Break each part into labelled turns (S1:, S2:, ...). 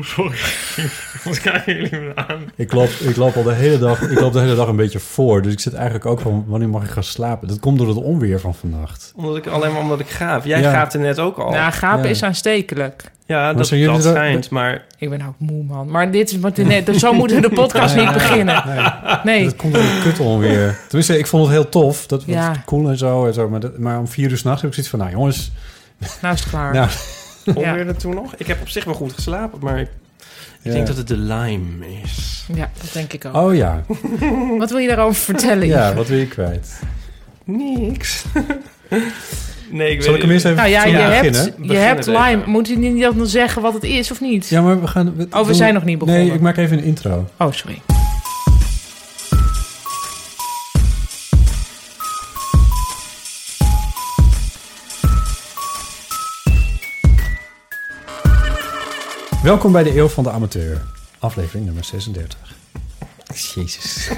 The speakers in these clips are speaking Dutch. S1: Sorry, wat kijken jullie me aan?
S2: Ik loop, ik loop al de hele dag, ik loop de hele dag een beetje voor. Dus ik zit eigenlijk ook van wanneer mag ik gaan slapen? Dat komt door het onweer van vannacht.
S1: Omdat ik, alleen maar omdat ik gaaf. Jij
S2: Ja.
S1: gaaft er net ook al.
S3: Nou, gapen
S2: Oh, Ja.
S3: is aanstekelijk.
S1: ja, dat,
S2: zijn jullie
S1: dat
S2: dat-
S1: schijnt, maar...
S3: Ik ben nou ook moe, man. Maar dit is wat nee, dus zo moeten we de podcast niet beginnen.
S2: Nee,
S3: Nee.
S2: dat komt door het kut onweer. Tenminste, ik vond het heel tof. Dat was
S3: Ja.
S2: cool en zo. En zo maar, dat- maar om vier uur s'nachts heb ik zoiets van, nou jongens.
S3: Nou is het klaar.
S2: Nou,
S1: Onweer er toen nog? Ik heb op zich wel goed geslapen, maar ik, ik
S2: Ja.
S1: denk dat het de lime is.
S3: Ja, dat denk ik ook.
S2: oh ja,
S3: Wat wil je daarover vertellen?
S2: ja,
S3: Ivo?
S2: wat wil je kwijt?
S1: Niks. nee, ik
S2: Zal ik
S1: weet
S2: hem eerst even
S3: Nou ja, je
S2: beginnen?
S3: hebt, je
S1: Beginnen
S3: hebt
S1: even.
S3: Lime. Moet je niet dan zeggen wat het is of niet?
S2: Ja, maar we gaan...
S3: Oh, we zijn nog niet begonnen.
S2: Nee, ik maak even een intro.
S3: Oh, sorry.
S2: Welkom bij de Eeuw van de Amateur, aflevering nummer 36. Jezus.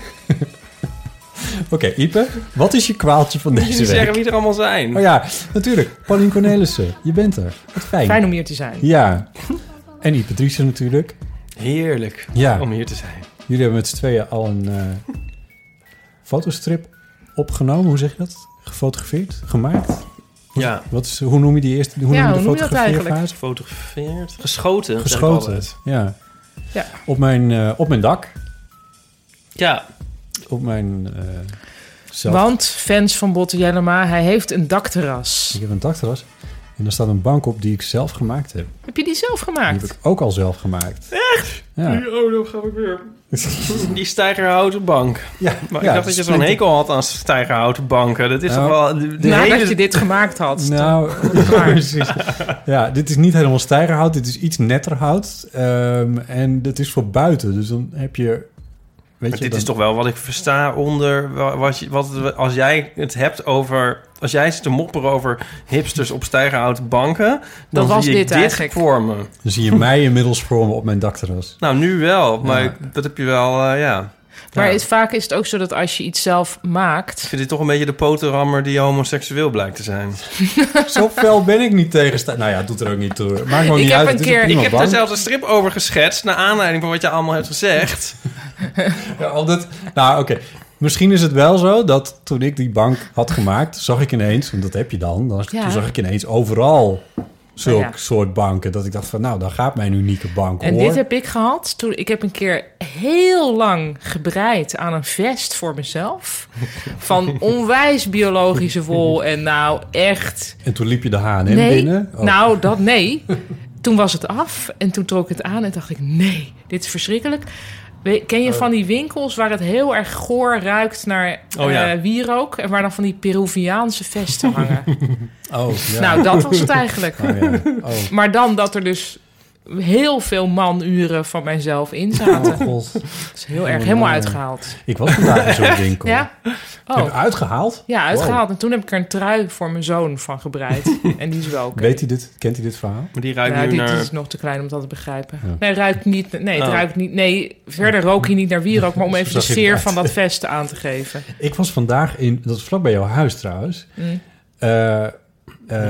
S2: Oké, Ipe, wat is je kwaaltje van
S1: Moet je
S2: deze
S1: niet zeggen
S2: week?
S1: wie er allemaal zijn?
S2: Oh ja, natuurlijk. Paulien Cornelissen, je bent er. Wat fijn.
S3: Fijn om hier te zijn.
S2: Ja. En Ipe Driessen natuurlijk.
S1: Heerlijk
S2: Ja.
S1: om hier te zijn.
S2: Jullie hebben met z'n tweeën al een eh, fotostrip opgenomen. Hoe zeg je dat? Gefotografeerd? Gemaakt?
S1: Ja,
S2: Wat is, hoe noem je die eerste? Hoe
S3: Ja,
S2: noem je
S3: hoe
S2: de
S3: noem je dat
S2: fotografeerfase?
S1: gefotografeerd. Geschoten. zeg ik
S2: Geschoten.
S1: altijd.
S2: Ja.
S3: Ja.
S2: Op, mijn, eh, op mijn dak.
S1: Ja,
S2: Op mijn eh zelf
S3: Want, fans van Botte Jellema, hij heeft een dakterras.
S2: Ik heb een dakterras en daar staat een bank op die ik zelf gemaakt heb.
S3: Heb je die zelf
S2: Die
S3: gemaakt?
S2: heb ik ook al zelf gemaakt. Echt? Ja.
S1: Oh, dan ga ik weer. Die stijgerhouten bank.
S2: ja.
S1: Maar ik dacht dat je zo'n hekel had aan stijgerhouten banken. Dat is
S2: Nou,
S1: toch wel... De, de
S3: Nadat
S1: hele...
S3: je dit gemaakt had.
S2: Nou,
S3: waar.
S2: precies. Ja, dit is niet helemaal stijgerhout. Dit is iets netter hout. Ehm, en dat is voor buiten. Dus dan heb je... Weet
S1: Maar
S2: je
S1: dit
S2: dan-
S1: is toch wel wat ik versta onder... wa- Wat je, wat, als jij het hebt over... Als jij zit te mopperen over hipsters op stijgerhouten banken... Dan
S3: was
S1: zie ik
S3: dit
S1: dit
S3: eigenlijk.
S1: voor me.
S2: Dan zie je mij inmiddels vormen op mijn dakterras.
S1: Nou, nu wel. Maar ik- dat heb je wel... eh, ja.
S3: Maar
S1: Ja.
S3: het, vaak is het ook zo dat als je iets zelf
S1: Ik
S3: maakt...
S1: vind dit toch een beetje de potenrammer die homoseksueel blijkt te zijn.
S2: Zo fel ben ik niet tegen stij- Nou ja, doet er ook niet toe. Maakt me ook
S3: Ik
S2: niet
S3: heb
S2: uit.
S3: een
S2: het is
S3: keer-
S2: prima
S1: Ik heb
S2: bank.
S1: daar zelfs een strip over geschetst... naar aanleiding van wat je allemaal hebt gezegd.
S2: Ja, omdat, nou, oké. Misschien is het wel zo dat toen ik die bank had gemaakt, zag ik ineens, want dat heb je dan, dan
S3: Ja. Oh
S2: toen zag ik ineens overal zulk
S3: Ja.
S2: soort banken. Dat ik dacht van, nou, dan gaat mijn unieke bank
S3: En
S2: hoor.
S3: dit heb ik gehad toen ik heb een keer heel lang gebreid aan een vest voor mezelf. Van onwijs biologische wol. En nou echt.
S2: En toen liep je de H&M
S3: nee.
S2: binnen. Oh,
S3: Nou, dat nee. Toen was het af en toen trok ik het aan en dacht ik: nee, dit is verschrikkelijk. We- Ken
S2: Oh.
S3: je van die winkels waar het heel erg goor ruikt naar
S1: Oh ja.
S3: eh, wierook? En waar dan van die Peruviaanse vesten hangen?
S2: oh, ja.
S3: Nou, dat was het eigenlijk.
S2: Oh, ja. Oh,
S3: Maar dan dat er dus heel veel manuren van mijzelf in zaten.
S2: oh, god.
S3: Dat is heel erg, helemaal
S2: man.
S3: uitgehaald.
S2: Ik was vandaag in zo'n winkel.
S3: Ja?
S2: Ik heb
S3: Oh,
S2: uitgehaald.
S3: ja, uitgehaald. En toen heb ik er een trui voor mijn zoon van gebreid. en die is wel oké.
S2: Weet hij dit? Kent hij dit verhaal?
S1: Maar die
S3: Ja,
S1: ruikt nu
S3: Nou, dit
S1: naar...
S3: is nog te klein om dat te begrijpen.
S2: Ja.
S3: Nee, ruikt niet. Nee, het
S1: Oh.
S3: ruikt niet. Nee, verder rook hij niet naar wierook, maar om even de
S2: Zag je
S3: sfeer
S2: dat?
S3: van dat vest aan te geven.
S2: Ik was vandaag in, dat is vlak bij jouw huis trouwens.
S3: Mm.
S2: Eh, eh,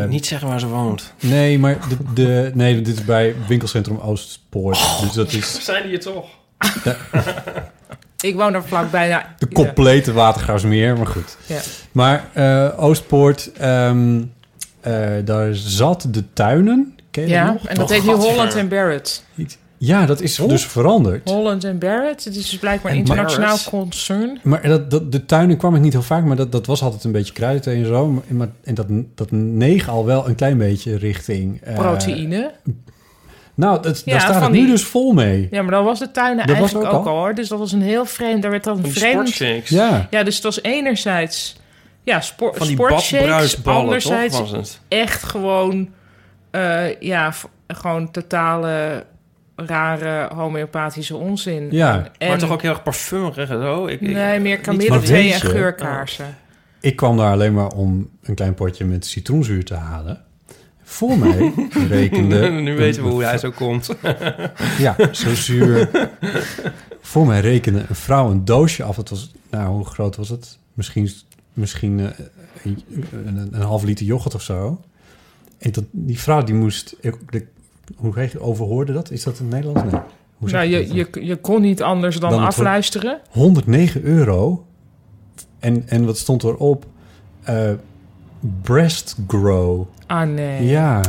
S1: Niet zeggen waar ze woont.
S2: Nee, maar de, de, nee, dit is bij winkelcentrum Oostpoort.
S3: Oh,
S2: dus dat is
S1: Zijn die je toch?
S3: Ik woon er vlakbij. Nou,
S2: de
S3: ja.
S2: complete watergraafsmeer, maar goed.
S3: Ja.
S2: Maar eh, Oostpoort, ehm, eh, daar zat de tuinen Ken je
S3: Ja,
S2: dat nog?
S3: en dat
S1: Oh,
S3: Oh. heet nu Holland en Barrett.
S2: Ja, dat is dus veranderd.
S3: Holland en Barrett, het is dus blijkbaar een
S2: En Barrett.
S3: internationaal concern.
S2: Maar dat, dat, de tuinen kwam ik niet heel vaak, maar dat, dat was altijd een beetje kruid en zo. Maar, maar, en dat, dat neeg al wel een klein beetje richting... eh,
S3: Proteïne.
S2: Nou, dat,
S3: Ja,
S2: daar staat
S3: van
S2: het nu
S3: die-
S2: dus vol mee.
S3: Ja, maar dan was de tuinen
S2: Dat was
S3: eigenlijk
S2: ook
S3: ook al. hoor. Dus dat was een heel vreemd. Daar werd dan
S2: die
S3: vreemd.
S2: sportshakes. Ja.
S3: ja, dus het was enerzijds ja, spor,
S1: Van die
S3: sportshakes.
S1: badbruisballen,
S3: Anderzijds
S1: toch, was het?
S3: echt gewoon, eh, ja, v- gewoon totale rare homeopathische onzin. En-
S1: maar toch ook heel erg parfumerig en zo. Ik, ik-
S3: Nee, meer
S2: Maar weet
S3: kamillethee en
S2: je- Oh,
S3: geurkaarsen.
S2: Ik kwam daar alleen maar om een klein potje met citroenzuur te halen. Voor mij rekende...
S1: nu weten we hoe hij zo komt.
S2: Ja, zo zuur. Voor mij rekende een vrouw een doosje af. Het was, nou, hoe groot was het? Misschien, misschien eh, een, een, een half liter yoghurt of zo. En dat, die vrouw die moest... ik- de- hoe heet je overhoorde dat? Is dat in Nederland? Nee. Hoe zeg
S3: Nou, je, je, je kon niet anders dan,
S2: Dan het wordt-
S3: afluisteren.
S2: 109 euro. En, en wat stond erop? Eh, breast grow.
S3: Ah, nee.
S2: Ja.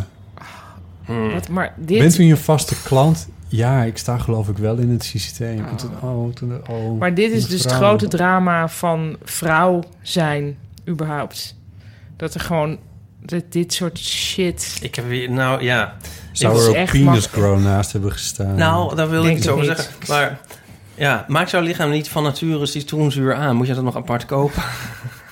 S3: Wat, maar dit...
S2: Bent u een vaste klant? Ja, ik sta geloof ik wel in het systeem. En toen- oh, toen- oh,
S3: Maar dit is dus het
S2: mevrouw.
S3: grote drama van vrouw zijn, überhaupt. Dat er gewoon dat dit soort shit.
S1: Ik heb weer, nou ja.
S2: Zou
S1: Ik-
S2: er
S3: is
S2: ook
S3: echt
S2: penis
S3: makkelijk.
S2: grow naast hebben gestaan?
S1: Nou, daar wil ik
S3: Denk
S1: iets
S3: het
S1: over
S3: niet.
S1: zeggen. Maar ja, maakt jouw lichaam niet van nature citroenzuur aan? Moet je dat nog apart kopen?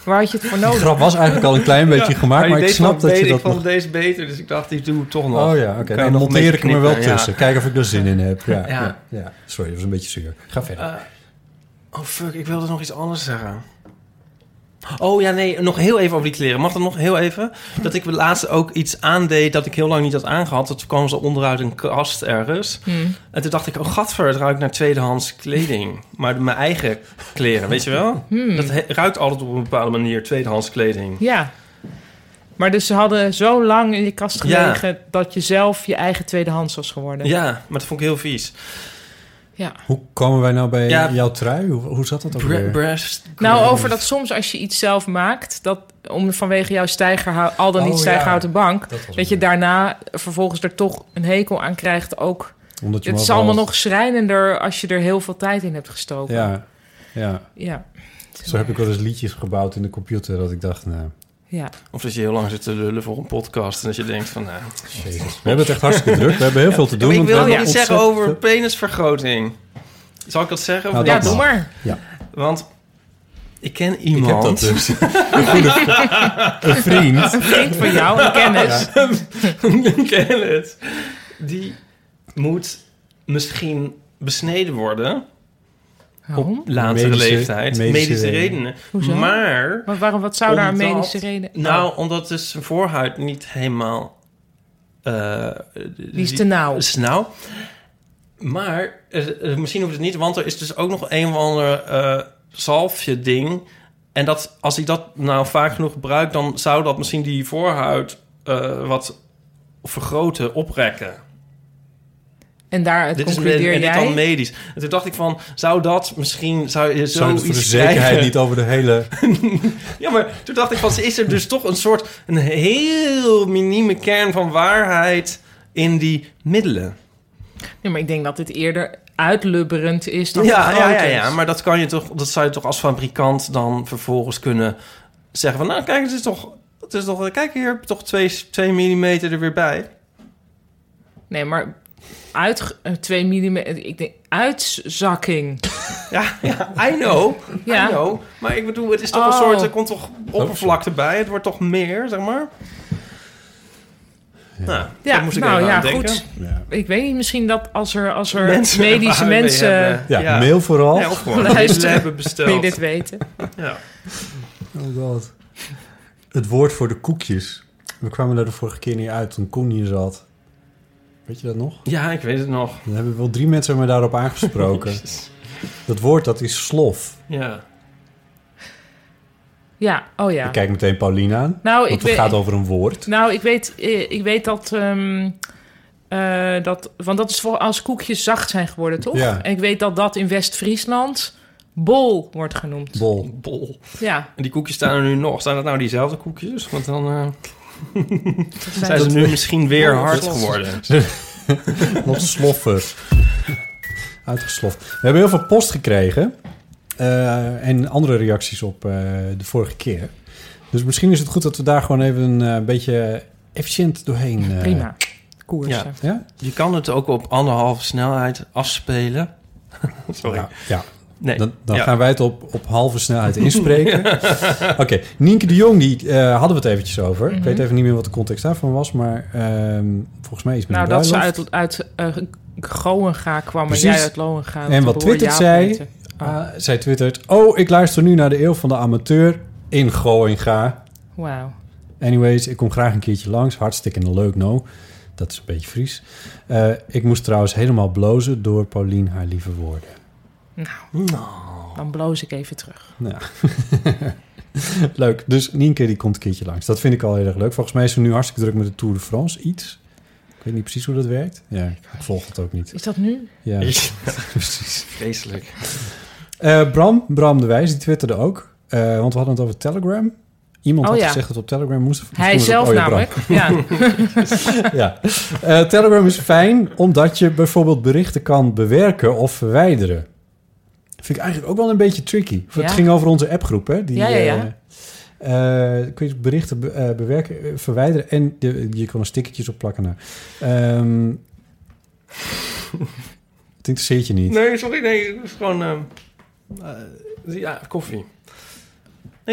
S3: Waar had je het voor
S2: De
S3: nodig?
S2: grap was eigenlijk al een klein beetje
S1: Ja,
S2: gemaakt, maar,
S1: die
S2: ik
S1: deed
S2: snap
S1: wel
S2: dat je
S1: beter.
S2: dat
S1: Ik vond
S2: nog-
S1: deze beter, dus ik dacht, ik doe het toch nog.
S2: Oh ja, oké.
S1: Kan je
S2: Dan
S1: nog een beetje
S2: monteer ik hem er wel
S1: knippen, ja.
S2: tussen. Kijk of ik er zin in heb. Ja, ja.
S1: Ja.
S2: Ja, Sorry, dat was een beetje zuur. Ga verder.
S1: Eh, oh fuck, ik wilde nog iets anders zeggen. Oh ja, nee, nog heel even over die kleren. Mag dat nog heel even? Dat ik laatst ook iets aandeed dat ik heel lang niet had aangehad. Dat kwam ze onderuit een kast ergens.
S3: Hmm.
S1: En toen dacht ik, oh gadver, het ruikt naar tweedehands kleding. Maar mijn eigen kleren, weet je wel?
S3: Hmm.
S1: Dat he- ruikt altijd op een bepaalde manier, tweedehands kleding.
S3: Ja. Maar dus ze hadden zo lang in je kast
S1: Ja.
S3: gelegen dat je zelf je eigen tweedehands was geworden.
S1: Ja, maar dat vond ik heel vies.
S3: ja.
S2: Hoe komen wij nou bij
S1: Ja.
S2: jouw trui? Hoe, hoe zat dat ook
S1: Bre-
S2: weer?
S1: breast.
S3: Nou, over dat soms als je iets zelf maakt, dat om, vanwege jouw stijgerhou- al dan
S2: Oh,
S3: niet
S2: ja.
S3: stijgerhouten bank,
S2: Dat was
S3: dat,
S2: het.
S3: je daarna vervolgens er toch een hekel aan krijgt. Ook,
S2: Omdat je
S3: het
S2: hem
S3: is allemaal
S2: overal-
S3: nog schrijnender als je er heel veel tijd in hebt gestoken.
S2: Ja, ja.
S3: Ja.
S2: Zo heb ik wel eens liedjes gebouwd in de computer dat ik dacht, nou,
S3: Ja.
S1: Of dat je heel lang zit te lullen voor een podcast. En dat je denkt van, nou...
S2: jezus. We hebben het echt hartstikke druk. We hebben heel veel te doen.
S1: Maar ik
S2: want we
S1: wil nog
S2: hebben
S1: iets zeggen
S2: ontzettend
S1: over
S2: veel-
S1: penisvergroting. Zal ik dat zeggen?
S2: Nou,
S1: Of-
S3: Ja,
S2: dat
S3: doe
S2: mag.
S3: maar.
S1: Want ik ken
S2: Ik heb
S1: iemand...
S2: dat dus. Een goede- Een vriend.
S3: Vriend van jou, een kennis.
S1: ik ken het. Die moet misschien besneden worden
S3: Waarom?
S1: op latere
S2: Medische-
S1: leeftijd.
S2: medische
S1: Medische,
S2: redenen.
S1: redenen.
S3: Hoezo?
S1: Maar...
S3: Maar waarom, wat zou daar een
S1: omdat-
S3: medische reden...
S1: Nou, omdat dus zijn voorhuid niet helemaal... eh,
S3: die is te nauw.
S1: is nou. Maar eh, eh, misschien hoeft het niet, want er is dus ook nog een of ander eh, zalfje ding. En dat, als ik dat nou vaak genoeg gebruik, dan zou dat misschien die voorhuid eh, wat vergroten, oprekken.
S3: En daaruit
S1: Dit is en
S3: concludeer
S1: dit dan
S3: jij...
S1: medisch. En toen dacht ik van, zou dat misschien, zou je
S2: Zou je
S1: zoiets
S2: het voor de zekerheid
S1: krijgen?
S2: niet over de hele...
S1: Ja, maar toen dacht ik van, is er dus toch een soort, een heel minieme kern van waarheid in die middelen?
S3: Nee, maar ik denk dat dit eerder uitlubberend is dan
S1: Ja, ja, ja,
S3: vergrotend.
S1: ja, maar dat kan je toch, dat zou je toch als fabrikant dan vervolgens kunnen zeggen van, nou kijk, het is toch, het is toch, kijk hier, heb je toch 2 2 mm er weer bij.
S3: Nee, maar uit 2 mm... Ik denk, uitzakking.
S1: Ja, ja, I know,
S3: Ja.
S1: I know. Maar ik bedoel, het is toch een
S3: Oh.
S1: soort, er komt toch oppervlakte bij, het wordt toch meer, zeg maar. Nou,
S3: Ja,
S1: daar moest ik
S3: nou
S1: even
S3: ja,
S1: aan denken.
S3: goed.
S2: Ja.
S3: Ik weet niet, misschien dat als er, als er
S1: Mensen
S3: medische
S1: waar we mee
S3: mensen...
S1: hebben.
S2: Ja,
S1: Ja.
S2: mail vooral.
S1: Ja, of gewoon
S3: Luisteren.
S1: middelen hebben
S3: Die
S1: besteld.
S3: dit weten.
S1: Ja.
S2: Oh god. Het woord voor de koekjes. We kwamen daar de vorige keer niet uit toen Koen hier zat. Weet je dat nog?
S1: ja, ik weet het nog.
S2: Dan hebben wel drie mensen me daarop aangesproken. dat woord, dat is slof.
S1: Ja.
S3: Ja, oh ja.
S2: Ik kijk meteen Pauline
S1: Oh,
S2: aan.
S3: Nou,
S2: want
S3: ik
S2: het
S3: weet-
S2: gaat over een woord.
S3: Nou, ik weet, eh, ik weet dat, ehm, eh, dat... Want dat is voor als koekjes zacht zijn geworden, toch?
S2: Ja.
S3: En ik weet dat dat in West-Friesland bol wordt genoemd.
S2: Bol.
S1: Bol.
S3: Ja.
S1: En die koekjes staan er nu nog. Zijn dat nou diezelfde koekjes? Want dan... eh, Zijn ze nu misschien weer hard geworden?
S3: Dus-
S2: Nog sloffer. Uitgesloft. We hebben heel veel post gekregen. eh, en andere reacties op eh, de vorige keer. Dus misschien is het goed dat we daar gewoon even een eh, beetje efficiënt doorheen... eh,
S3: Prima. Koersen.
S1: Ja. Je kan het ook op anderhalve snelheid afspelen. Sorry.
S2: Ja, ja.
S1: Nee.
S2: Dan, dan
S1: Ja.
S2: gaan wij het op, op halve snelheid inspreken. Oké, Nienke de Jong, die eh, hadden we het eventjes over. Ik
S3: Mhm.
S2: weet even niet meer wat de context daarvan was, maar ehm, volgens mij is het met
S3: Nou,
S2: een
S3: dat ze
S2: bruiloft.
S3: uit, uit eh, Groenga kwam en
S2: Precies.
S3: jij uit Lohenga.
S2: En wat Twitter
S3: Twitter
S2: zei, ah, zij twittert... Oh, ik luister nu naar de eeuw van de amateur in Groninga.
S3: Wauw.
S2: Anyways, ik kom graag een keertje langs. Hartstikke leuk, no. Dat is een beetje Fries. Eh, ik moest trouwens helemaal blozen door Pauline haar lieve woorden.
S3: Dan bloos ik even terug.
S2: Nou, leuk. Dus Nienke die komt een keertje langs. Dat vind ik al heel erg leuk. Volgens mij is ze nu hartstikke druk met de Tour de France. Iets. Ik weet niet precies hoe dat werkt. Ja, ik volg het ook niet.
S3: Is dat nu?
S2: Ja,
S1: Ja.
S2: precies.
S1: Vreselijk.
S2: Eh, Bram, Bram de Wijs, die twitterde ook. Eh, want we hadden het over Telegram. Iemand
S3: Oh
S2: had
S3: ja.
S2: gezegd dat op Telegram moest...
S3: Hij
S2: misschien was
S3: zelf
S2: het- oh ja, Bram.
S3: namelijk. Ja.
S2: ja. Eh, Telegram is fijn omdat je bijvoorbeeld berichten kan bewerken of verwijderen. Vind ik eigenlijk ook wel een beetje tricky. Het
S3: Ja.
S2: ging over onze appgroep, hè? Die,
S3: Ja, ja, ja.
S2: eh, eh, kun je berichten be- eh, bewerken, eh, verwijderen en de- je kan er stickertjes op plakken. Nou. Ehm, het interesseert je niet.
S1: Nee, sorry, nee. Het is gewoon... ehm, eh, ja, koffie. Nee,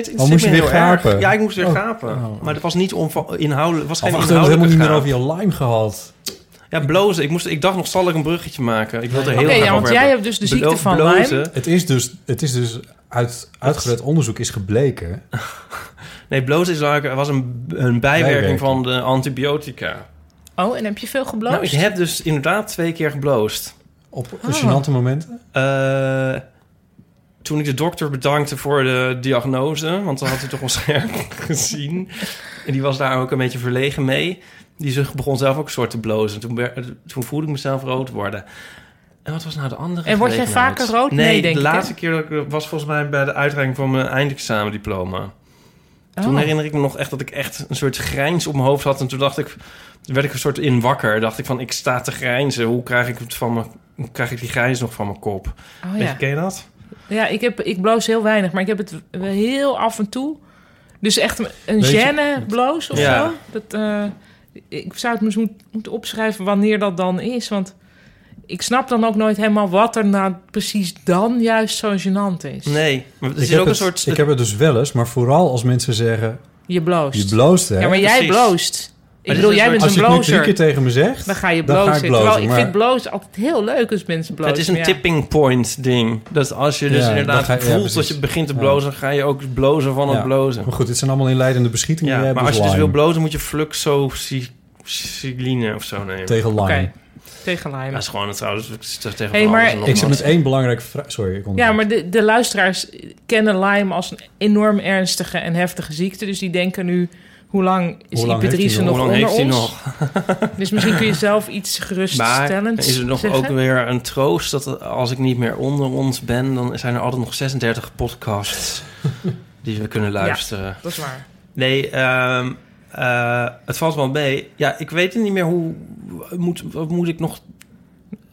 S1: het interesseert
S2: Oh, moest je
S1: me
S2: weer
S1: heel erg.
S2: gapen?
S1: Ja, ik moest weer
S2: Oh.
S1: gapen.
S2: Oh.
S1: Maar het was niet onva- inhoudelijk. was
S2: Of
S1: geen
S2: wacht, we hebben het helemaal niet meer
S1: inhoudelijke
S2: over je lime gehad.
S1: gaap. Ja, blozen. Ik, moest, ik dacht nog, zal ik een bruggetje maken? Ik wilde er heel
S3: Oké,
S1: graag
S3: ja,
S1: over
S3: want jij hebt
S1: hebben.
S3: dus de ziekte
S1: Blo-
S3: van
S1: blozen.
S3: Lyme.
S2: Het is dus, het is dus uit uitgebreid onderzoek is gebleken.
S1: Nee, blozen is eigenlijk, was een, een bijwerking,
S2: Bijwerking.
S1: van de antibiotica.
S3: Oh, en heb je veel gebloosd?
S1: Nou, ik heb dus inderdaad twee keer gebloost.
S2: Op
S3: Ah.
S2: gênante momenten.
S1: Eh, toen ik de dokter bedankte voor de diagnose, want dat had hij toch waarschijnlijk gezien. En die was daar ook een beetje verlegen mee. Die zich begon zelf ook een soort te blozen. Toen, werd- toen voelde ik mezelf rood worden. En wat was nou de andere
S3: En word jij
S1: gelegenheid?
S3: vaker rood?
S1: Nee,
S3: Nee, denk
S1: de
S3: ik,
S1: laatste keer dat ik, was volgens mij bij de uitreiking van mijn eindexamendiploma. Toen
S3: Oh.
S1: herinner ik me nog echt dat ik echt een soort grijns op mijn hoofd had. En toen dacht ik, toen werd ik een soort in wakker. Dacht ik van, ik sta te grijnzen. Hoe krijg ik, het van mijn, hoe krijg ik die grijns nog van mijn kop?
S3: Oh,
S1: Weet je,
S3: ja.
S1: ken je dat?
S3: Ja, ik, heb, ik bloos heel weinig, maar ik heb het wel heel af en toe. Dus echt een- een
S2: Weet je-
S3: gêne bloos of
S1: Ja.
S3: zo. Dat, eh, ik zou het me eens moet, moeten opschrijven wanneer dat dan is. Want ik snap dan ook nooit helemaal wat er nou precies dan juist zo gênant is.
S1: Nee. Maar het
S2: Ik
S1: is
S2: heb,
S1: ook een
S2: het,
S1: soort...
S2: ik heb het dus wel eens, maar vooral als mensen zeggen...
S3: Je bloost.
S2: Je bloost, hè?
S3: ja, maar jij
S1: Precies.
S3: bloost. Ik
S1: dit
S3: bedoel,
S1: is een
S3: jij
S1: soort-
S3: bent
S2: als
S3: een
S2: je het nu drie
S3: blozer.
S2: keer tegen me zegt,
S3: Dan ga je
S2: dan
S3: blozen.
S2: ga ik blozen.
S3: Terwijl ik
S2: maar-
S3: vind blozen altijd heel leuk als mensen blozen.
S1: het is een
S3: maar ja.
S1: tipping point ding. Dus als je dus
S2: Ja,
S1: inderdaad
S2: dan ga je- ja,
S1: voelt dat
S2: precies.
S1: je begint te
S2: Ja.
S1: blozen, ga je ook blozen van het
S2: Ja.
S1: blozen.
S2: Maar goed, dit zijn allemaal inleidende beschietingen. die
S1: Ja,
S2: jij
S1: maar
S2: hebt
S1: als je dus
S2: lime.
S1: wil blozen, moet je fluxocycline of zo nemen.
S2: Tegen lime.
S3: Oké, tegen Lyme.
S1: Dat is gewoon het trouwens. het is Tegen
S3: Hey,
S1: van
S3: maar-
S1: alles en nog
S2: Ik zit
S1: wat.
S2: met één belangrijke vraag... Sorry, ik
S3: Ja,
S2: onderbreek.
S3: maar de, de luisteraars kennen Lyme als een enorm ernstige en heftige ziekte. Dus die denken nu, hoe lang is
S2: Hoe lang heeft
S3: Hypedrice
S2: hij
S3: nog
S1: Hoe lang
S3: onder
S1: heeft hij
S3: ons?
S1: nog?
S3: Dus misschien kun je zelf iets
S1: Maar
S3: geruststellends
S1: is er nog
S3: zeggen.
S1: ook weer een troost dat als ik niet meer onder ons ben, dan zijn er altijd nog 36 podcasts die we kunnen luisteren.
S3: Dat is waar.
S1: Nee, ehm, eh, het valt wel mee. Ja, ik weet niet meer hoe moet, wat moet ik nog.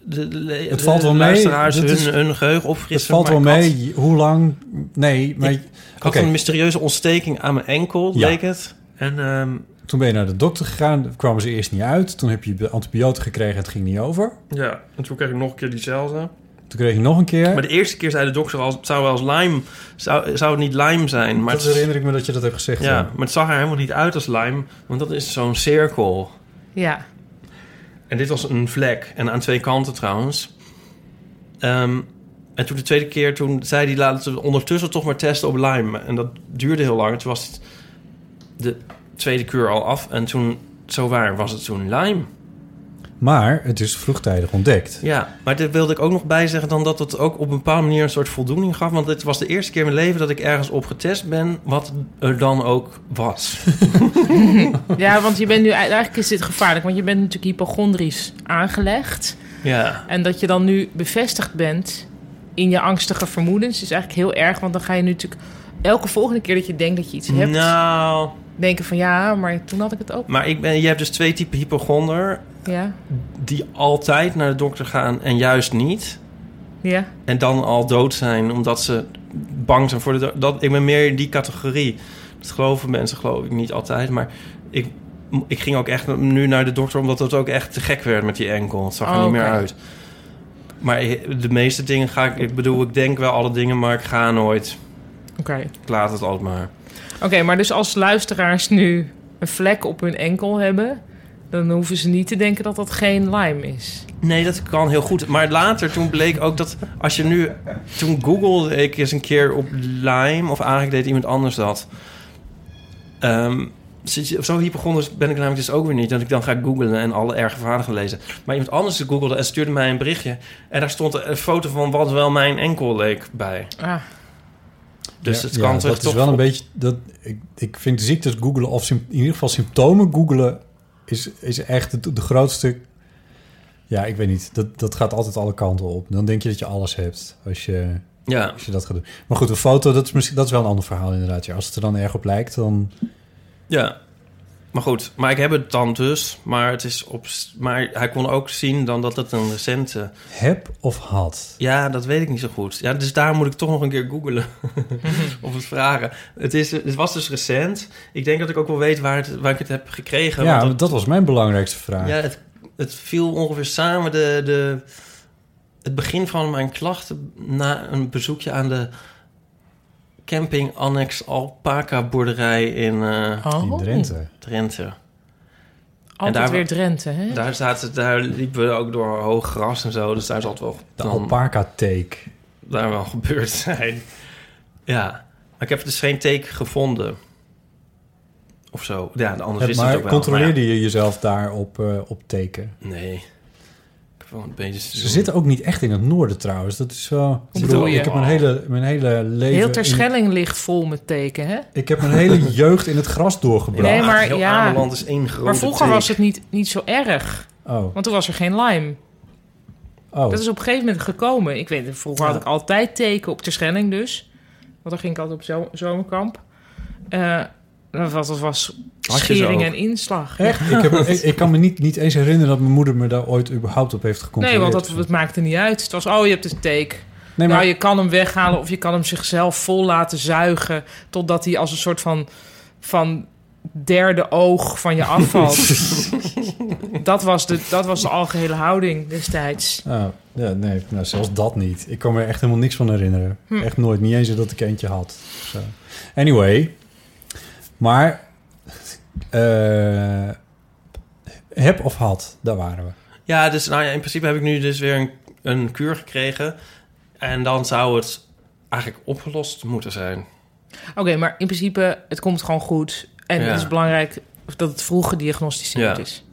S1: De, de-
S2: Het
S1: de
S2: valt wel mee.
S1: luisteraars
S2: Dit
S1: hun,
S2: is-
S1: hun geheugen
S2: Het
S1: opfrissen.
S2: valt wel
S1: maar ik
S2: mee. Hoe lang... Nee, maar
S1: Ik- Had, ik had
S2: Oké.
S1: een mysterieuze ontsteking aan mijn enkel,
S2: Ja.
S1: leek het. En ehm,
S2: toen ben je naar de dokter gegaan. kwamen ze eerst niet uit. Toen heb je de antibiotica gekregen. Het ging niet over.
S1: ja, en toen kreeg ik nog een keer diezelfde.
S2: Toen kreeg je nog een keer.
S1: Maar de eerste keer zei de dokter al, het zou wel eens Lyme, zou, zou het niet Lyme zijn. Maar
S2: dat
S1: het,
S2: herinner ik me dat je dat hebt gezegd.
S1: ja, maar het zag er helemaal niet uit als Lyme, want dat is zo'n cirkel.
S3: Ja,
S1: En dit was een vlek. En aan twee kanten trouwens. Ehm, en toen de tweede keer, toen zei hij... laten we ondertussen toch maar testen op Lyme. En dat duurde heel lang. Toen was het de tweede kuur al af. En toen, zo waar, was het toen Lyme.
S2: Maar het is vroegtijdig ontdekt.
S1: Ja, maar daar wilde ik ook nog bij zeggen... dan dat het ook op een bepaalde manier een soort voldoening gaf. Want dit was de eerste keer in mijn leven dat ik ergens op getest ben... wat er dan ook was.
S3: ja want je bent nu, eigenlijk is dit gevaarlijk. Want je bent natuurlijk hypochondrisch aangelegd.
S1: ja.
S3: En dat je dan nu bevestigd bent in je angstige vermoedens... is eigenlijk heel erg, want dan ga je nu natuurlijk... Elke volgende keer dat je denkt dat je iets hebt...
S1: Nou,
S3: denken van ja, maar toen had ik het ook.
S1: Maar ik ben, je hebt dus twee typen hypochonder
S3: Ja,
S1: die altijd naar de dokter gaan en juist niet.
S3: ja.
S1: En dan al dood zijn omdat ze bang zijn voor de dood. Dat, ik ben meer in die categorie. Dat geloven mensen geloof ik niet altijd. Maar ik, ik ging ook echt nu naar de dokter omdat het ook echt te gek werd met die enkel. Het zag er
S3: Oh,
S1: niet meer
S3: oké.
S1: uit. Maar ik- de meeste dingen ga ik... Ik bedoel, ik denk wel alle dingen, maar ik ga nooit.
S3: Oké.
S1: Ik laat het altijd maar.
S3: Oké, maar dus als luisteraars nu een vlek op hun enkel hebben, dan hoeven ze niet te denken dat dat geen Lyme is.
S1: Nee, dat kan heel goed. Maar later, toen bleek ook dat als je nu... Toen googelde ik eens een keer op Lyme... of eigenlijk deed iemand anders dat. Ehm, sinds- zo hypochonders ben ik namelijk dus ook weer niet... dat ik dan ga googlen en alle erge verhalen gaan lezen. Maar iemand anders googelde en stuurde mij een berichtje... en daar stond een foto van wat wel mijn enkel leek bij.
S3: Ah.
S1: Dus
S2: Ja,
S1: het kan
S2: ja,
S1: toch...
S2: dat is wel een beetje... Dat, ik, ik vind ziektes googelen, of sym- in ieder geval symptomen googelen... is, is echt de, de grootste... Ja, ik weet niet. Dat, dat gaat altijd alle kanten op. Dan denk je dat je alles hebt als je,
S1: Ja.
S2: als je dat gaat doen. Maar goed, een foto, dat is, misschien, dat is wel een ander verhaal inderdaad. Ja, als het er dan erg op lijkt, dan...
S1: Ja, maar goed. Maar ik heb het dan dus. Maar, het is op, maar hij kon ook zien dan dat het een recente...
S2: Heb of had?
S1: Ja, dat weet ik niet zo goed. Ja, dus daar moet ik toch nog een keer googlen. of het vragen. Het, is, het was dus recent. Ik denk dat ik ook wel weet waar, het, waar ik het heb gekregen.
S2: Ja,
S1: want
S2: dat was mijn belangrijkste vraag.
S1: ja, het, het viel ongeveer samen de, de, het begin van mijn klachten na een bezoekje aan de camping Annex Alpaca boerderij in, eh,
S3: Oh. In Drenthe.
S1: Drenthe.
S2: Oh.
S3: Altijd weer Drenthe, hè?
S1: Daar, zaten, daar liepen we ook door hoog gras en zo, dus daar zat wel...
S2: De
S1: dan-
S2: alpaca-take.
S1: daar wel gebeurd zijn. Ja, maar ik heb dus geen teken gevonden. Of zo. Ja, de anders
S2: Ja,
S1: is dat
S2: maar
S1: ook wel.
S2: controleerde
S1: Maar
S2: je jezelf daar op, eh, op teken?
S1: ja, Nee. Ik heb wel een beetje...
S2: Ze zitten ook niet echt in het noorden trouwens. Dat is wel... Ik bedoel,
S3: bedoel je?
S2: ik heb mijn hele, mijn hele leven...
S3: Heel
S2: in-
S3: Terschelling ligt vol met teken, hè?
S2: ik heb mijn hele jeugd in het gras doorgebracht.
S3: Nee,
S1: Ah,
S3: maar ja. Maar vroeger was
S2: het...
S3: het niet, niet zo erg.
S2: Oh.
S3: Want toen was er geen Lyme.
S2: Oh.
S3: Dat is op een gegeven moment gekomen. Ik weet, het, vroeger had ik altijd teken op Terschelling dus. Want dan ging ik altijd op zo- zomerkamp. Eh, dat was, dat was
S2: Had je ze
S3: schering
S2: ook?
S3: en inslag.
S2: Echt?
S3: Ja.
S2: Ik, heb, ik, ik kan me niet, niet eens herinneren dat mijn moeder me daar ooit überhaupt op heeft
S3: Nee,
S2: gecontroleerd.
S3: want dat, het maakte niet uit. Het was, oh, je hebt een teken.
S2: Nee, maar-
S3: Nou, je kan hem weghalen of je kan hem zichzelf vol laten zuigen... totdat hij als een soort van, van derde oog van je afvalt. dat, was de, dat was de algehele houding destijds.
S2: Oh, ja, nee, nou, zelfs dat niet. Ik kan me echt helemaal niks van herinneren.
S3: Hm.
S2: Echt nooit. Niet eens dat ik eentje had. Zo. Anyway. Maar... eh, heb of had, daar waren we.
S1: Ja, dus nou ja, in principe heb ik nu dus weer een, een kuur gekregen. En dan zou het eigenlijk opgelost moeten zijn.
S3: Oké, maar in principe, het komt gewoon goed. En
S1: Ja.
S3: het is belangrijk dat het vroeg gediagnosticeerd is.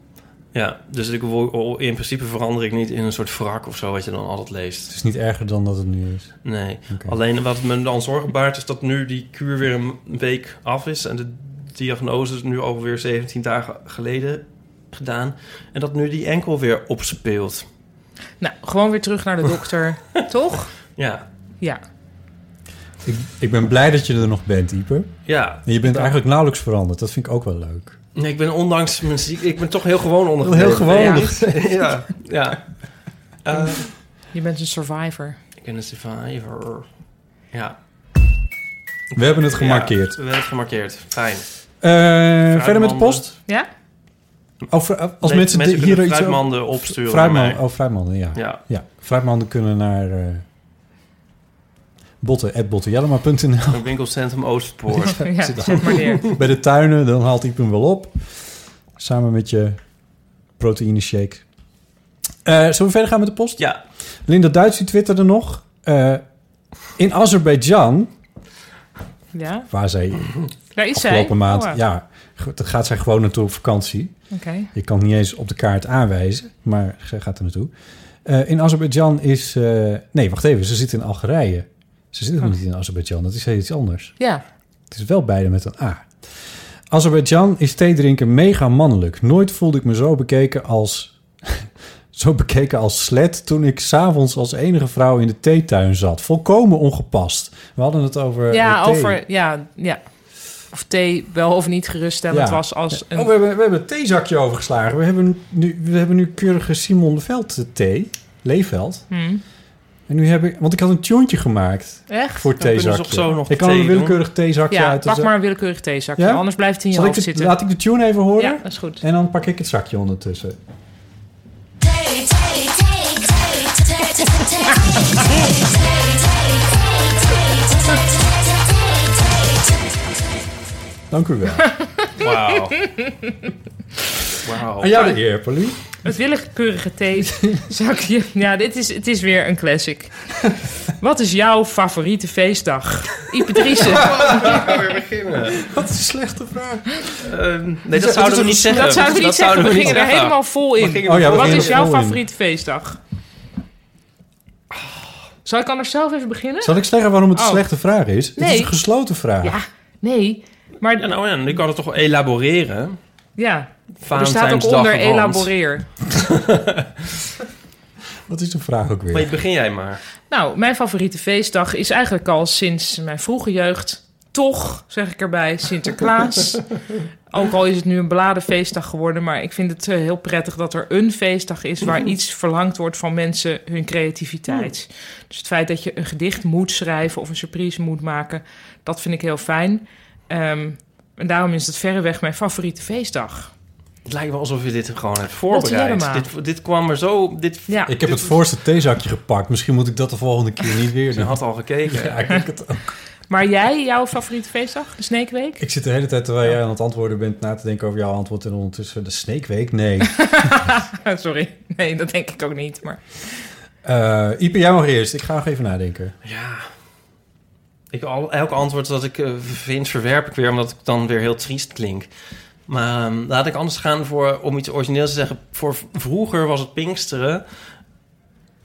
S1: Ja, dus ik, wo- in principe verander ik niet in een soort wrak of zo, wat je dan altijd leest.
S2: Het is niet erger dan dat het nu is.
S1: Nee. Alleen wat me dan zorgen baart is dat nu die kuur weer een week af is en de diagnose is nu alweer 17 dagen geleden gedaan en dat nu die enkel weer opspeelt.
S3: Nou, gewoon weer terug naar de dokter, toch?
S1: Ja.
S3: Ja.
S2: Ik, ik ben blij dat je er nog bent, Ieper.
S1: Ja.
S2: En je bent eigenlijk nauwelijks veranderd. Dat vind ik ook wel leuk.
S1: Nee, ik ben ondanks mijn ziek, ik ben toch heel gewoon ondergebleven.
S2: Heel
S3: Oh.
S2: gewoon
S1: Ja.
S2: ondergebleven.
S1: Ja. ja. Eh,
S3: Je bent een survivor.
S1: ik ben een survivor. Ja.
S2: We hebben het
S1: Ja,
S2: gemarkeerd.
S1: we hebben het gemarkeerd. Fijn.
S2: Eh, verder met de
S1: Fruitmanden.
S2: post?
S3: Ja?
S2: Of, eh, als
S1: Nee,
S2: mensen,
S1: mensen
S2: de-
S1: kunnen
S2: hier iets
S1: fruitmanden opsturen
S2: Fruitman-
S1: naar mij.
S2: Oh, fruitmanden, ja.
S1: Ja.
S2: Fruitmanden kunnen naar eh botten@bottenjellema.nl.
S1: Een winkelcentrum Oostpoort.
S3: Ja, zet maar neer.
S2: Bij de tuinen, dan haalt ik hem wel op. Samen met je proteïne shake. Eh, zullen we verder gaan met de post?
S1: Ja.
S2: Linda Duits die twitterde nog. eh, in Azerbeidzjan,
S3: Ja?
S2: waar zij
S3: Daar is zij.
S2: afgelopen maand...
S3: Oh, wow.
S2: ja, goed, daar gaat zij gewoon naartoe op vakantie.
S3: Oké.
S2: Je kan het niet eens op de kaart aanwijzen, maar zij gaat er naartoe. Eh, in Azerbeidzjan is... eh, nee, wacht even, ze zit in Algerije. Ze zit nog niet in Azerbeidzjan, dat is heel iets anders.
S3: Ja.
S2: Het is wel beide met een A. Azerbeidzjan is theedrinken mega mannelijk. Nooit voelde ik me zo bekeken als... zo bekeken als slet toen ik s'avonds als enige vrouw in de theetuin zat. Volkomen ongepast. We hadden het over...
S3: Ja,
S2: eh, thee.
S3: over... Ja, ja. of thee wel of niet geruststellend
S2: Ja.
S3: was als een...
S2: Oh, we hebben, we hebben een theezakje overgeslagen. We hebben nu, we hebben nu keurige Simon de Veld thee. Leefveld.
S3: Hmm.
S2: En nu heb ik... Want ik had een toontje gemaakt.
S3: Echt?
S2: Voor
S3: Dan kunnen ze
S2: theezakje.
S3: op zo nog
S2: ik kan
S3: thee
S2: een
S3: doen.
S2: willekeurig theezakje
S3: ja,
S2: uit. de
S3: pak
S2: za-
S3: maar een willekeurig theezakje,
S2: Ja?
S3: anders blijft hij in je
S2: Zal ik
S3: hoofd
S2: de-
S3: zitten.
S2: Laat ik de tune even horen.
S3: Ja, dat is goed.
S2: En dan pak ik het zakje ondertussen. Dank u wel.
S1: Wauw.
S2: Aan jou de eer, Pauline.
S3: Het willekeurige theezakje. Ja, dit is, het is weer een classic. Wat is jouw favoriete feestdag? Ipe Driessen.
S2: Wat een slechte vraag.
S3: Ehm, dus
S1: nee, dat zouden we niet zeggen.
S3: Dat zouden we niet zeggen. We gingen er
S1: zeggen.
S3: helemaal vol
S1: We
S3: in.
S1: gingen er
S2: Oh ja, we
S3: Wat
S2: gingen
S3: is
S2: er
S3: jouw
S2: vol in.
S3: favoriete feestdag? Zal ik anders zelf even beginnen?
S2: Zal ik zeggen waarom het een
S3: Oh.
S2: slechte vraag is? Het
S3: Nee.
S2: is een gesloten vraag.
S3: Ja, nee.
S1: Ja,
S3: Maar
S1: nou ja, nu kan het toch elaboreren.
S3: ja, er staat ook
S1: Valentijnsdag
S3: onder
S1: in verband.
S3: elaboreer.
S2: Wat is de vraag ook weer?
S1: Maar begin jij maar.
S3: Nou, mijn favoriete feestdag is eigenlijk al sinds mijn vroege jeugd... toch, zeg ik erbij, Sinterklaas. Ook al is het nu een beladen feestdag geworden... maar ik vind het eh, heel prettig dat er een feestdag is... waar iets verlangd wordt van mensen hun creativiteit. Dus het feit dat je een gedicht moet schrijven... of een surprise moet maken, dat vind ik heel fijn. Ehm, en daarom is het verreweg mijn favoriete feestdag.
S1: Het lijkt wel alsof je dit gewoon hebt
S3: Jellema.
S1: voorbereid. Dit, dit kwam er zo... Dit,
S3: Ja,
S2: Ik heb het voorste theezakje gepakt. Misschien moet ik dat de volgende keer niet weer
S1: Je
S2: doen.
S1: had al gekeken.
S2: Ja, ik denk het ook.
S3: maar jij, jouw favoriete feestdag? De Sneekweek?
S2: Ik zit de hele tijd terwijl jij aan het antwoorden bent na te denken over jouw antwoord. En ondertussen de sneekweek. Nee.
S3: Sorry, nee, dat denk ik ook niet, maar...
S2: Eh Ipe, jij mag eerst. Ik ga nog even nadenken.
S1: Ja. Ik, al, elk antwoord dat ik eh, vind, verwerp ik weer, omdat ik dan weer heel triest klink. Maar ehm, laat ik anders gaan voor, om iets origineels te zeggen. Voor v- vroeger was het Pinksteren.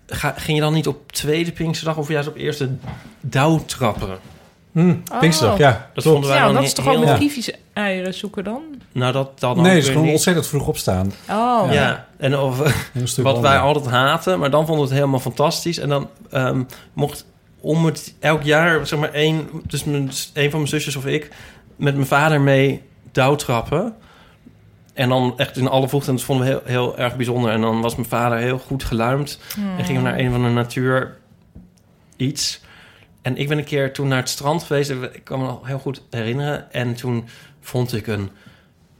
S1: Ga, ging je dan niet op tweede Pinksterdag of juist op eerste douwtrappen?
S2: Hm,
S3: Oh.
S2: Pinksterdag, ja.
S1: Dat
S2: klopt.
S1: vonden wij
S3: Ja,
S1: dan
S3: dat
S1: he-
S3: is toch wel
S1: heel-
S3: met
S2: Ja.
S3: kievies eieren zoeken dan?
S1: Nou, dat dan ook
S2: Nee, het is
S1: weer
S2: gewoon
S1: niet.
S2: ontzettend vroeg opstaan.
S3: Oh.
S1: Ja. en of,
S2: Heel stuk
S1: wat wij
S2: wandelen.
S1: altijd haten, maar dan vonden we het helemaal fantastisch. En dan ehm, mocht om het elk jaar, zeg maar, één, dus mijn, één van mijn zusjes of ik, met mijn vader mee douwtrappen. En dan echt in alle vochten, en dat vonden we heel, heel erg bijzonder. En dan was mijn vader heel goed geluimd en gingen we naar een van de natuur iets. En ik ben een keer toen naar het strand geweest, en we- ik kan me nog heel goed herinneren. En toen vond ik een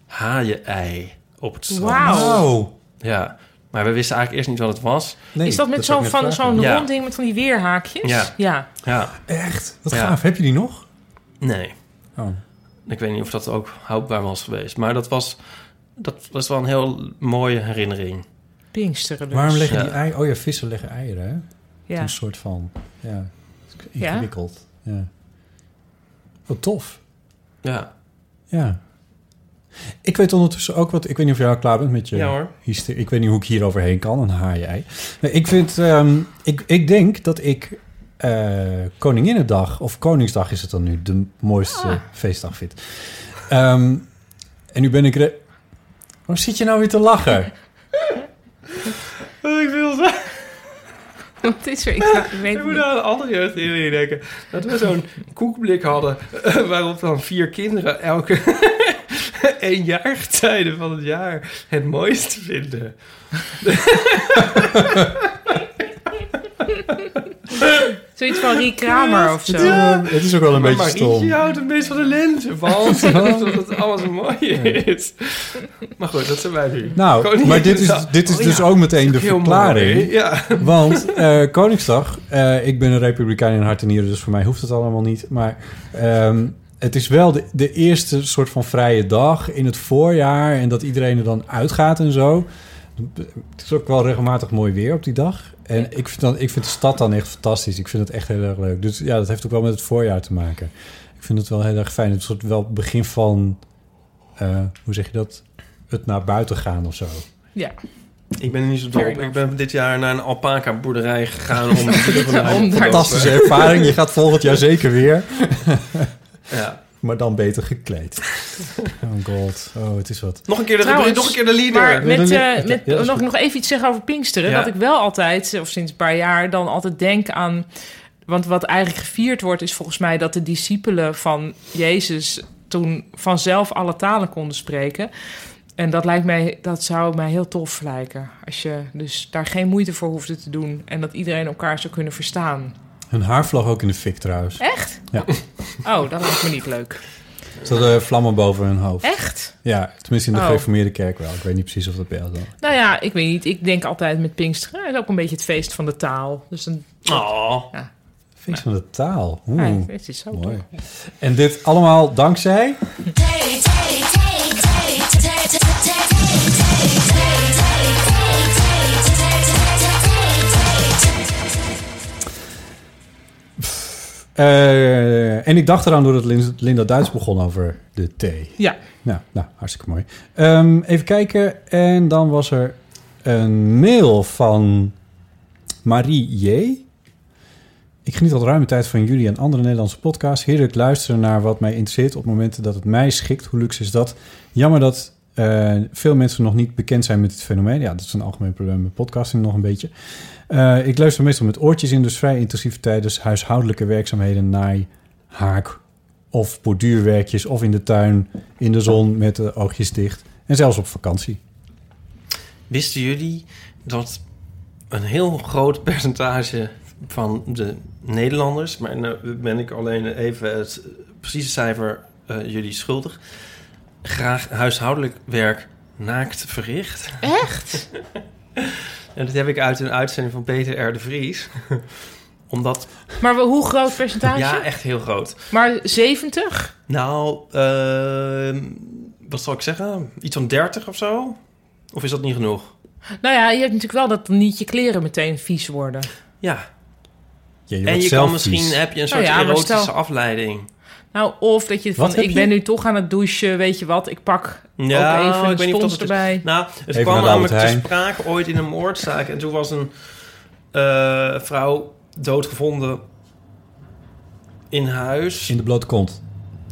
S1: haaien-ei op het strand.
S3: Wauw.
S2: Wauw.
S1: Ja, maar we wisten eigenlijk eerst niet wat het was.
S2: Nee,
S3: Oh. is dat met
S2: zou
S3: zo'n
S2: ik
S3: van
S2: net vragen.
S3: zo'n
S1: Ja.
S3: rond ding met van die weerhaakjes?
S1: Ja. Ja,
S2: Echt? Wat
S1: Ja.
S2: gaaf. Heb je die nog?
S1: nee.
S2: Oh.
S1: Ik weet niet of dat ook houdbaar was geweest. Maar dat was, dat was wel een heel mooie herinnering.
S3: Pinksteren dus.
S2: Waarom leggen
S1: Ja.
S2: die eieren? Oh ja, vissen leggen eieren, hè?
S3: Ja.
S2: Een soort van, ja,
S3: Ja?
S2: ingewikkeld. Ja. Wat tof.
S1: Ja.
S2: Ja. Ik weet ondertussen ook wat... Ik weet niet of jij al klaar bent met je...
S1: Ja, hoor.
S2: hyster- ik weet niet hoe ik hier overheen kan, een haai-ei. Nee, ik vind... ehm, ik, ik denk dat ik eh, Koninginnedag... Of Koningsdag is het dan nu. De mooiste
S3: Ah.
S2: feestdag vind. Ehm, en nu ben ik... re- Waarom zit je nou weer te lachen?
S1: Ik wil daar
S3: Wat is er? Ik, ga- ik weet het niet.
S1: aan een andere jeugdherinnering denken. Dat we zo'n koekblik hadden... eh, waarop dan vier kinderen elke eenjaargetijde van het jaar... het mooiste vinden.
S3: Zoiets van Rie Kramer of zo.
S2: Het is ook wel een beetje stom.
S1: houdt het meest van de lente. Want omdat het allemaal zo mooi is. Maar goed, dat zijn wij nu.
S2: Nou, maar dit is,
S1: Koninginnedag.
S2: dit is
S1: Oh ja,
S2: dus ook meteen de
S1: heel mooi.
S2: verklaring.
S1: Ja.
S2: Want eh, Koningsdag, eh, ik ben een republikein in hart en nieren, dus voor mij hoeft het allemaal niet. Maar ehm, het is wel de, de eerste soort van vrije dag in het voorjaar en dat iedereen er dan uitgaat en zo. Het is ook wel regelmatig mooi weer op die dag. En ik, vind dan, ik vind de stad dan echt fantastisch. Ik vind het echt heel erg leuk. Dus ja, dat heeft ook wel met het voorjaar te maken. Ik vind het wel heel erg fijn. Het is soort wel begin van, eh, hoe zeg je dat? Het naar buiten gaan of zo.
S3: Ja.
S1: Ik ben er niet zo dol
S3: Fair
S1: op. Ik
S3: enough.
S1: ben dit jaar naar een alpaca boerderij gegaan om de dieren van de
S3: Om
S1: heuvel te
S3: daar-
S2: Fantastische ervaring. Je gaat volgend jaar zeker weer.
S1: lopen. Ja.
S2: maar dan beter gekleed. oh god, oh, het is wat.
S1: Nog een keer de
S3: Trouwens,
S1: rubriek, nog een keer de leader.
S3: Maar met,
S2: Ja, dan-
S3: eh,
S2: ja,
S3: met,
S2: dat is
S3: nog,
S2: goed.
S3: nog even iets zeggen over Pinksteren.
S1: Ja.
S3: Dat ik wel altijd, eh, of sinds een paar jaar, dan altijd denk aan... Want wat eigenlijk gevierd wordt, is volgens mij dat de discipelen van Jezus toen vanzelf alle talen konden spreken. En dat, lijkt mij, dat zou mij heel tof lijken. Als je dus daar geen moeite voor hoefde te doen. En dat iedereen elkaar zou kunnen verstaan.
S2: Hun haar vloog ook in de fik trouwens.
S3: Echt?
S2: Ja.
S3: Oh, dat lijkt me niet leuk.
S2: Ze hadden vlammen boven hun hoofd.
S3: Echt?
S2: Ja, tenminste in de
S3: Oh.
S2: gereformeerde kerk wel. Ik weet niet precies of dat bij jou dan.
S3: Nou ja, ik weet niet. Ik denk altijd met Pinksteren. Het is ook een beetje het feest van de taal. Dus een...
S1: Oh.
S3: Ja.
S2: Feest van de taal. Oeh,
S3: Ja, Ah, het is zo
S2: mooi. En dit allemaal dankzij... Eh, en ik dacht eraan doordat Lin- Linda Duits begon over de thee.
S3: Ja.
S2: Nou, nou hartstikke mooi. Ehm, even kijken. En dan was er een mail van Marie J. Ik geniet al ruime tijd van jullie en andere Nederlandse podcasts. Heerlijk luisteren naar wat mij interesseert op momenten dat het mij schikt. Hoe luxe is dat? Jammer dat eh, veel mensen nog niet bekend zijn met dit fenomeen. Ja, dat is een algemeen probleem met podcasting nog een beetje. Eh, ik luister meestal met oortjes in, dus vrij intensief tijdens huishoudelijke werkzaamheden, naai, haak of borduurwerkjes of in de tuin, in de zon met de oogjes dicht en zelfs op vakantie.
S1: Wisten jullie dat een heel groot percentage van de Nederlanders, maar nou ben ik alleen even het precieze cijfer eh, jullie schuldig, graag huishoudelijk werk naakt verricht?
S3: Echt?
S1: En dat heb ik uit een uitzending van Peter R. de Vries. Omdat,
S3: Maar wel, hoe groot percentage?
S1: ja, echt heel groot.
S3: Maar 70?
S1: Nou, ehm, wat zal ik zeggen? Iets van 30 of zo? Of is dat niet genoeg?
S3: Nou ja, je hebt natuurlijk wel dat dan niet je kleren meteen vies worden.
S1: Ja.
S2: Ja,
S1: en je kan misschien, heb je een soort
S3: Nou ja, maar
S1: erotische
S3: stel-
S1: afleiding.
S3: Nou, of dat je
S1: Wat
S3: van,
S1: heb
S3: ik
S1: je?
S3: ben nu toch aan het douchen, weet je wat, ik pak
S1: Ja,
S3: ook even
S1: ik weet
S3: een
S1: niet of
S3: spons
S1: dat het-
S3: erbij.
S1: Nou, het
S2: Even naar
S1: kwam
S2: de Albert
S1: namelijk te
S2: Heijn.
S1: sprake ooit in een moordzaak. En toen was een eh, vrouw doodgevonden in huis.
S2: In de blote kont.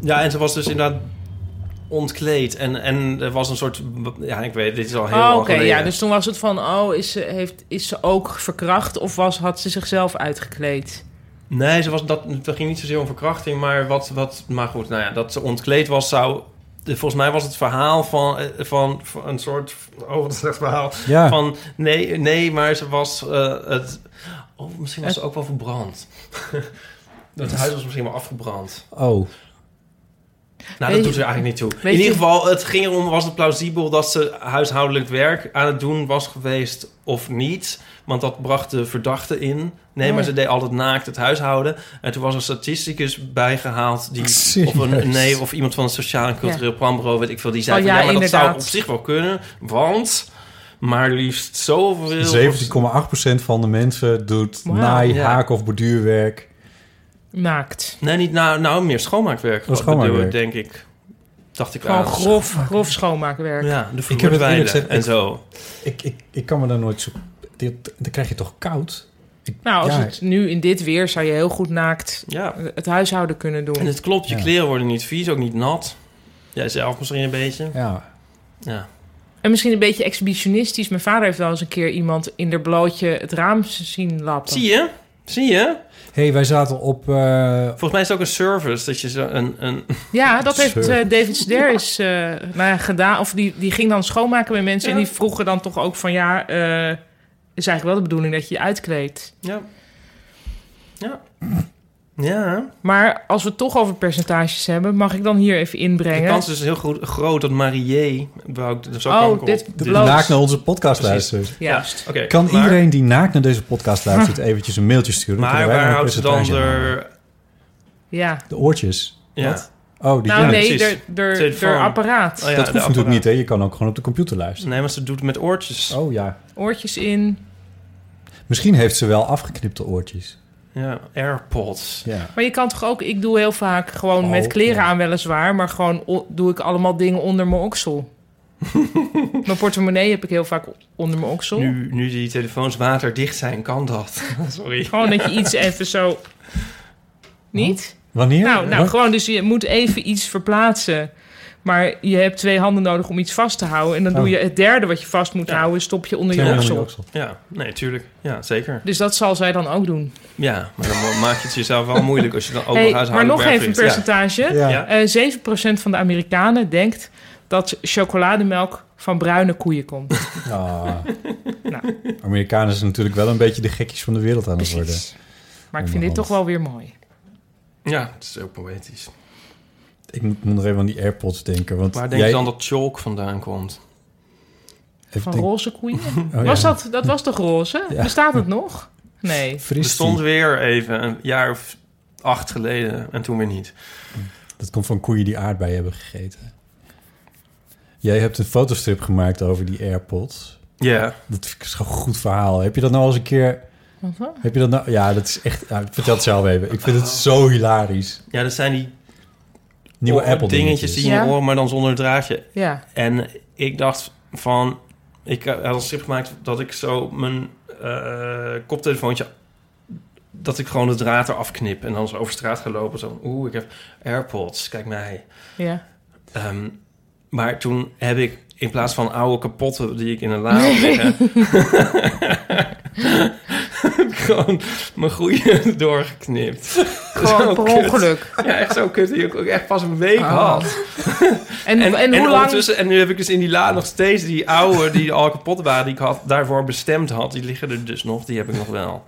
S1: Ja, en ze was dus inderdaad ontkleed. En, en er was een soort... Ja, ik weet, dit is al heel
S3: Oh,
S1: lang
S3: Oké,
S1: geleden.
S3: ja, dus toen was het van, oh, is ze, heeft, is ze ook verkracht of was, had ze zichzelf uitgekleed?
S1: Nee, ze was, dat, dat ging niet zozeer om verkrachting, maar wat, wat... Maar goed, nou ja, dat ze ontkleed was zou... Volgens mij was het verhaal van, eh, van, van een soort... Oh, wat een slecht verhaal.
S2: Ja.
S1: Van, nee, nee, maar ze was eh, het... Oh, misschien was ze ook wel verbrand. dat huis was misschien wel afgebrand.
S2: Oh.
S1: Nou,
S3: Weet
S1: dat
S3: je-
S1: doet er eigenlijk niet toe. In
S3: weet je-
S1: ieder geval, het ging erom, was het plausibel dat ze huishoudelijk werk aan het doen was geweest of niet? Want dat bracht de verdachte in. Nee,
S3: Oh.
S1: maar ze deed altijd naakt het huishouden. En toen was een statisticus bijgehaald die...
S2: Serieus?
S1: Of een, nee, of iemand van het Sociaal en Cultureel Planbureau, weet ik veel. Die zei,
S3: Oh,
S1: van,
S3: ja,
S1: ja, maar dat zou op
S3: inderdaad.
S1: zich wel kunnen, want... Maar liefst zoveel...
S2: 17,8% van de mensen doet
S3: Wauw.
S2: naai,
S1: Ja.
S2: haak of borduurwerk.
S3: Naakt.
S1: Nee, niet nou, nou meer schoonmaakwerk.
S2: Oh, schoonmaakwerk.
S1: bedoel ik, denk ik. Dacht ik
S3: Gewoon
S1: aan.
S3: grof, grof schoonmaakwerk.
S1: Ja, de
S2: Ik heb het eerlijk
S1: vloertwijlen
S2: gezegd-
S1: en
S2: ik-
S1: zo.
S2: Ik, ik, ik kan me daar nooit zo... Dit, dan krijg je toch koud? Ik-
S3: Nou, als
S2: ja,
S3: het nu in dit weer zou je heel goed naakt
S1: Ja.
S3: het huishouden kunnen
S1: En
S3: doen.
S1: het klopt, je
S2: Ja.
S1: kleren worden niet vies, ook niet nat. Jij zelf misschien een beetje.
S2: Ja.
S1: Ja.
S3: En misschien een beetje exhibitionistisch. Mijn vader heeft wel eens een keer iemand in der blootje het raam zien lappen.
S1: Zie je? Zie je?
S2: hey, wij zaten op... eh,
S1: Volgens mij is het ook een service dat je zo een... een
S3: Ja, dat heeft
S2: Zo.
S3: eh, David Sedaris eh, nou ja, gedaan. Of die, die ging dan schoonmaken bij mensen. En
S1: Ja.
S3: die vroegen dan toch ook van... ja, eh, is eigenlijk wel de bedoeling dat je je uitkleedt.
S1: ja. Ja. Ja.
S3: Maar als we het toch over percentages hebben... mag ik dan hier even
S1: De
S3: inbrengen?
S1: kans is heel groot, groot dat Marié... Wou ik, zo
S3: Oh,
S1: kwam ik op.
S3: dit-
S2: de
S3: Dit- bloot.
S2: naakt naar onze podcast
S1: Precies.
S2: luistert.
S3: Juist.
S1: Ja, oké,
S2: Kan
S1: maar- Hm.
S2: iedereen die naakt naar deze podcast luistert... eventjes een mailtje sturen? Dan
S1: Maar
S2: kunnen wij
S1: waar
S2: nog een
S1: houdt ze dan
S2: percentage aan.
S1: er...
S3: Ja.
S2: De oortjes.
S1: Ja.
S2: Wat? Oh, die
S3: Nou
S2: ja.
S3: nee,
S1: precies.
S3: der, der,
S1: Telefoon.
S3: der apparaat.
S1: Oh ja, de
S2: dat hoeft natuurlijk
S1: apparaat.
S2: niet, hè? Je kan ook gewoon op de computer luisteren.
S1: Nee, maar ze doet het met oortjes.
S2: Oh ja.
S3: Oortjes in.
S2: Misschien heeft ze wel afgeknipte oortjes.
S1: Ja, AirPods.
S2: Ja.
S3: Maar je kan toch ook... Ik doe heel vaak gewoon
S2: Oh,
S3: met kleren
S2: ja.
S3: aan weliswaar... maar gewoon o- doe ik allemaal dingen onder mijn oksel. mijn portemonnee heb ik heel vaak onder mijn oksel.
S1: Nu, nu die telefoons waterdicht zijn, kan dat. Sorry.
S3: Gewoon dat je iets even zo... Niet?
S2: Wanneer?
S3: Nou, nou
S2: Wat?
S3: gewoon, dus je moet even iets verplaatsen. Maar je hebt twee handen nodig om iets vast te houden. En dan doe
S1: Oh.
S3: je het derde wat je vast moet houden, dus stop je onder je oksel.
S1: Ja, nee, tuurlijk. Ja, zeker.
S3: Dus dat zal zij dan ook doen.
S1: Ja, maar dan mo- maak je het jezelf wel moeilijk als je dan ook
S3: Hey,
S1: nog
S3: maar
S1: huishoudelijk
S3: nog even een
S1: werk vindt. Ja.
S3: percentage.
S1: Ja.
S3: Eh, 7% van de Amerikanen denkt dat chocolademelk van bruine koeien komt.
S2: Ah.
S3: Nou.
S2: Amerikanen zijn natuurlijk wel een beetje de gekjes van de wereld aan het worden.
S3: Maar ik vind dit toch wel weer mooi.
S1: Ja, het is ook poëtisch.
S2: Ik moet nog even aan die AirPods denken. Want
S1: Waar denk
S2: jij-
S1: je dan dat chalk vandaan komt?
S2: Ik
S3: Van
S2: denk-
S3: roze koeien?
S1: Oh, ja.
S3: was dat, dat was toch roze?
S1: Ja.
S3: Bestaat het nog? Nee.
S1: Er stond weer even een jaar of acht geleden en toen weer niet.
S2: Dat komt van koeien die aardbeien hebben gegeten. Jij hebt een fotostrip gemaakt over die AirPods.
S1: Ja.
S2: Dat vind ik zo'n goed verhaal. Heb je dat nou eens een keer...
S3: Wat dan?
S2: Heb je dat nou... Ja, dat is echt... ah, vertel het zelf even. Ik vind
S1: Oh.
S2: het zo hilarisch.
S1: Ja, dat zijn die
S2: Nieuwe
S1: oor-
S2: Apple
S1: Oh, dingetjes die je
S3: Ja.
S1: hoort, maar dan zonder het draadje.
S3: Ja.
S1: En ik dacht van, ik had een strip gemaakt dat ik zo mijn eh, koptelefoontje, dat ik gewoon de draad eraf knip en dan zo over straat ga lopen. Zo, oeh, ik heb AirPods, kijk mij.
S3: Ja.
S1: Ehm, maar toen heb ik in plaats van oude kapotten die ik in een la had liggen, gewoon mijn groeien doorgeknipt.
S3: Gewoon per
S1: Zo Oh, kut.
S3: ongeluk.
S1: Ja, echt zo kut. Die ik ook echt pas een week
S3: Ah.
S1: had.
S3: En, en, hoe lang...
S1: ondertussen- en nu heb ik dus in die la nog steeds die oude, die al kapot waren, die ik had, daarvoor bestemd had. Die liggen er dus nog, die heb ik nog wel.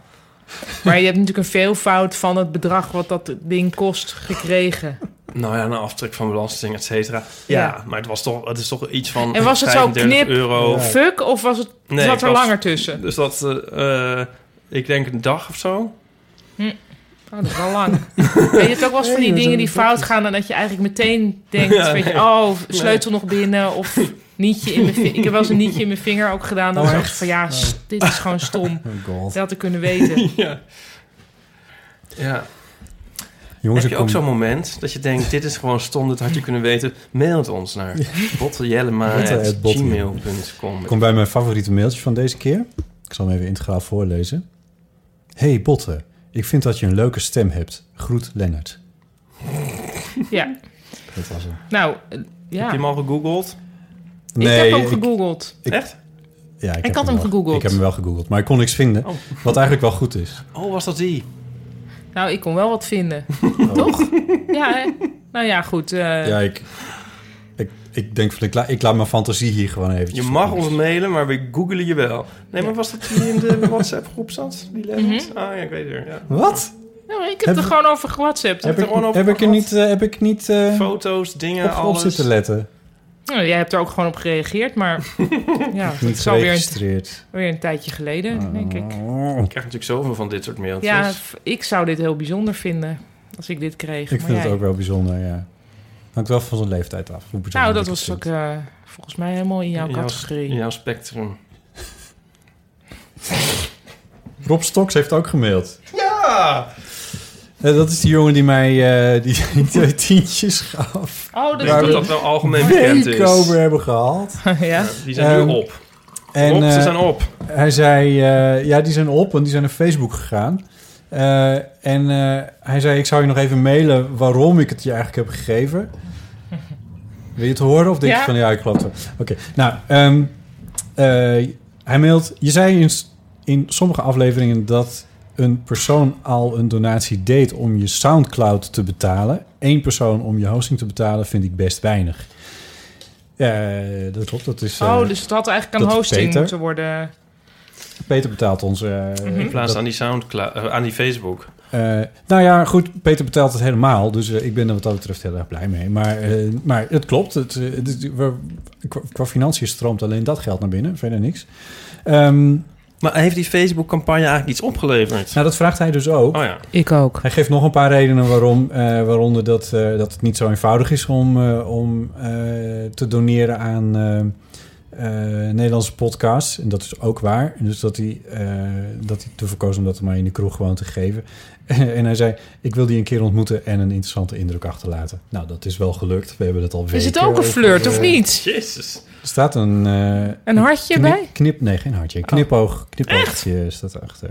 S3: Maar je hebt natuurlijk een veelvoud van het bedrag wat dat ding kost gekregen.
S1: Nou ja, een aftrek van belasting, et cetera. Ja,
S3: Ja.
S1: maar het, was toch, het is toch iets van
S3: En was het zo
S1: 35
S3: knip,
S1: euro.
S3: fuck, of was het,
S1: Nee,
S3: zat
S1: ik
S3: er
S1: was-
S3: langer tussen?
S1: Dus dat, eh, eh, ik denk een dag of zo.
S3: Oh, dat is wel lang. En je hebt ook wel eens van die
S1: Nee,
S3: dingen die
S1: zo'n
S3: fout gaan... en dat je eigenlijk meteen denkt,
S1: Ja,
S3: weet je,
S1: nee.
S3: oh, sleutel nog binnen... of nietje in mijn vinger. Ik heb wel eens een nietje in mijn vinger ook gedaan. Dan
S2: Oh,
S3: was ik
S2: echt?
S3: van, ja, st- dit is gewoon stom.
S2: Oh god.
S3: Dat had ik kunnen weten.
S1: Ja. Ja.
S2: Jongens,
S1: Heb je
S2: ik
S1: ook
S2: kom-
S1: zo'n moment dat je denkt, dit is gewoon stom, dit had je kunnen weten. Mail het ons naar bottejellema.gmail.com
S2: Ik kom bij mijn favoriete mailtje van deze keer. Ik zal hem even integraal voorlezen. Hey Botte, ik vind dat je een leuke stem hebt. Groet Lennart.
S3: Ja,
S2: Dat was hem.
S3: nou, eh, ja.
S1: Heb je hem al gegoogeld?
S3: ik
S2: Nee,
S3: heb hem
S2: ik-
S3: gegoogeld.
S1: Echt?
S2: Ja, ik,
S3: Ik
S2: heb
S3: had hem
S2: wel-
S3: gegoogeld.
S2: Ik heb hem wel gegoogeld, maar ik kon niks vinden.
S3: Oh.
S2: Wat eigenlijk wel goed is.
S1: Oh, was dat die?
S3: Nou, ik kon wel wat vinden. Toch? Ja, hè? Nou ja, goed. eh,
S2: Oh. Ja, ik, ik, ik denk van, ik, la- ik laat mijn fantasie hier gewoon eventjes.
S1: Je mag ons mailen, maar we googelen je wel. Nee, maar was dat die in de WhatsApp-groep zat? Die Lennart?
S3: Mhm.
S1: Ah ja, ik weet het weer, ja.
S2: Wat?
S3: nou, ik heb
S2: Heb-
S3: er gewoon over gewhatsappt.
S2: Heb
S3: er
S2: ik,
S3: gewoon over
S2: heb ik er niet, eh, heb ik niet eh,
S1: Foto's, dingen,
S2: op, op
S1: alles.
S2: zitten letten?
S3: Nou, jij hebt er ook gewoon op gereageerd, maar ja,
S2: Niet Ah,
S3: het is alweer een,
S2: geregistreerd. Oh.
S3: weer een tijdje geleden, denk ik.
S1: Ik krijg natuurlijk zoveel van dit soort mailtjes.
S3: Ja, f- ik zou dit heel bijzonder vinden als ik dit kreeg.
S2: Ik
S3: maar
S2: vind
S3: jij-
S2: het ook wel bijzonder, ja. Hangt wel van zijn leeftijd af. hoe bijzonder
S3: Nou,
S2: ik
S3: dat
S2: het
S3: was
S2: vind.
S3: ook eh, volgens mij helemaal in jouw
S1: In
S3: categorie.
S1: in jouw spectrum.
S2: Rob Stoks heeft ook gemaild.
S1: Ja!
S2: Eh, dat is die jongen die mij eh, die, die twee tientjes gaf.
S3: Oh, dat
S1: Ik denk dat dat wel algemeen bekend is.
S2: Week over hebben gehaald.
S3: ja.
S1: Die zijn
S2: Ehm,
S1: nu op.
S2: En,
S1: Rob, ze
S2: eh,
S1: zijn op.
S2: Hij zei, eh, ja, die zijn op, want die zijn naar Facebook gegaan. Eh, en eh, hij zei, ik zou je nog even mailen waarom ik het je eigenlijk heb gegeven. Wil je het horen of denk
S3: Ja.
S2: je van, ja, ik geloof het wel. Oké, nou, ehm, eh, hij mailt, je zei in, s- in sommige afleveringen dat een persoon al een donatie deed om je Soundcloud te betalen. Eén persoon om je hosting te betalen vind ik best weinig. Ja, dat klopt. Dat is, eh,
S3: Oh, dus het had eigenlijk aan
S2: dat is
S3: hosting
S2: Peter.
S3: moeten worden.
S2: Peter betaalt ons. eh,
S1: Mhm. In plaats
S2: dat-
S1: aan die Soundcloud, eh, aan die Facebook.
S2: Eh, nou ja, goed, Peter betaalt het helemaal. Dus eh, ik ben er wat dat betreft heel erg blij mee. Maar, eh, maar het klopt. Het, eh, het is- we- qua, qua financiën stroomt alleen dat geld naar binnen. Verder niks. Ehm,
S1: Maar heeft die Facebook-campagne eigenlijk iets opgeleverd?
S2: nou, dat vraagt hij dus ook.
S1: Oh ja.
S3: Ik ook.
S2: Hij geeft nog een paar redenen waarom. eh, waaronder dat, eh, dat het niet zo eenvoudig is om, eh, om eh, te doneren aan eh, eh, Nederlandse podcasts. En dat is ook waar. Dus dat hij, eh, dat hij ervoor koos om dat maar in de kroeg gewoon te geven. en hij zei, ik wil die een keer ontmoeten en een interessante indruk achterlaten. Nou, dat is wel gelukt. We hebben dat al weken.
S3: Is het ook een
S2: over,
S3: flirt of
S2: eh,
S3: niet?
S1: Jezus.
S2: Er staat een... eh,
S3: Een hartje
S2: knip-
S3: bij? Oh.
S2: Knip, nee, geen hartje. Een Knipoog, knipoogje staat erachter.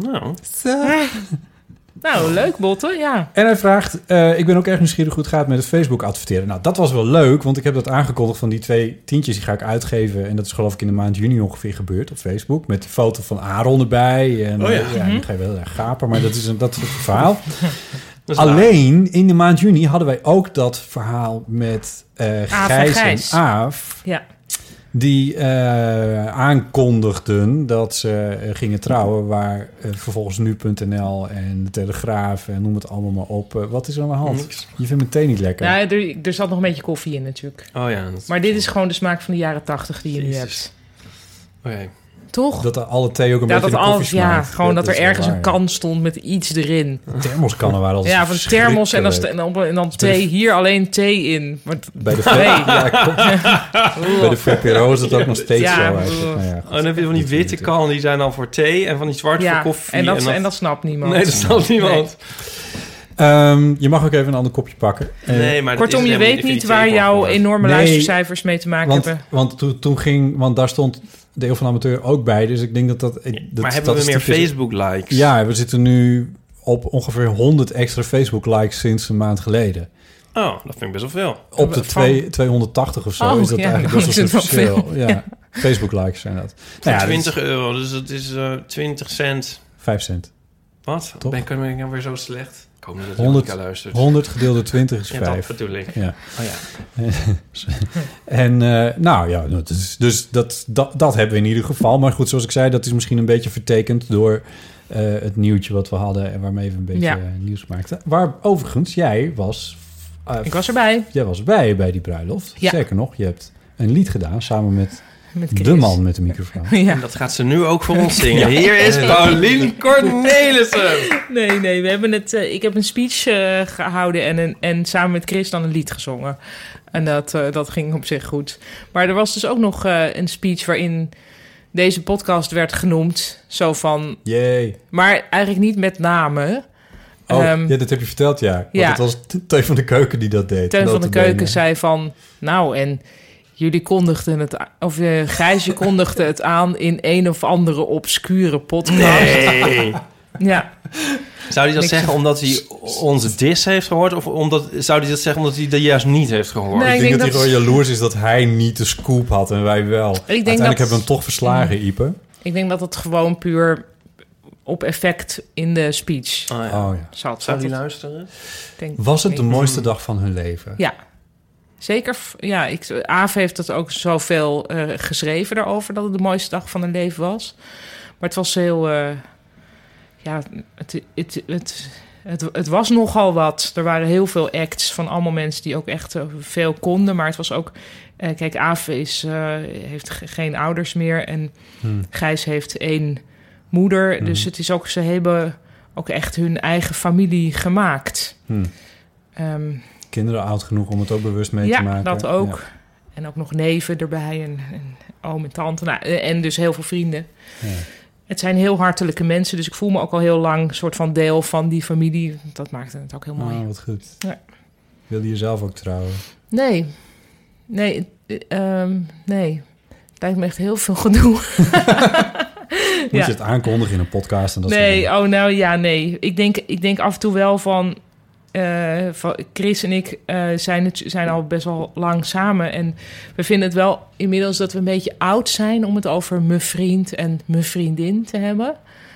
S1: Nou.
S3: Nou, leuk, Botte, ja.
S2: En hij vraagt, eh, ik ben ook erg nieuwsgierig hoe het gaat met het Facebook adverteren. Nou, dat was wel leuk, want ik heb dat aangekondigd van die twee tientjes die ga ik uitgeven. En dat is geloof ik in de maand juni ongeveer gebeurd op Facebook. Met die foto van Aaron erbij. En,
S1: Oh ja.
S2: dan ga je wel erg gapen, maar dat is een, dat is het verhaal.
S1: Dat is
S2: Alleen in de maand juni hadden wij ook dat verhaal met eh
S3: Aaf en
S2: Gijs en
S3: Gijs.
S2: Aaf.
S3: Ja.
S2: Die eh, aankondigden dat ze eh, gingen trouwen, waar eh, vervolgens nu.nl en de Telegraaf en noem het allemaal maar op. eh, wat is er aan de hand?
S1: Niks.
S2: Je vindt meteen niet lekker.
S3: Nou, er, er zat nog een beetje koffie in natuurlijk.
S1: Oh ja. dat-
S3: Maar dit is gewoon de smaak van de jaren tachtig die je nu hebt.
S1: Oké.
S3: Toch?
S2: Dat er alle thee ook een
S3: Ja,
S2: beetje
S3: dat
S2: in de
S3: alles,
S2: koffie
S3: ja,
S2: smaakt.
S3: gewoon dat,
S2: is
S3: er
S2: wel
S3: ergens
S2: waar,
S3: een
S2: ja.
S3: kan stond met iets erin.
S2: Thermoskannen waren altijd
S3: Ja, van de thermos en, als de- en
S2: verschrikkelijk.
S3: dan, en dan
S2: bij de-
S3: thee. Hier alleen thee in. Maar t-
S2: Bij de,
S3: nee.
S2: ja, klopt. Bij de VPRO is het ook nog steeds
S3: Ja,
S2: zo eigenlijk.
S3: bedoel-
S2: Nou ja,
S1: En Oh, dan heb je van die witte kan, die zijn dan voor thee. En van die zwarte
S3: Ja,
S1: voor koffie.
S3: en dat- en dat snapt niemand.
S1: Nee, dat snapt
S3: Nee.
S1: niemand.
S2: Ehm, je mag ook even een ander kopje pakken. Eh,
S1: Nee, maar dat
S3: Kortom,
S1: is
S3: je
S1: helemaal
S3: weet niet
S1: die
S3: waar
S1: theepan
S3: jouw
S1: vanuit.
S3: enorme
S2: Nee,
S3: luistercijfers mee te maken
S2: want,
S3: hebben.
S2: Want toen, toen ging, want daar stond de heel van amateur ook bij. Dus ik denk dat dat. ik- dat
S1: maar hebben we meer
S2: statistiek is-
S1: Facebook-likes?
S2: Ja, we zitten nu op ongeveer 100 extra Facebook likes sinds een maand geleden.
S1: Oh, dat vind ik best wel veel.
S2: Op de
S3: Van-
S2: twee, 280 of zo
S3: Oh,
S2: is dat
S3: ja,
S2: eigenlijk
S3: dan
S2: best wel
S3: is het wel
S2: substantieel.
S3: veel.
S2: Ja.
S3: Ja.
S2: Facebook likes zijn dat. Nou
S1: Voor
S2: ja, dat
S1: 20 euro, dus dat is eh 20 cent.
S2: is 5 cent.
S1: Wat?
S2: Toch?
S1: Ben ik, ben ik nou weer zo slecht? Ik hoop niet dat
S2: 100,
S1: Monica luistert.
S2: 100 gedeeld door 20 is
S1: Dus- Ja,
S2: 5.
S1: dat bedoel ik.
S2: Ja.
S1: Oh ja.
S2: en eh, nou ja, dat is- dus dat, dat, dat hebben we in ieder geval. Maar goed, zoals ik zei, dat is misschien een beetje vertekend door eh, het nieuwtje wat we hadden en waarmee we een beetje
S3: Ja.
S2: eh, nieuws maakten. Waar overigens, jij was. eh,
S3: Ik was erbij
S2: Jij was bij bij die bruiloft.
S3: Ja.
S2: Zeker nog, je hebt een lied gedaan samen met
S3: met
S2: de
S3: Kees.
S2: man met de microfoon.
S3: Ja.
S1: En dat gaat ze nu ook voor ons zingen. Hier is Paulien Cornelissen.
S3: Nee, nee, we hebben het, eh, ik heb een speech eh, gehouden en, een, en samen met Chris dan een lied gezongen. En dat, eh, dat ging op zich goed. Maar er was dus ook nog eh, een speech waarin deze podcast werd genoemd. Zo van,
S2: Jee.
S3: maar eigenlijk niet met namen.
S2: Oh,
S3: Ehm,
S2: ja, dat heb je verteld, ja. Want
S3: ja.
S2: het was Teun van de Keuken die dat deed.
S3: Teun van de
S2: notabene.
S3: Keuken zei van, nou en jullie kondigden het, a- of eh Gijsje kondigde het aan in een of andere obscure podcast.
S1: Nee.
S3: Ja,
S1: Zou hij dat
S3: Niks
S1: zeggen omdat hij onze dis heeft gehoord? Of omdat, zou hij dat zeggen omdat hij dat juist niet heeft gehoord?
S3: Nee.
S2: Ik
S3: Ik
S2: denk
S3: denk
S2: dat hij
S3: dat-
S2: gewoon jaloers is dat hij niet de scoop had en wij wel. Uiteindelijk
S3: dat- Mm.
S2: hebben we hem toch verslagen, Ipe.
S3: ik denk dat het gewoon puur op effect in de speech
S1: Oh, ja.
S2: Oh ja.
S3: zat.
S1: Zou nou-
S3: Dat
S1: hij
S3: het-
S1: luisteren?
S3: denk-
S2: Was het de
S3: ik-
S2: mooiste dag van hun leven?
S3: Ja, zeker. v- Ja, ik, Aaf heeft dat ook zoveel eh, geschreven daarover... dat het de mooiste dag van hun leven was. Maar het was heel... eh, ja, het, het, het, het, het was nogal wat. Er waren heel veel acts van allemaal mensen die ook echt eh, veel konden. Maar het was ook... eh, kijk, Aaf is, eh, heeft ge- geen ouders meer. En Gijs heeft één moeder. Dus het is ook... Ze hebben ook echt hun eigen familie gemaakt.
S2: Hm.
S3: Ehm,
S2: Kinderen oud genoeg om het ook bewust mee
S3: ja,
S2: te maken.
S3: dat ook. En ook nog neven erbij en, en oom en tante. Nou, eh, en dus heel veel vrienden.
S2: Ja.
S3: Het zijn heel hartelijke mensen, dus ik voel me ook al heel lang een soort van deel van die familie. Dat maakte het ook heel
S2: Ja.
S3: mooi.
S2: Ah, wat goed.
S3: Ja.
S2: Wilde je zelf ook trouwen?
S3: Nee, nee, eh, ehm, nee. Het lijkt me echt heel veel gedoe.
S2: Moet
S3: Ja.
S2: je het aankondigen in een podcast en dat soort
S3: nee,
S2: dingen?
S3: oh nou ja, nee. Ik denk, ik denk af en toe wel van... eh, van Chris en ik eh, zijn, het, zijn al best wel lang samen. En we vinden het wel inmiddels dat we een beetje oud zijn... om het over mijn vriend en mijn vriendin te hebben.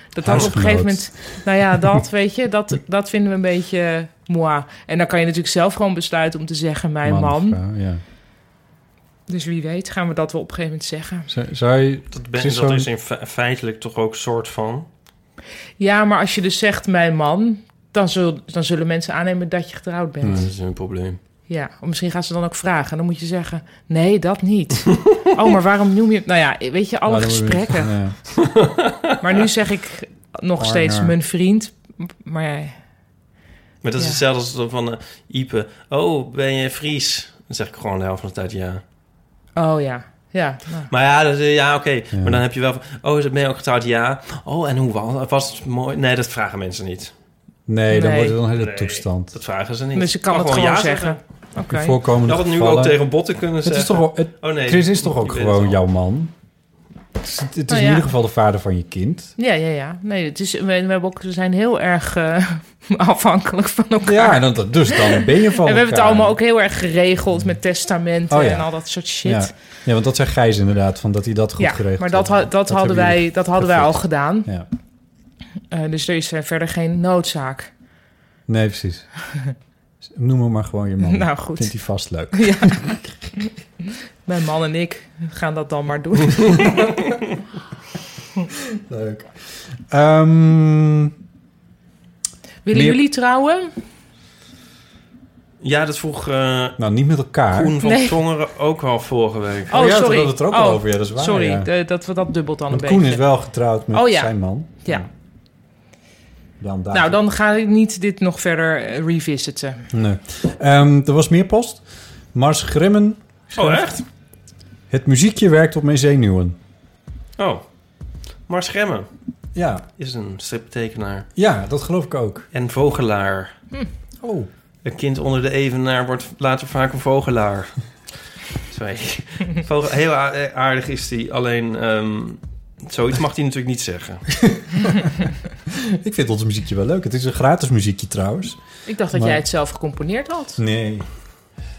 S3: Dat dan op een gegeven moment...
S2: Huisgenoot.
S3: Nou ja, dat weet je, dat, dat vinden we een beetje eh, moi. En dan kan je natuurlijk zelf gewoon besluiten om te zeggen... mijn oh, man.
S2: Man of vrouw, ja.
S3: Dus wie weet gaan we dat wel op een gegeven moment zeggen.
S2: Zou, zou je...
S1: Dat, ben,
S2: Precies
S1: dat
S2: zo.
S1: is in fe- feitelijk toch ook soort van...
S3: Ja, maar als je dus zegt mijn man... dan zullen, dan zullen mensen aannemen dat je getrouwd bent.
S2: Hmm.
S1: Dat is een probleem.
S3: Ja, of misschien gaan ze dan ook vragen. En dan moet je zeggen, nee, dat niet. oh, maar waarom noem je... Nou ja, weet je, alle
S2: Nou, dan moet je-
S3: gesprekken.
S2: Ja.
S3: Maar nu zeg ik nog
S2: Partner.
S3: steeds mijn vriend. Maar ja,
S1: Maar dat is
S3: Ja.
S1: hetzelfde als dan van eh, Ipe. Oh, ben je Fries? Dan zeg ik gewoon de helft van de tijd ja.
S3: oh ja, ja. nou.
S1: Maar ja, dat, eh, ja oké.
S2: Ja.
S1: Maar dan heb je wel van... Oh, is het- ben je ook getrouwd? Ja. Oh, en hoe was, was het mooi? Nee, dat vragen mensen niet.
S2: Nee, dan
S3: Nee.
S2: wordt het een hele
S1: Nee,
S2: toestand.
S1: Dat vragen ze niet.
S3: Dus ik kan
S1: Maar
S3: het gewoon zeggen. Oké.
S2: In voorkomende
S1: Je had het nu
S2: gevallen-
S1: ook tegen botten kunnen
S2: Het
S1: zeggen.
S2: is toch, wel- het,
S1: Oh nee.
S2: Chris is toch
S1: Je
S2: ook
S1: weet het
S2: gewoon
S1: al.
S2: jouw man? Het is, het is
S3: Nou
S2: in
S3: ja.
S2: ieder geval de vader van je kind.
S3: Ja, ja, ja. Nee, het is, we, we, hebben ook, we zijn heel erg eh, afhankelijk van elkaar.
S2: Ja, en dan, dus dan ben je van
S3: En we hebben het
S2: elkaar.
S3: allemaal ook heel erg geregeld met testamenten
S2: Oh ja.
S3: en al dat soort shit.
S2: Ja. ja, want dat zei Gijs inderdaad, van dat hij dat goed
S3: Ja,
S2: geregeld
S3: maar dat,
S2: had.
S3: ha- dat, hadden,
S2: hebben
S3: wij,
S2: jullie
S3: dat hadden wij al
S2: perfect.
S3: gedaan.
S2: Ja.
S3: Eh, dus er is eh, verder geen noodzaak.
S2: Nee, precies. Noem hem maar gewoon je man.
S3: Nou, goed.
S2: Vindt hij vast leuk.
S3: Ja. Mijn man en ik gaan dat dan maar doen.
S2: Leuk. Ehm,
S3: Willen
S2: Meer-
S3: jullie trouwen?
S1: Ja, dat vroeg eh
S2: nou, niet met elkaar.
S1: Koen van
S3: Nee.
S1: Tongeren ook al vorige week.
S2: Oh, ja, toen hadden we het er ook al over. Ja, dat is waar,
S3: Sorry,
S2: ja.
S3: eh, dat we dat dubbelt dan
S2: Want
S3: een
S2: Koen
S3: beetje.
S2: is wel getrouwd met
S3: Oh, ja.
S2: zijn man.
S3: Ja.
S2: Jan Daag.
S3: Nou, dan ga ik niet dit nog verder eh, revisiten.
S2: Nee. Ehm, er was meer post. Mars Grimmen.
S1: Oh, echt?
S2: Het muziekje werkt op mijn zenuwen.
S1: Oh. Mars Gemmen
S2: Ja.
S1: is een striptekenaar
S2: Ja, dat geloof ik ook.
S1: en vogelaar.
S2: Oh.
S1: Een kind onder de evenaar wordt later vaak een vogelaar. Sorry. Vogel, heel a- eh, aardig is hij, alleen ehm, zoiets mag hij natuurlijk niet zeggen.
S2: Ik vind ons muziekje wel leuk. Het is een gratis muziekje trouwens.
S3: Ik dacht dat
S2: Maar-
S3: jij het zelf gecomponeerd had.
S2: Nee.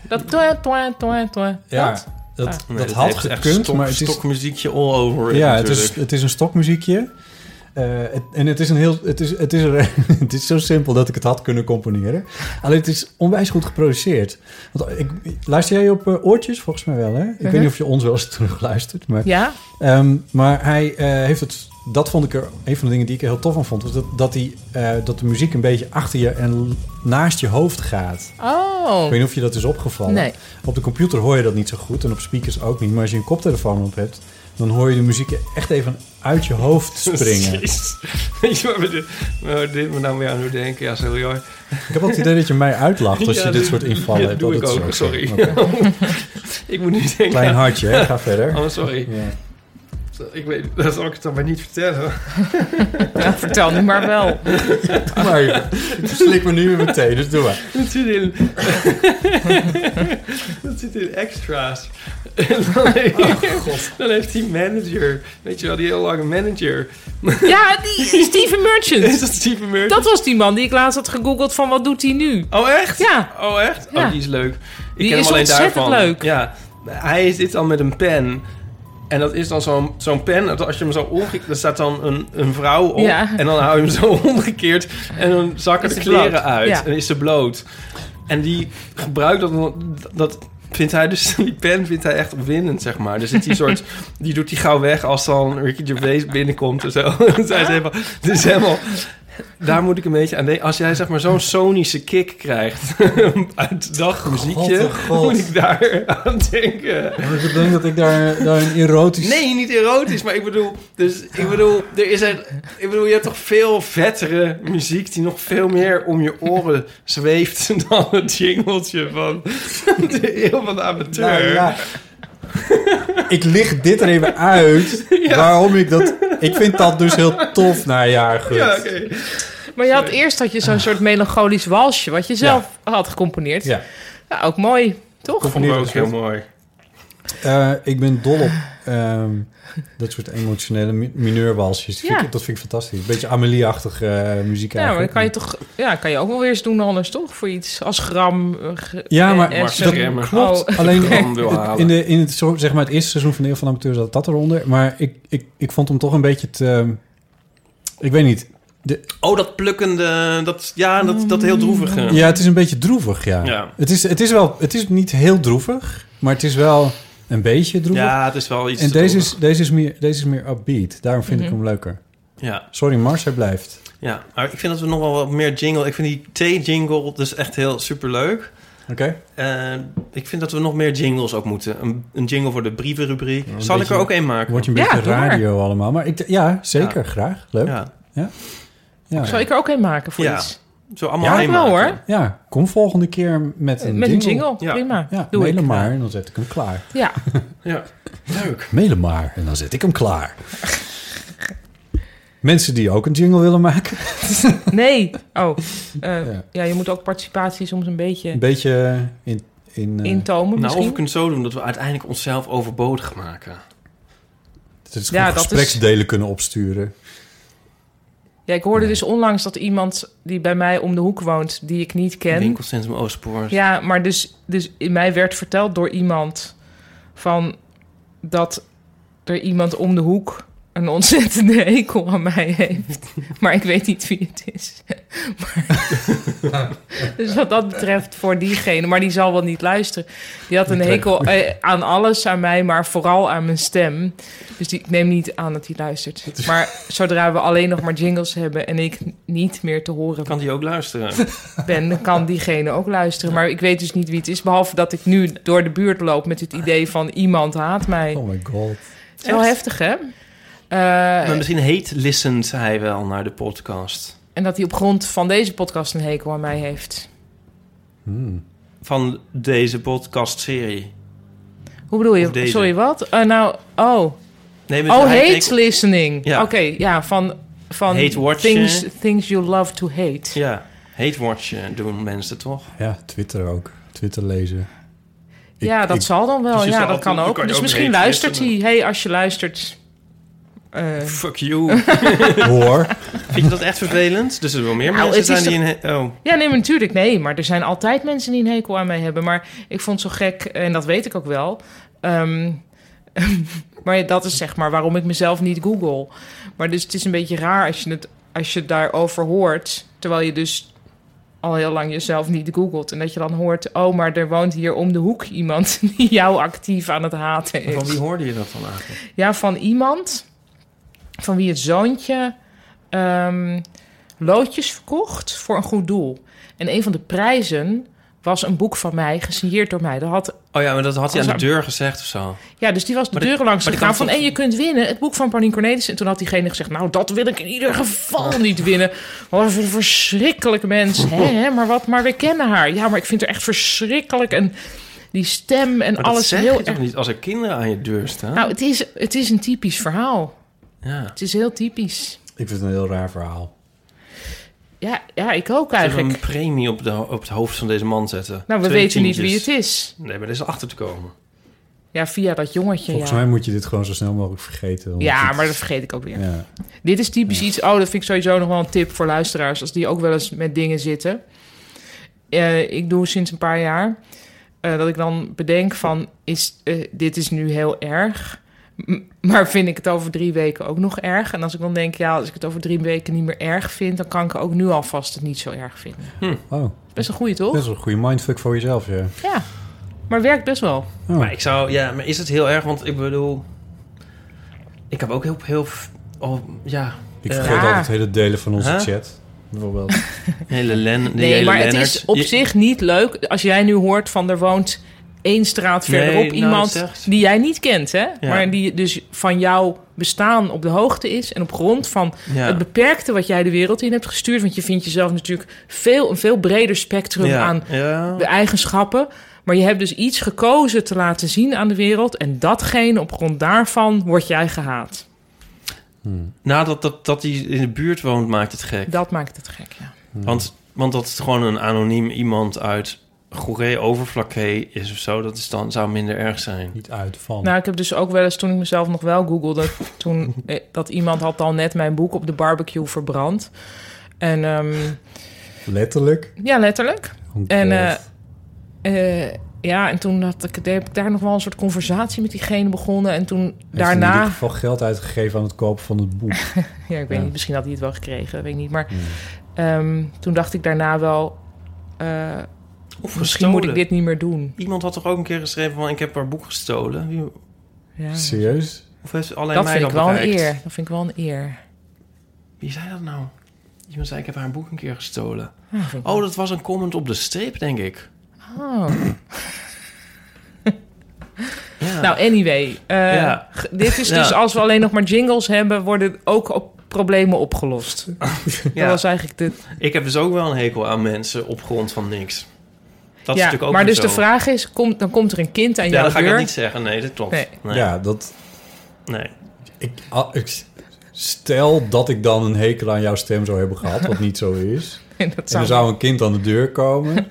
S3: Dat toin, toin, toin, toin.
S2: Ja,
S3: Dat?
S2: dat,
S3: Ah.
S2: dat
S1: Nee,
S2: had
S1: heeft echt
S2: gekund,
S1: stok-
S2: maar het is...
S1: stokmuziekje all over.
S2: ja, het
S1: natuurlijk.
S2: is, het is een stokmuziekje. Eh, het, en het is, een heel, het, is, het, is er, het is zo simpel dat ik het had kunnen componeren. Alleen het is onwijs goed geproduceerd. Want ik, luister jij op eh, oortjes? Volgens mij wel, hè? Ik
S3: Mhm.
S1: Uh-huh.
S2: weet niet of je ons wel eens terugluistert. Maar,
S3: Ja?
S2: Ehm, maar hij eh, heeft het... Dat vond ik er... Een van de dingen die ik er heel tof aan vond... was dat, dat, hij, eh, dat de muziek een beetje achter je en naast je hoofd gaat. Ik
S3: Oh.
S2: weet niet of je dat is opgevallen.
S3: Nee.
S2: Op de computer hoor je dat niet zo goed en op speakers ook niet. Maar als je een koptelefoon op hebt, dan hoor je de muziek echt even uit je hoofd springen.
S1: Jezus. Weet je waar we dit- waar dit me nou weer aan doen denken? Ja, sorry hoor.
S2: ik heb ook het idee dat je mij uitlacht als
S1: Ja,
S2: je dit soort invallen
S1: ja,
S2: hebt.
S1: doe
S2: dat
S1: ik
S2: het
S1: ook,
S2: zo is.
S1: sorry.
S2: Oké.
S1: ik moet nu denken...
S2: Klein hartje, hè? ga verder.
S1: Oh, sorry.
S2: Ja.
S1: Ik weet, dat zal ik het dan maar niet vertellen.
S3: Ja, vertel nu maar wel.
S2: Maar het slik me nu weer meteen, dus doe maar.
S1: Dat zit in... dat zit in extra's. En dan, dan heeft die manager... Weet je wel, die heel lange manager.
S3: Ja, die Steven
S1: Is
S3: Merchant.
S1: dat Steven Merchant?
S3: Dat was die man die ik laatst had gegoogeld van wat doet hij nu?
S1: Oh, echt?
S3: Ja.
S1: Oh, echt?
S3: Ja.
S1: Oh, die is leuk. Ik
S3: Die
S1: ken
S3: is
S1: hem alleen
S3: ontzettend
S1: daarvan.
S3: leuk.
S1: Ja. Hij zit dan met een pen. En dat is dan zo'n zo'n pen. dat Als je hem zo omgekeerd... Dan staat dan een, een vrouw op.
S3: Ja.
S1: En dan hou je hem zo omgekeerd. En dan zakken
S3: Is
S1: de
S3: ze bloot.
S1: kleren uit.
S3: Ja.
S1: En is ze bloot. En die gebruikt dat... dan- dat Vindt hij dus, die pen vindt hij echt opwindend, zeg maar. Dus het die soort, die doet hij gauw weg als dan Ricky Gervais binnenkomt en zo. Dus hij is helemaal, dit is helemaal, daar moet ik een beetje aan denken. Als jij zeg maar zo'n sonische kick krijgt uit dat muziekje,
S2: oh God.
S1: moet ik daar aan denken.
S2: Maar ik denk dat ik daar, daar een erotisch...
S1: Nee, niet erotisch, maar ik bedoel, dus, ik bedoel, er is een, ik bedoel, je hebt toch veel vettere muziek die nog veel meer om je oren zweeft dan het jingeltje van de eeuw van de amateur.
S2: Nou ja. ik licht dit er even uit waarom ik dat... Ik vind dat dus heel tof, nou ja, goed.
S1: Ja, oké.
S3: Maar je had eerst had je zo'n soort melancholisch walsje wat je zelf had gecomponeerd.
S2: Ja.
S3: Ja, ook mooi, toch?
S1: Vond ik ook heel mooi.
S2: Eh, ik ben dol op ehm, dat soort emotionele mi- mineurwalsjes. Dat vind
S3: Ja.
S2: ik- Dat vind ik fantastisch. Beetje Amelie-achtige eh, muziek
S3: Ja, maar dan
S2: eigenlijk.
S3: kan je toch, ja, kan je ook wel weer eens doen anders, toch? Voor iets als gram. eh, ge-
S2: Ja,
S3: eh,
S2: maar
S3: eh,
S1: Max
S3: sorry.
S1: Remmer.
S2: Klopt.
S3: Oh,
S2: Alleen
S1: Gram wil
S2: het-
S1: halen.
S2: in, de, in het, zo- zeg maar het eerste seizoen van de Eeuw van de Amateur zat dat eronder. Maar ik, ik, ik vond hem toch een beetje te... ehm, ik weet niet.
S1: Oh, dat plukkende, dat, ja, dat, dat heel droevige.
S2: Mm, Ja, het is een beetje droevig, ja.
S1: Ja.
S2: Het, is, het, is wel, het is niet heel droevig, maar het is wel een beetje droevig.
S1: Ja, het is wel iets
S2: en
S1: te
S2: deze is,
S1: droevig.
S2: deze, is meer, deze is meer upbeat. Daarom vind
S3: Mhm.
S2: ik hem leuker.
S1: Ja,
S2: Sorry, Mars, hij blijft.
S1: ja, maar ik vind dat we nog wel wat meer jingle... Ik vind die T-jingle dus echt heel superleuk.
S2: Oké.
S1: Eh, ik vind dat we nog meer jingles ook moeten. Een, een jingle voor de brievenrubriek.
S2: een
S1: Zal ik
S2: beetje-
S1: er ook een maken?
S2: Wordt je een
S3: Ja,
S2: beetje
S3: doe maar.
S2: radio allemaal. Maar ik, ja, zeker. Graag. Leuk. Ja.
S1: Ja,
S2: Ja.
S3: Zal ik er ook een maken voor
S1: Ja.
S3: iets?
S1: zo allemaal
S2: Ja,
S1: een
S3: wel,
S1: maken.
S3: hoor.
S2: kom volgende keer met een
S3: Met een
S2: jingle.
S3: jingle,
S1: Ja.
S3: prima.
S2: Ja,
S3: Doe
S2: mailen
S3: ik.
S2: maar en dan zet ik hem klaar.
S3: Ja.
S1: Ja, leuk.
S2: Mailen maar en dan zet ik hem klaar. Mensen die ook een jingle willen maken.
S3: Nee. Oh. eh,
S2: Ja.
S3: ja. je moet ook participatie soms een beetje
S2: Een beetje in... in eh,
S3: intomen
S1: Nou, of
S3: misschien.
S1: we kunnen het zo doen dat we uiteindelijk onszelf overbodig maken.
S2: Dat is
S3: Ja,
S2: gewoon
S3: dat is-
S2: gespreksdelen kunnen opsturen.
S3: Ja, ik hoorde dus onlangs dat iemand die bij mij om de hoek woont, die ik niet ken.
S1: Winkelcentrum Oostpoort.
S3: Ja, maar dus, dus in mij werd verteld door iemand van dat er iemand om de hoek een ontzettende hekel aan mij heeft. Maar ik weet niet wie het is. Maar, dus wat dat betreft voor diegene, maar die zal wel niet luisteren. Die had een hekel eh, aan alles aan mij, maar vooral aan mijn stem. Dus die, ik neem niet aan dat hij luistert. Maar zodra we alleen nog maar jingles hebben en ik niet meer te horen
S1: Kan die ook luisteren?
S3: ben, dan kan diegene ook luisteren. Maar ik weet dus niet wie het is. Behalve dat ik nu door de buurt loop met het idee van iemand haat mij.
S2: Oh my god.
S3: Het is wel
S1: Echt?
S3: heftig, hè? Eh,
S1: maar misschien heet listens hij wel naar de podcast.
S3: en dat hij op grond van deze podcast een hekel aan mij heeft.
S1: Van deze podcastserie.
S3: Hoe bedoel
S1: Of
S3: je?
S1: deze.
S3: Sorry, wat? Eh, nou, oh.
S1: Nee, maar
S3: Oh,
S1: hij
S3: hate
S1: keek-
S3: listening.
S1: Ja.
S3: Oké, ja, van, van
S1: Hate watchen.
S3: things, things you love to hate.
S1: Ja, hate watch doen mensen toch?
S2: Ja, Twitter ook. Twitter lezen.
S3: ja, dat zal dan wel.
S1: Dus je
S3: ja,
S1: zal
S3: dat
S1: ook-
S3: kan
S1: dan
S3: ook.
S1: kan je
S3: dus
S1: ook
S3: misschien
S1: hate
S3: luistert hij.
S1: listening.
S3: hey, als je luistert... eh,
S1: Fuck you.
S2: Hoor.
S1: Vind je dat echt vervelend? Dus er wel meer
S3: Nou,
S1: mensen
S3: het
S1: zijn
S3: is
S1: die in... he- Oh,
S3: Ja, nee, maar natuurlijk, nee. Maar er zijn altijd mensen die een hekel aan mij hebben. Maar ik vond het zo gek, en dat weet ik ook wel. ehm, maar dat is zeg maar waarom ik mezelf niet google. Maar dus het is een beetje raar als je het, als je het daarover hoort... terwijl je dus al heel lang jezelf niet googelt. En dat je dan hoort, oh, maar er woont hier om de hoek iemand... die jou actief aan het haten
S1: van
S3: is.
S1: wie hoorde je dat van eigenlijk?
S3: Ja, van iemand van wie het zoontje ehm, loodjes verkocht voor een goed doel. En een van de prijzen was een boek van mij, gesigneerd door mij. Dat had,
S1: Oh ja, maar dat had hij aan
S3: Als
S1: de deur gezegd of zo.
S3: ja, dus die was de
S1: Maar dat-
S3: deuren langs
S1: maar dat
S3: gegaan
S1: kan
S3: van... en
S1: toch-
S3: je kunt winnen, het boek van Paulien Cornelis. En toen had diegene gezegd, nou, dat wil ik in ieder geval niet winnen. Wat een verschrikkelijk mens. Hè, hè, maar wat, maar we kennen haar. Ja, maar ik vind haar echt verschrikkelijk. En die stem en
S1: Maar dat
S3: alles
S1: zeg
S3: heel
S1: je toch
S3: erg...
S1: niet als er kinderen aan je deur staan?
S3: Nou, het is, het is een typisch verhaal.
S1: ja.
S3: Het is heel typisch.
S2: Ik vind het een heel raar verhaal.
S3: Ja, ja ik ook
S1: Zullen we
S3: eigenlijk.
S1: een premie op, de, ho- op het hoofd van deze man zetten?
S3: Nou, we
S1: Twee
S3: weten niet wie
S1: tientjes.
S3: het is.
S1: Nee, maar er is achter te komen.
S3: Ja, via dat jongetje.
S2: Volgens
S3: ja.
S2: mij moet je dit gewoon zo snel mogelijk vergeten. want
S3: ja,
S2: het-
S3: maar dat vergeet ik ook weer.
S2: Ja.
S3: Dit is typisch iets. Oh, dat vind ik sowieso nog wel een tip voor luisteraars. Als die ook wel eens met dingen zitten. Eh, ik doe sinds een paar jaar. eh, dat ik dan bedenk van. Is, eh, dit is nu heel erg. m- Maar vind ik het over drie weken ook nog erg? En als ik dan denk, ja, als ik het over drie weken niet meer erg vind, dan kan ik ook nu alvast het niet zo erg vinden.
S2: Oh,
S3: Best een goede,
S2: dat
S3: toch?
S2: is wel een goede mindfuck voor jezelf, ja.
S3: Ja. Maar werkt best wel.
S2: Oh.
S1: Maar ik zou, ja, maar is het heel erg? Want ik bedoel, ik heb ook heel, heel, oh, ja,
S2: Ik
S1: Eh,
S2: vergeet
S3: ja.
S2: altijd hele delen van onze
S1: Huh?
S2: chat. Bijvoorbeeld.
S1: hele Len, die
S3: Nee,
S1: hele
S3: maar het
S1: Lennart.
S3: is op
S1: Je-
S3: zich niet leuk als jij nu hoort van er woont één straat
S1: Nee,
S3: verderop
S1: nou,
S3: iemand
S1: dat is echt-
S3: die jij niet kent, hè? Maar die dus van jouw bestaan op de hoogte is en op grond van
S1: Ja.
S3: het beperkte wat jij de wereld in hebt gestuurd, want je vindt jezelf natuurlijk veel een veel breder spectrum
S1: ja,
S3: aan
S1: ja.
S3: de eigenschappen. Maar je hebt dus iets gekozen te laten zien aan de wereld. En datgene op grond daarvan word jij gehaat.
S1: Nadat dat, dat hij in de buurt woont, maakt het gek.
S3: Dat maakt het gek, ja.
S1: Want, want dat het gewoon een anoniem iemand uit Goeree Overflakke is of zo, dat is dan, zou minder erg zijn.
S2: Niet uit van.
S3: Nou, ik heb dus ook wel eens toen ik mezelf nog wel googelde, toen eh, dat iemand had al net mijn boek op de barbecue verbrand. En ehm,
S2: Letterlijk.
S3: ja, letterlijk.
S2: Oh
S3: En eh,
S2: god.
S3: eh, ja, en toen had ik, heb ik daar nog wel een soort conversatie met diegene begonnen. En toen
S2: Heeft hij in
S3: daarna.
S2: ieder geval geld uitgegeven aan het kopen van het boek.
S3: Ja, ik weet
S2: Ja. Hmm.
S3: niet, misschien had hij het wel gekregen, dat weet ik niet. Maar ehm, toen dacht ik daarna wel, eh,
S1: Of
S3: misschien
S1: gestolen.
S3: moet ik dit niet meer doen.
S1: Iemand had toch ook een keer geschreven van, ik heb haar boek gestolen? Wie-
S3: Ja.
S2: Serieus?
S1: Of heeft alleen
S3: Dat
S1: mij
S3: vind ik
S1: dat
S3: wel een
S1: bereikt?
S3: eer. Dat vind ik wel een eer.
S1: Wie zei dat nou? Iemand zei, ik heb haar boek een keer gestolen.
S3: Ja, vind ik
S1: Oh, dat was een comment op de strip, denk ik.
S3: Oh.
S1: Ja.
S3: Nou, anyway. eh,
S1: Ja.
S3: g- Dit is
S1: Ja.
S3: dus als we alleen nog maar jingles hebben, worden ook op problemen opgelost. Dat
S1: Ja.
S3: was eigenlijk de.
S1: Ik heb dus ook wel een hekel aan mensen op grond van niks. Dat is
S3: ja,
S1: natuurlijk ook
S3: maar
S1: weer
S3: dus de
S1: zo.
S3: vraag is: komt, dan komt er een kind aan
S1: Ja,
S3: jouw
S1: dan ga ik
S3: deur?
S1: dat niet zeggen. Nee, dat klopt.
S3: Nee.
S1: Nee.
S2: Ja, dat...
S1: nee.
S2: Ik, ah, ik- stel dat ik dan een hekel aan jouw stem zou hebben gehad, wat niet zo is.
S3: En dat
S2: En
S3: zou-
S2: er zou een kind aan de deur komen.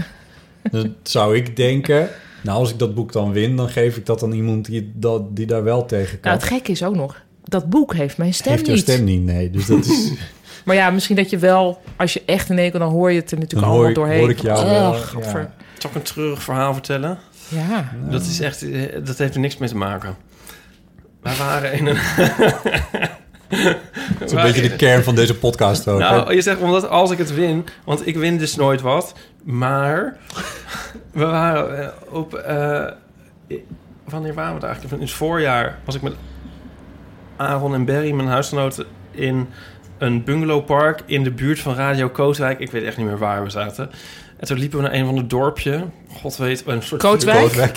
S2: dan zou ik denken... Nou, als ik dat boek dan win, dan geef ik dat aan iemand die, dat, die daar wel tegen kan.
S3: Nou, het gekke is ook nog. dat boek heeft mijn stem
S2: Heeft jouw
S3: niet.
S2: stem niet, nee. Dus dat is...
S3: Maar ja, misschien dat je wel, als je echt een hekel, dan hoor je het er
S2: Dan
S3: natuurlijk
S2: hoor
S3: allemaal
S2: ik-
S3: doorheen.
S2: hoor ik jou
S3: Oh,
S2: wel,
S3: gadver.
S1: Zal ik een treurig verhaal vertellen?
S3: Ja.
S1: Dat, is echt, eh, dat heeft er niks mee te maken. Wij waren in een...
S2: Het is een beetje de kern van deze podcast ook.
S1: Nou,
S2: hè?
S1: je zegt omdat als ik het win, want ik win dus nooit wat. Maar we waren eh, op. eh, i- wanneer waren we daar eigenlijk? In het voorjaar was ik met Aaron en Barry, mijn huisgenoten, in een bungalowpark in de buurt van Radio Kootwijk. Ik weet echt niet meer waar we zaten. En toen liepen we naar een van het dorpje. God weet, een soort
S3: Kootwijk? Kootwijk.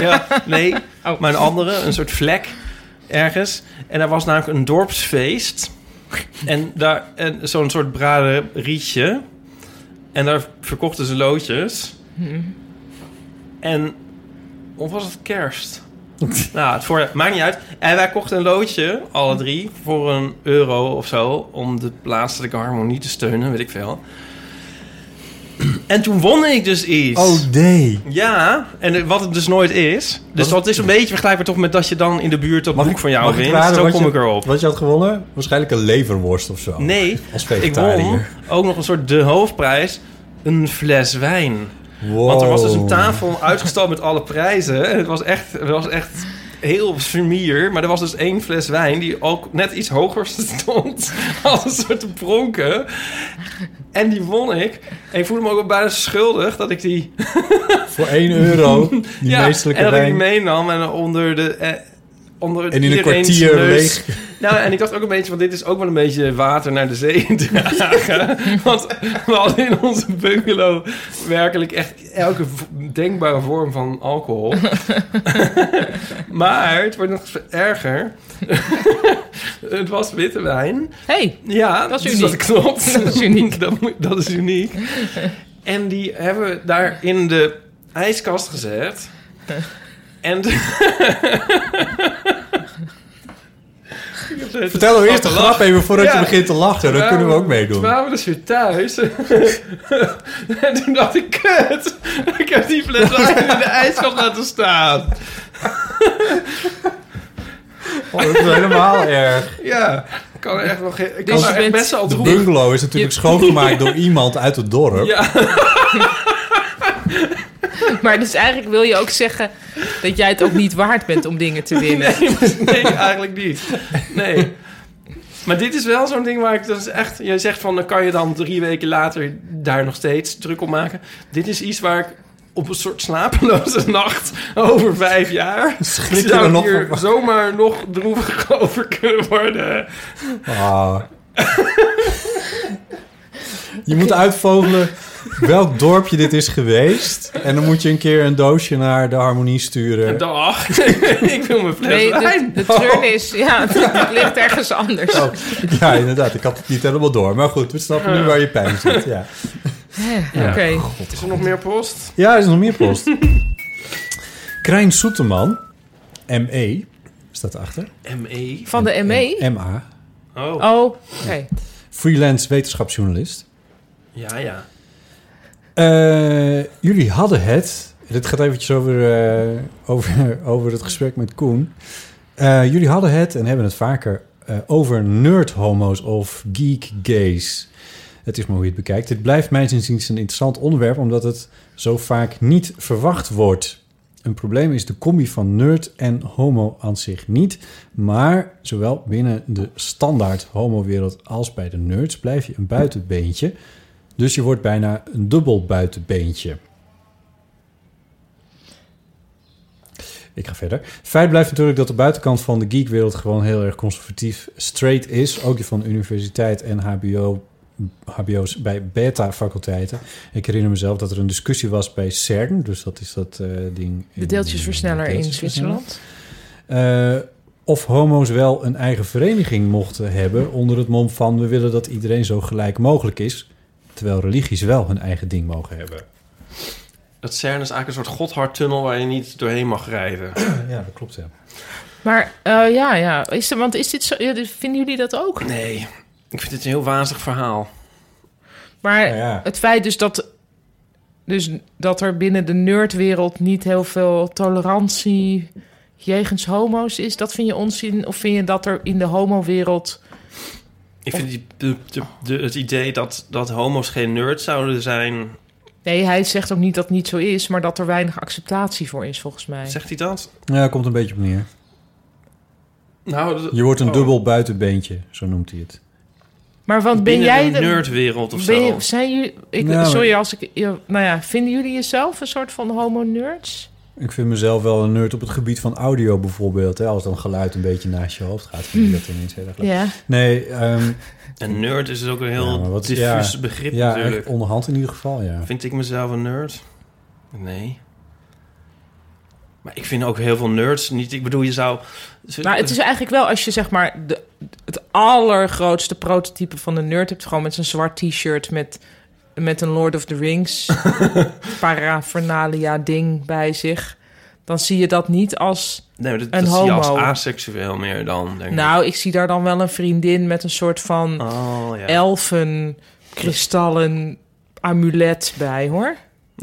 S1: ja, nee, maar een andere, een soort vlek ergens. En daar was namelijk een dorpsfeest. En, daar- en zo'n soort braden rietje. En daar verkochten ze loodjes. En... Of was het kerst? nou, het voorjaar, maakt niet uit. En wij kochten een loodje, alle drie, voor een euro of zo... om de plaatselijke harmonie te steunen, weet ik veel. En toen won ik dus iets.
S2: Oh, nee.
S1: Ja, en wat het dus nooit is. Dus dat is een beetje vergelijkbaar toch met dat je dan in de buurt dat boek van jou
S2: Mag ik
S1: wint.
S2: raden
S1: Zo
S2: wat
S1: kom
S2: je-
S1: ik erop.
S2: Wat je had gewonnen? Waarschijnlijk een leverworst of zo.
S1: Nee,
S2: Als
S1: ik won
S2: vegetariër.
S1: ook nog een soort de hoofdprijs. Een fles wijn.
S2: Wow.
S1: Want er was dus een tafel uitgestald met alle prijzen. En het was echt, het was echt heel sumier. Maar er was dus één fles wijn die ook net iets hoger stond. Als een soort pronken. En die won ik. En ik voelde me ook wel bijna schuldig dat ik die...
S2: Voor 1 euro. Die meestelijke
S1: en dat ik die
S2: wijn.
S1: meenam en onder de... Eh, onder
S2: En in een
S1: iedereen's
S2: kwartier
S1: neus.
S2: leeg.
S1: Nou, en ik dacht ook een beetje van... dit is ook wel een beetje water naar de zee dragen. Want we hadden in onze bungalow... werkelijk echt elke v- denkbare vorm van alcohol. maar het wordt nog erger. het was witte wijn.
S3: hey,
S1: Ja,
S3: dat is
S1: dus
S3: uniek.
S1: dat klopt.
S3: Dat is uniek.
S1: dat, moet- dat is uniek. En die hebben we daar in de ijskast gezet. En...
S2: Vertel nou eerst de
S1: een
S2: grap even voordat je begint te lachen. Dan kunnen we ook meedoen.
S1: Toen waren we dus weer thuis. en toen dacht ik, kut. Ik heb die fles wijn in de ijskast laten staan.
S2: Oh, dat is helemaal erg.
S1: Ja, ik kan er echt nog... geen- Ik kan
S3: Dus je
S1: daar echt
S3: bent-
S1: best wel
S2: De
S1: droevig
S2: bungalow is natuurlijk schoongemaakt door iemand uit het dorp.
S1: Ja.
S3: Maar dus eigenlijk wil je ook zeggen dat jij het ook niet waard bent om dingen te winnen.
S1: Nee, eigenlijk niet. Nee. Maar dit is wel zo'n ding waar ik dus echt... Jij zegt van, dan kan je dan drie weken later daar nog steeds druk op maken. Dit is iets waar ik op een soort slapeloze nacht over vijf jaar...
S2: Schrik je
S1: zou
S2: er
S1: ik
S2: nog
S1: hier
S2: van?
S1: zomaar nog droevig over kunnen worden.
S2: Ah. Je moet uitvogelen welk dorpje dit is geweest. En dan moet je een keer een doosje naar de harmonie sturen.
S1: Dag. ik wil mijn fles
S3: Nee, de,
S1: wijn.
S3: de turn is, ja, het ligt ergens anders.
S2: Oh, ja, inderdaad. Ik had het niet helemaal door. Maar goed, we snappen nu waar je pijn zit. Ja,
S3: Oké.
S1: Is er nog meer post?
S2: ja er is nog meer post. Krijn Soeteman, ME, staat erachter.
S1: ME.
S3: Van de ME?
S2: MA,
S1: Oh,
S3: Oh, oké.
S2: freelance wetenschapsjournalist.
S1: ja, ja.
S2: Eh, jullie hadden het. Dit gaat eventjes over, eh, over, over het gesprek met Koen. Eh, jullie hadden het en hebben het vaker eh, over nerd-homo's of geek-gays. Het is maar hoe je het bekijkt. Dit blijft mij inziens een interessant onderwerp, omdat het zo vaak niet verwacht wordt. Een probleem is de combi van nerd en homo aan zich niet. Maar zowel binnen de standaard homo-wereld als bij de nerds blijf je een buitenbeentje. Dus je wordt bijna een dubbel buitenbeentje. Ik ga verder. Feit blijft natuurlijk dat de buitenkant van de geekwereld gewoon heel erg conservatief straight is. Ook die van de universiteit en HBO, HBO's bij beta-faculteiten. Ik herinner mezelf dat er een discussie was bij CERN. Dus dat is dat eh, ding.
S3: De deeltjesversneller in
S2: deeltjesversneller.
S3: Zwitserland.
S2: Eh, of homo's wel een eigen vereniging mochten hebben onder het mom van we willen dat iedereen zo gelijk mogelijk is, terwijl religies wel hun eigen ding mogen hebben.
S1: Dat CERN is eigenlijk een soort godhardtunnel waar je niet doorheen mag rijden.
S2: Ja, dat klopt ja.
S3: Maar eh, ja, ja. Is, er- want is dit zo, ja, dit- vinden jullie dat ook?
S1: Nee, ik vind dit een heel wazig verhaal.
S3: Maar
S2: Nou ja.
S3: het feit dus dat, dus dat er binnen de nerdwereld niet heel veel tolerantie jegens homo's is? Dat vind je onzin? Of vind je dat er in de homowereld...
S1: Ik vind die, de, de- de- het idee dat, dat homo's geen nerds zouden zijn...
S3: Nee, hij zegt ook niet dat het niet zo is, maar dat er weinig acceptatie voor is, volgens mij.
S1: Zegt hij dat?
S2: Ja, komt een beetje op neer.
S1: Nou,
S2: Je wordt een
S1: oh.
S2: dubbel buitenbeentje, zo noemt hij het.
S3: Maar want ben
S1: Binnen
S3: jij...
S1: de nerdwereld of
S3: ben je-
S1: zo.
S3: zijn jullie... Ik,
S2: Nou, maar-
S3: sorry als ik... je- Nou ja, vinden jullie jezelf een soort van homo-nerds?
S2: Ik vind mezelf wel een nerd op het gebied van audio bijvoorbeeld. Hè? Als dan geluid een beetje naast je hoofd gaat, vind je dat ineens heel erg leuk.
S3: Ja.
S2: Nee, ehm
S1: Een nerd is ook een
S2: ja,
S1: heel
S2: maar wat-
S1: diffuus
S2: ja,
S1: begrip
S2: Ja,
S1: natuurlijk.
S2: echt onderhand in ieder geval, ja.
S1: Vind ik mezelf een nerd? Nee. Maar ik vind ook heel veel nerds niet... Ik bedoel, je zou...
S3: Nou, het is eigenlijk wel als je zeg maar de, het allergrootste prototype van de nerd hebt, gewoon met zijn zwart t-shirt met, met een Lord of the Rings parafernalia ding bij zich, dan zie je dat niet als
S1: Nee, maar dat,
S3: een
S1: dat zie
S3: homo.
S1: je als aseksueel meer dan, denk ik.
S3: nou, ik zie daar dan wel een vriendin met een soort van
S1: Oh, ja.
S3: elfen kristallen amulet bij, hoor.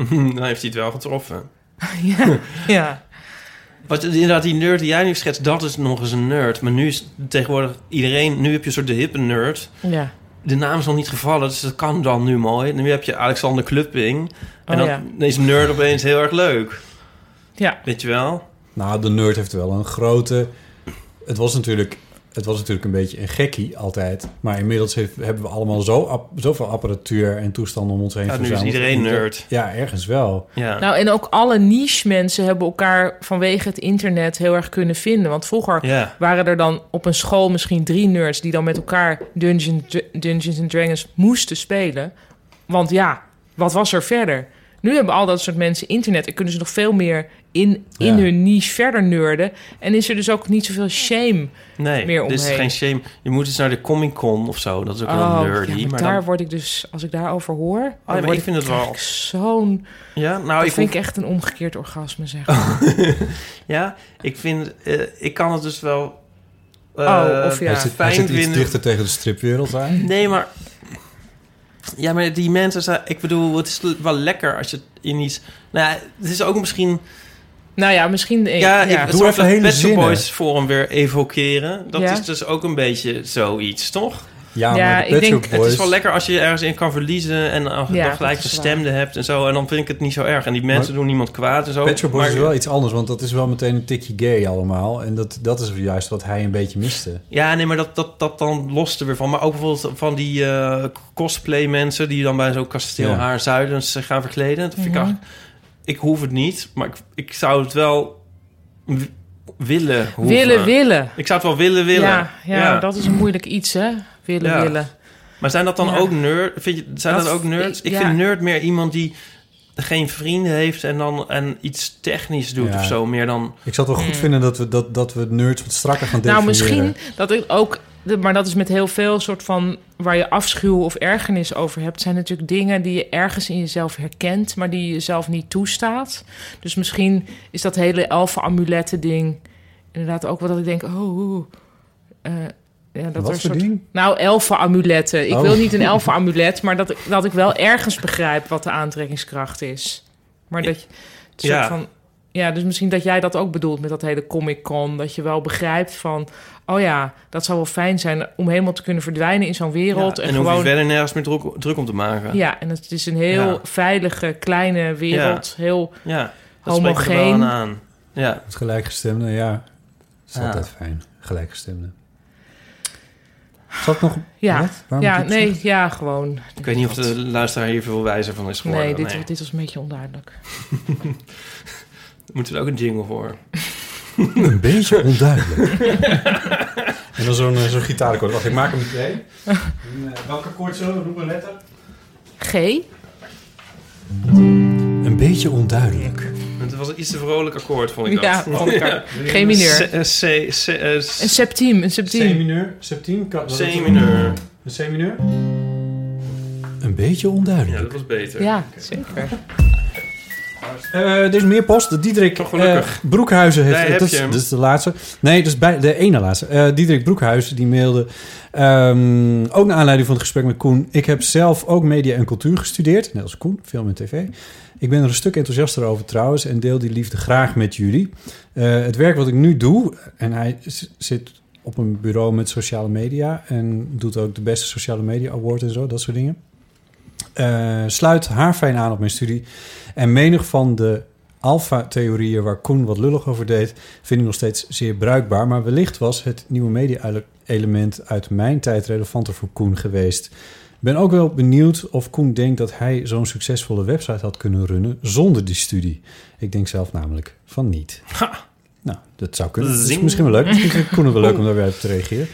S1: Dan heeft hij het wel getroffen.
S3: ja, ja.
S1: Wat, inderdaad, die nerd die jij nu schetst, dat is nog eens een nerd. Maar nu is tegenwoordig iedereen... Nu heb je een soort de hippe nerd.
S3: Ja.
S1: De naam is nog niet gevallen, dus dat kan dan nu mooi. Nu heb je Alexander Klupping. En
S3: Oh,
S1: dan
S3: ja.
S1: is nerd opeens heel erg leuk.
S3: Ja.
S1: Weet je wel?
S2: Nou, de nerd heeft wel een grote... Het was natuurlijk, het was natuurlijk een beetje een gekkie altijd. Maar inmiddels heeft- hebben we allemaal zo ap- zoveel apparatuur en toestanden om ons heen
S1: Ja, nu is
S2: verzameld.
S1: iedereen nerd.
S2: Ja, ergens wel.
S1: Ja.
S3: Nou, en ook alle niche-mensen hebben elkaar vanwege het internet heel erg kunnen vinden. Want vroeger
S1: Ja.
S3: waren er dan op een school misschien drie nerds die dan met elkaar Dungeon, Dungeons and Dragons moesten spelen. Want ja, wat was er verder? Nu hebben al dat soort mensen internet en kunnen ze nog veel meer in, in
S1: Ja.
S3: hun niche verder nerden. En is er dus ook niet zoveel shame
S1: Nee,
S3: meer omheen.
S1: dit is geen shame. Je moet eens naar de Comic Con of zo. Dat is ook
S3: Oh,
S1: wel nerdy.
S3: ja, maar,
S1: maar
S3: daar
S1: dan- Oh,
S3: word ik dus, als ik daarover hoor, dan
S1: maar
S3: word
S1: ik vind het wel-
S3: krijg ik zo'n...
S1: Ja, nou,
S3: dat
S1: ik
S3: vind
S1: hoef-
S3: ik echt een omgekeerd orgasme, zeg maar.
S1: ja, ik vind... eh, ik kan het dus wel... eh,
S3: Oh, of ja.
S2: Hij zit, hij
S1: fijn
S2: zit iets
S1: vinden.
S2: dichter tegen de stripwereld aan.
S1: Nee, maar... Ja, maar die mensen... zijn- Ik bedoel, het is wel lekker als je in iets... Nou ja, het is ook misschien...
S3: nou ja, misschien... eh,
S1: Ja, ik
S2: Doe
S1: zou
S2: even
S1: dat
S2: hele
S1: Pet Shop
S2: zinnen.
S1: Boys Forum weer evokeren. Dat
S3: Ja.
S1: is dus ook een beetje zoiets, toch?
S2: Ja,
S3: Ja,
S2: maar de
S3: ik
S2: Pet
S3: denk-
S2: Shop
S1: Het is
S2: Boys-
S1: wel lekker als je ergens in kan verliezen en dan
S3: Ja, dat
S1: gelijk
S3: is
S1: de
S3: waar.
S1: stemde hebt en zo. En dan vind ik het niet zo erg. En die mensen
S2: Maar-
S1: doen niemand kwaad en zo.
S2: Pet Shop Boys
S1: Maar-
S2: is wel iets anders, want dat is wel meteen een tikje gay allemaal. En dat, dat is juist wat hij een beetje miste.
S1: Ja, nee, maar dat, dat, dat dan lost er weer van. Maar ook bijvoorbeeld van die eh, cosplay mensen... die dan bij zo'n kasteel
S2: Ja.
S1: haar zuidens zich gaan verkleden. Dat vind
S3: Mhm.
S1: ik eigenlijk... Ik hoef het niet, maar ik, ik zou het wel w- willen hoeven.
S3: Willen, willen.
S1: Ik zou het wel willen willen.
S3: Ja, ja, dat is een moeilijk iets, hè? Willen,
S1: Ja.
S3: willen.
S1: Maar zijn dat dan
S3: Ja.
S1: ook nerd? Vind je, zijn dat,
S3: Dat-
S1: ook nerds? Ik
S3: ja.
S1: vind nerd meer iemand die geen vrienden heeft... en dan en iets technisch doet
S2: Ja.
S1: of zo. Meer dan...
S2: Ik zou het wel goed vinden dat we, dat, dat we nerds wat strakker gaan definiëren.
S3: Hmm. Nou, misschien dat ik ook... de- Maar dat is met heel veel soort van... waar je afschuw of ergernis over hebt... zijn natuurlijk dingen die je ergens in jezelf herkent... maar die je jezelf niet toestaat. Dus misschien is dat hele elfen-amuletten ding... inderdaad ook wel dat ik denk... oh, oeh, eh, ja, dat
S2: Wat
S3: er een
S2: voor
S3: soort...
S2: ding?
S3: Nou, elfen-amuletten. Ik
S2: Oh.
S3: wil niet een elfen-amulet... maar dat ik, dat ik wel ergens begrijp wat de aantrekkingskracht is. Maar dat je... een soort
S1: Ja.
S3: van, ja, dus misschien dat jij dat ook bedoelt met dat hele Comic Con. Dat je wel begrijpt van, oh ja, dat zou wel fijn zijn om helemaal te kunnen verdwijnen in zo'n wereld.
S1: Ja,
S3: en
S1: en hoef je
S3: gewoon.
S1: verder nergens meer druk, druk om te maken.
S3: Ja, en het is een heel
S1: Ja.
S3: veilige, kleine wereld. Heel
S1: Ja, dat spreekt er wel
S3: homogeen.
S1: aan aan. Ja.
S2: Het gelijkgestemde, ja. Dat is
S1: Ja.
S2: altijd fijn. Gelijkgestemde. Zal ik nog...
S3: Ja,
S2: Wat? Waarom
S3: ja
S2: heb je het
S3: nee, ja, gewoon.
S1: Ik weet niet of de luisteraar hier veel wijzer van is geworden.
S3: Nee, dit, dit was een beetje onduidelijk.
S1: Moeten we er ook een jingle voor?
S2: Een beetje onduidelijk. en dan zo'n eh, zo'n gitaarkoord. Wacht, ik maak hem meteen. eh, Welke koord zullen we noemen letter?
S3: G?
S2: Een beetje onduidelijk.
S1: Het was een iets te vrolijk akkoord, vond ik
S3: Ja,
S1: dat.
S3: vond ik ook. G mineur.
S1: C, C, C, eh,
S3: Een septiem, een septiem.
S2: mineur, septiem. kan- dat is-
S1: C mineur.
S2: Een C mineur. Een beetje
S1: Ja,
S2: onduidelijk.
S1: dat was beter.
S3: Ja, zeker.
S2: Eh, er is meer post. Diederik
S1: gelukkig.
S2: eh, Broekhuizen heeft...
S1: Daar
S2: eh,
S1: heb
S2: dat,
S1: je
S2: is,
S1: hem.
S2: dat is de laatste. Nee, dat is bij, de ene laatste. Eh, Diederik Broekhuizen die mailde... ehm, ook naar aanleiding van het gesprek met Koen... Ik heb zelf ook media en cultuur gestudeerd. Net als Koen, film en tv. Ik ben er een stuk enthousiaster over trouwens... en deel die liefde graag met jullie. Eh, het werk wat ik nu doe... en hij z- zit op een bureau met sociale media... en doet ook de beste sociale media award en zo, dat soort dingen... Eh, sluit haar fijn aan op mijn studie. En menig van de alfa-theorieën waar Koen wat lullig over deed, vind ik nog steeds zeer bruikbaar. Maar wellicht was het nieuwe media-element uit mijn tijd relevanter voor Koen geweest. Ik ben ook wel benieuwd of Koen denkt dat hij zo'n succesvolle website had kunnen runnen zonder die studie. Ik denk zelf namelijk van niet. Nou, dat zou kunnen. Dat is
S1: Zing.
S2: misschien wel leuk. Misschien vindt Koen het wel leuk om daar weer op te reageren.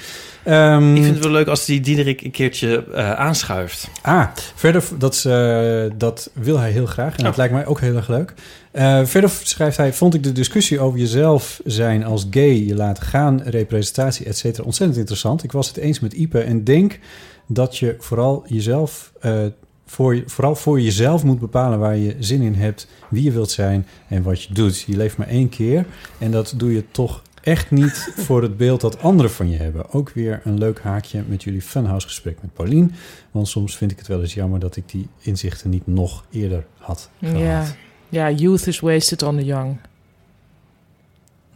S2: Ehm,
S1: Ik vind het wel leuk als die Diederik een keertje eh, aanschuift.
S2: Ah, verder, v- dat, is, eh, dat wil hij heel graag en dat lijkt mij ook heel erg leuk. Eh, verder v- schrijft hij, vond ik de discussie over jezelf zijn als gay, je laten gaan, representatie, et cetera, ontzettend interessant. Ik was het eens met Ipe en denk dat je vooral jezelf, eh, voor, je- vooral voor jezelf moet bepalen waar je zin in hebt, wie je wilt zijn en wat je doet. Je leeft maar één keer en dat doe je toch echt niet voor het beeld dat anderen van je hebben. Ook weer een leuk haakje met jullie funhouse gesprek met Paulien. Want soms vind ik het wel eens jammer dat ik die inzichten niet nog eerder had gehad.
S3: Ja. ja, youth is wasted on the young.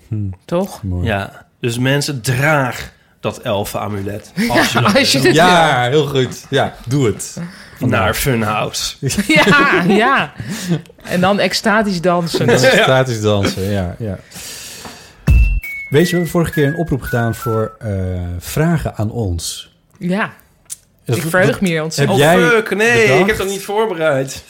S2: Hm.
S3: Toch?
S2: Mooi.
S1: Ja, dus mensen, draag dat elfen-amulet. Als je, dat
S3: als je
S1: wil.
S3: het Ja,
S2: heel goed. Ja, doe het.
S1: Naar Funhouse.
S3: Ja, ja. En dan extatisch dansen.
S2: En dan statisch dansen, ja, ja. Weet je, we hebben vorige keer een oproep gedaan voor eh, vragen aan ons.
S3: Ja,
S2: Dat-
S3: ik verheug
S2: dat-
S3: me hier ontzettend.
S2: Heb
S1: Oh
S2: jij
S1: fuck, nee,
S2: bedacht?
S1: ik heb dat niet voorbereid.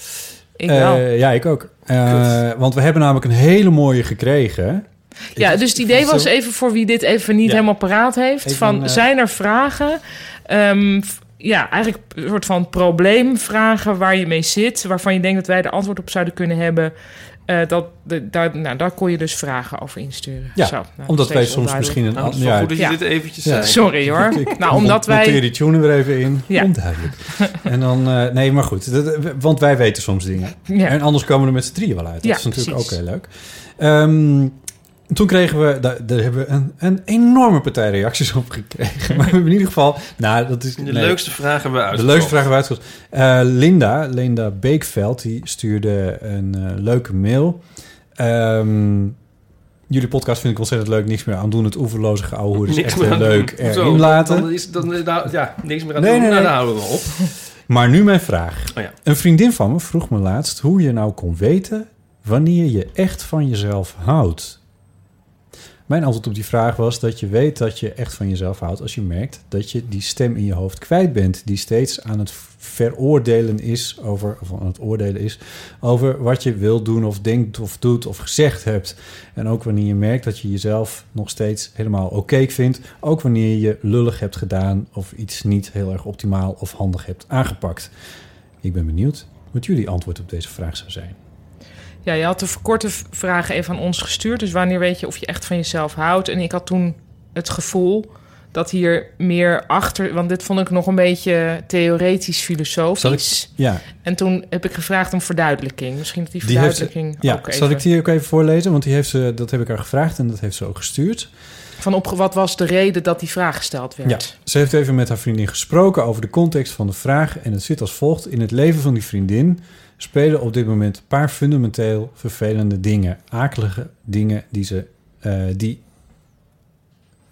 S3: Ik wel.
S2: Eh, ja, ik ook. Eh, want we hebben namelijk een hele mooie gekregen.
S3: ja, dus het idee
S2: vond
S3: was
S2: zo-
S3: even voor wie dit even niet
S2: Ja.
S3: helemaal paraat heeft.
S2: Even
S3: van,
S2: een, eh,
S3: zijn er vragen? Ehm, f- ja, eigenlijk een soort van probleemvragen waar je mee zit. Waarvan je denkt dat wij de antwoord op zouden kunnen hebben. Eh, dat, de, daar, nou, daar kon je dus vragen over insturen.
S2: Ja,
S3: Zo, nou, dat
S2: omdat
S3: is
S2: wij
S3: even
S2: soms
S3: onduidelijk.
S2: misschien een...
S1: Nou, het is wel
S2: ja,
S1: goed dat je
S3: Ja.
S1: dit eventjes
S2: Ja.
S1: zei.
S3: Sorry hoor. nou, omdat
S2: Monteer
S3: wij...
S2: die tune er even in.
S3: Ja.
S2: Onduidelijk. En dan... eh, nee, maar goed. Dat, want wij weten soms dingen.
S3: Ja,
S2: En anders komen we er met z'n drieën wel uit. Dat
S3: Ja,
S2: is natuurlijk
S3: precies.
S2: ook heel leuk. Ehm, toen kregen we, daar, daar hebben we een, een enorme partij reacties op gekregen. Maar we hebben in ieder geval, nou, dat is
S1: De
S2: nee,
S1: leukste vragen hebben we
S2: de
S1: uitgezocht.
S2: leukste vraag hebben we uitgezocht. Eh, Linda, Linda Beekveld, die stuurde een eh, leuke mail. Ehm, jullie podcast vind ik ontzettend leuk. Niks meer aan doen. Het oeverloze geouwehoer is echt heel
S1: aan
S2: leuk
S1: doen.
S2: erin
S1: Zo,
S2: laten.
S1: Dan is, dan, nou, ja, niks meer aan
S2: Nee,
S1: doen.
S2: nee,
S1: nou,
S2: nee.
S1: daar houden we op.
S2: Maar nu mijn vraag.
S1: Oh ja.
S2: Een vriendin van me vroeg me laatst hoe je nou kon weten wanneer je echt van jezelf houdt. Mijn antwoord op die vraag was dat je weet dat je echt van jezelf houdt als je merkt dat je die stem in je hoofd kwijt bent, die steeds aan het veroordelen is over, of aan het oordelen is over wat je wil doen of denkt of doet of gezegd hebt. En ook wanneer je merkt dat je jezelf nog steeds helemaal oké vindt. Ook wanneer je lullig hebt gedaan of iets niet heel erg optimaal of handig hebt aangepakt. Ik ben benieuwd wat jullie antwoord op deze vraag zou zijn.
S3: ja, je had de verkorte v- vragen even aan ons gestuurd. Dus wanneer weet je of je echt van jezelf houdt? En ik had toen het gevoel dat hier meer achter... Want dit vond ik nog een beetje theoretisch
S2: Zal ik-
S3: filosofisch.
S2: Ja,
S3: En toen heb ik gevraagd om verduidelijking. Misschien dat die
S2: Die heeft-
S3: verduidelijking
S2: ja.
S3: ook
S2: zal
S3: even-
S2: ik die ook even voorlezen? Want die heeft ze, dat heb ik haar gevraagd en dat heeft ze ook gestuurd.
S3: Van op, wat was de reden dat die vraag gesteld werd?
S2: Ja, ze heeft even met haar vriendin gesproken over de context van de vraag. En het zit als volgt. In het leven van die vriendin spelen op dit moment een paar fundamenteel vervelende dingen. Akelige dingen die ze... eh, die,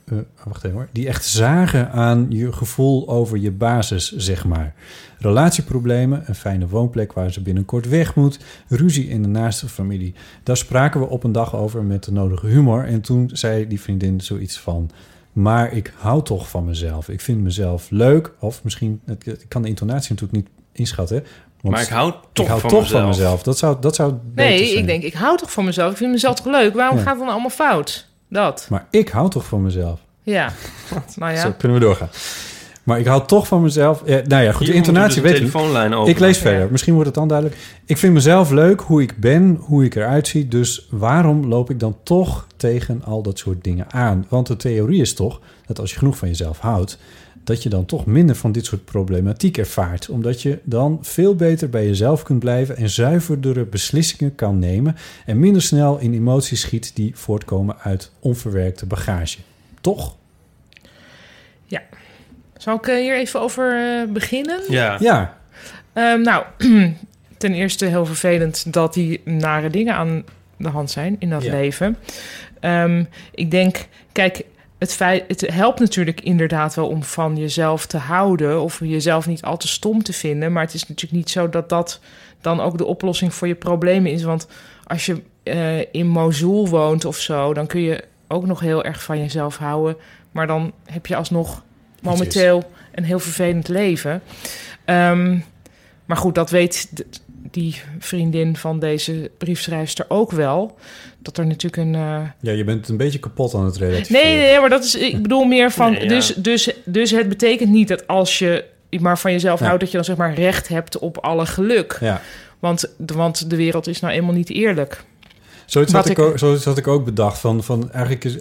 S2: eh, wacht even hoor. Die echt zagen aan je gevoel over je basis, zeg maar. Relatieproblemen, een fijne woonplek waar ze binnenkort weg moet... ruzie in de naaste familie. Daar spraken we op een dag over met de nodige humor. En toen zei die vriendin zoiets van... Maar ik hou toch van mezelf. Ik vind mezelf leuk. Of misschien, ik kan de intonatie natuurlijk niet inschatten. hè, Want
S1: Maar ik hou toch,
S2: ik hou
S1: van,
S2: toch
S1: mezelf.
S2: van mezelf. Dat zou, dat zou beter
S3: Nee,
S2: zijn.
S3: ik denk, ik hou toch van mezelf. Ik vind mezelf toch leuk. Waarom
S2: eh, Ja.
S3: gaat het dan allemaal fout? Dat.
S2: Maar ik hou toch van mezelf.
S3: Ja. Nou ja.
S2: Zo kunnen we doorgaan. Maar ik hou toch van mezelf. Eh, nou ja, goed,
S1: Hier
S2: de intonatie
S1: moeten we
S2: weet
S1: dus
S2: ik
S1: de
S2: niet.
S1: telefoonlijn open.
S2: Ik lees
S3: Ja.
S2: verder. Misschien wordt het dan duidelijk. Ik vind mezelf leuk, hoe ik ben, hoe ik eruit zie. Dus waarom loop ik dan toch tegen al dat soort dingen aan? Want de theorie is toch dat als je genoeg van jezelf houdt... dat je dan toch minder van dit soort problematiek ervaart. Omdat je dan veel beter bij jezelf kunt blijven en zuiverdere beslissingen kan nemen. En minder snel in emoties schiet die voortkomen uit onverwerkte bagage. Toch?
S3: Zal ik eh, hier even over eh, beginnen?
S2: Ja. Ja.
S3: Ehm, nou, ten eerste heel vervelend dat die nare dingen aan de hand zijn in dat
S4: Ja.
S3: leven. Ehm, ik denk, kijk, het, feit, het helpt natuurlijk inderdaad wel om van jezelf te houden of jezelf niet al te stom te vinden. Maar het is natuurlijk niet zo dat dat dan ook de oplossing voor je problemen is. Want als je eh, in Mosul woont of zo, dan kun je ook nog heel erg van jezelf houden. Maar dan heb je alsnog momenteel een heel vervelend leven. Ehm, maar goed, dat weet d- die vriendin van deze briefschrijfster ook wel. Dat er natuurlijk een. eh,
S2: Ja, je bent een beetje kapot aan het relativeren.
S3: Nee, nee, nee, maar dat is. Ik bedoel meer van.
S2: Nee, ja.
S3: dus, dus, dus het betekent niet dat als je maar van jezelf
S2: Ja.
S3: houdt, dat je dan zeg maar recht hebt op alle geluk.
S2: Ja.
S3: Want, de- want de wereld is nou eenmaal niet eerlijk.
S2: Zoiets
S3: Wat
S2: had, ik
S3: ik-
S2: ook, zoiets had ik ook bedacht. Van, van eigenlijk is,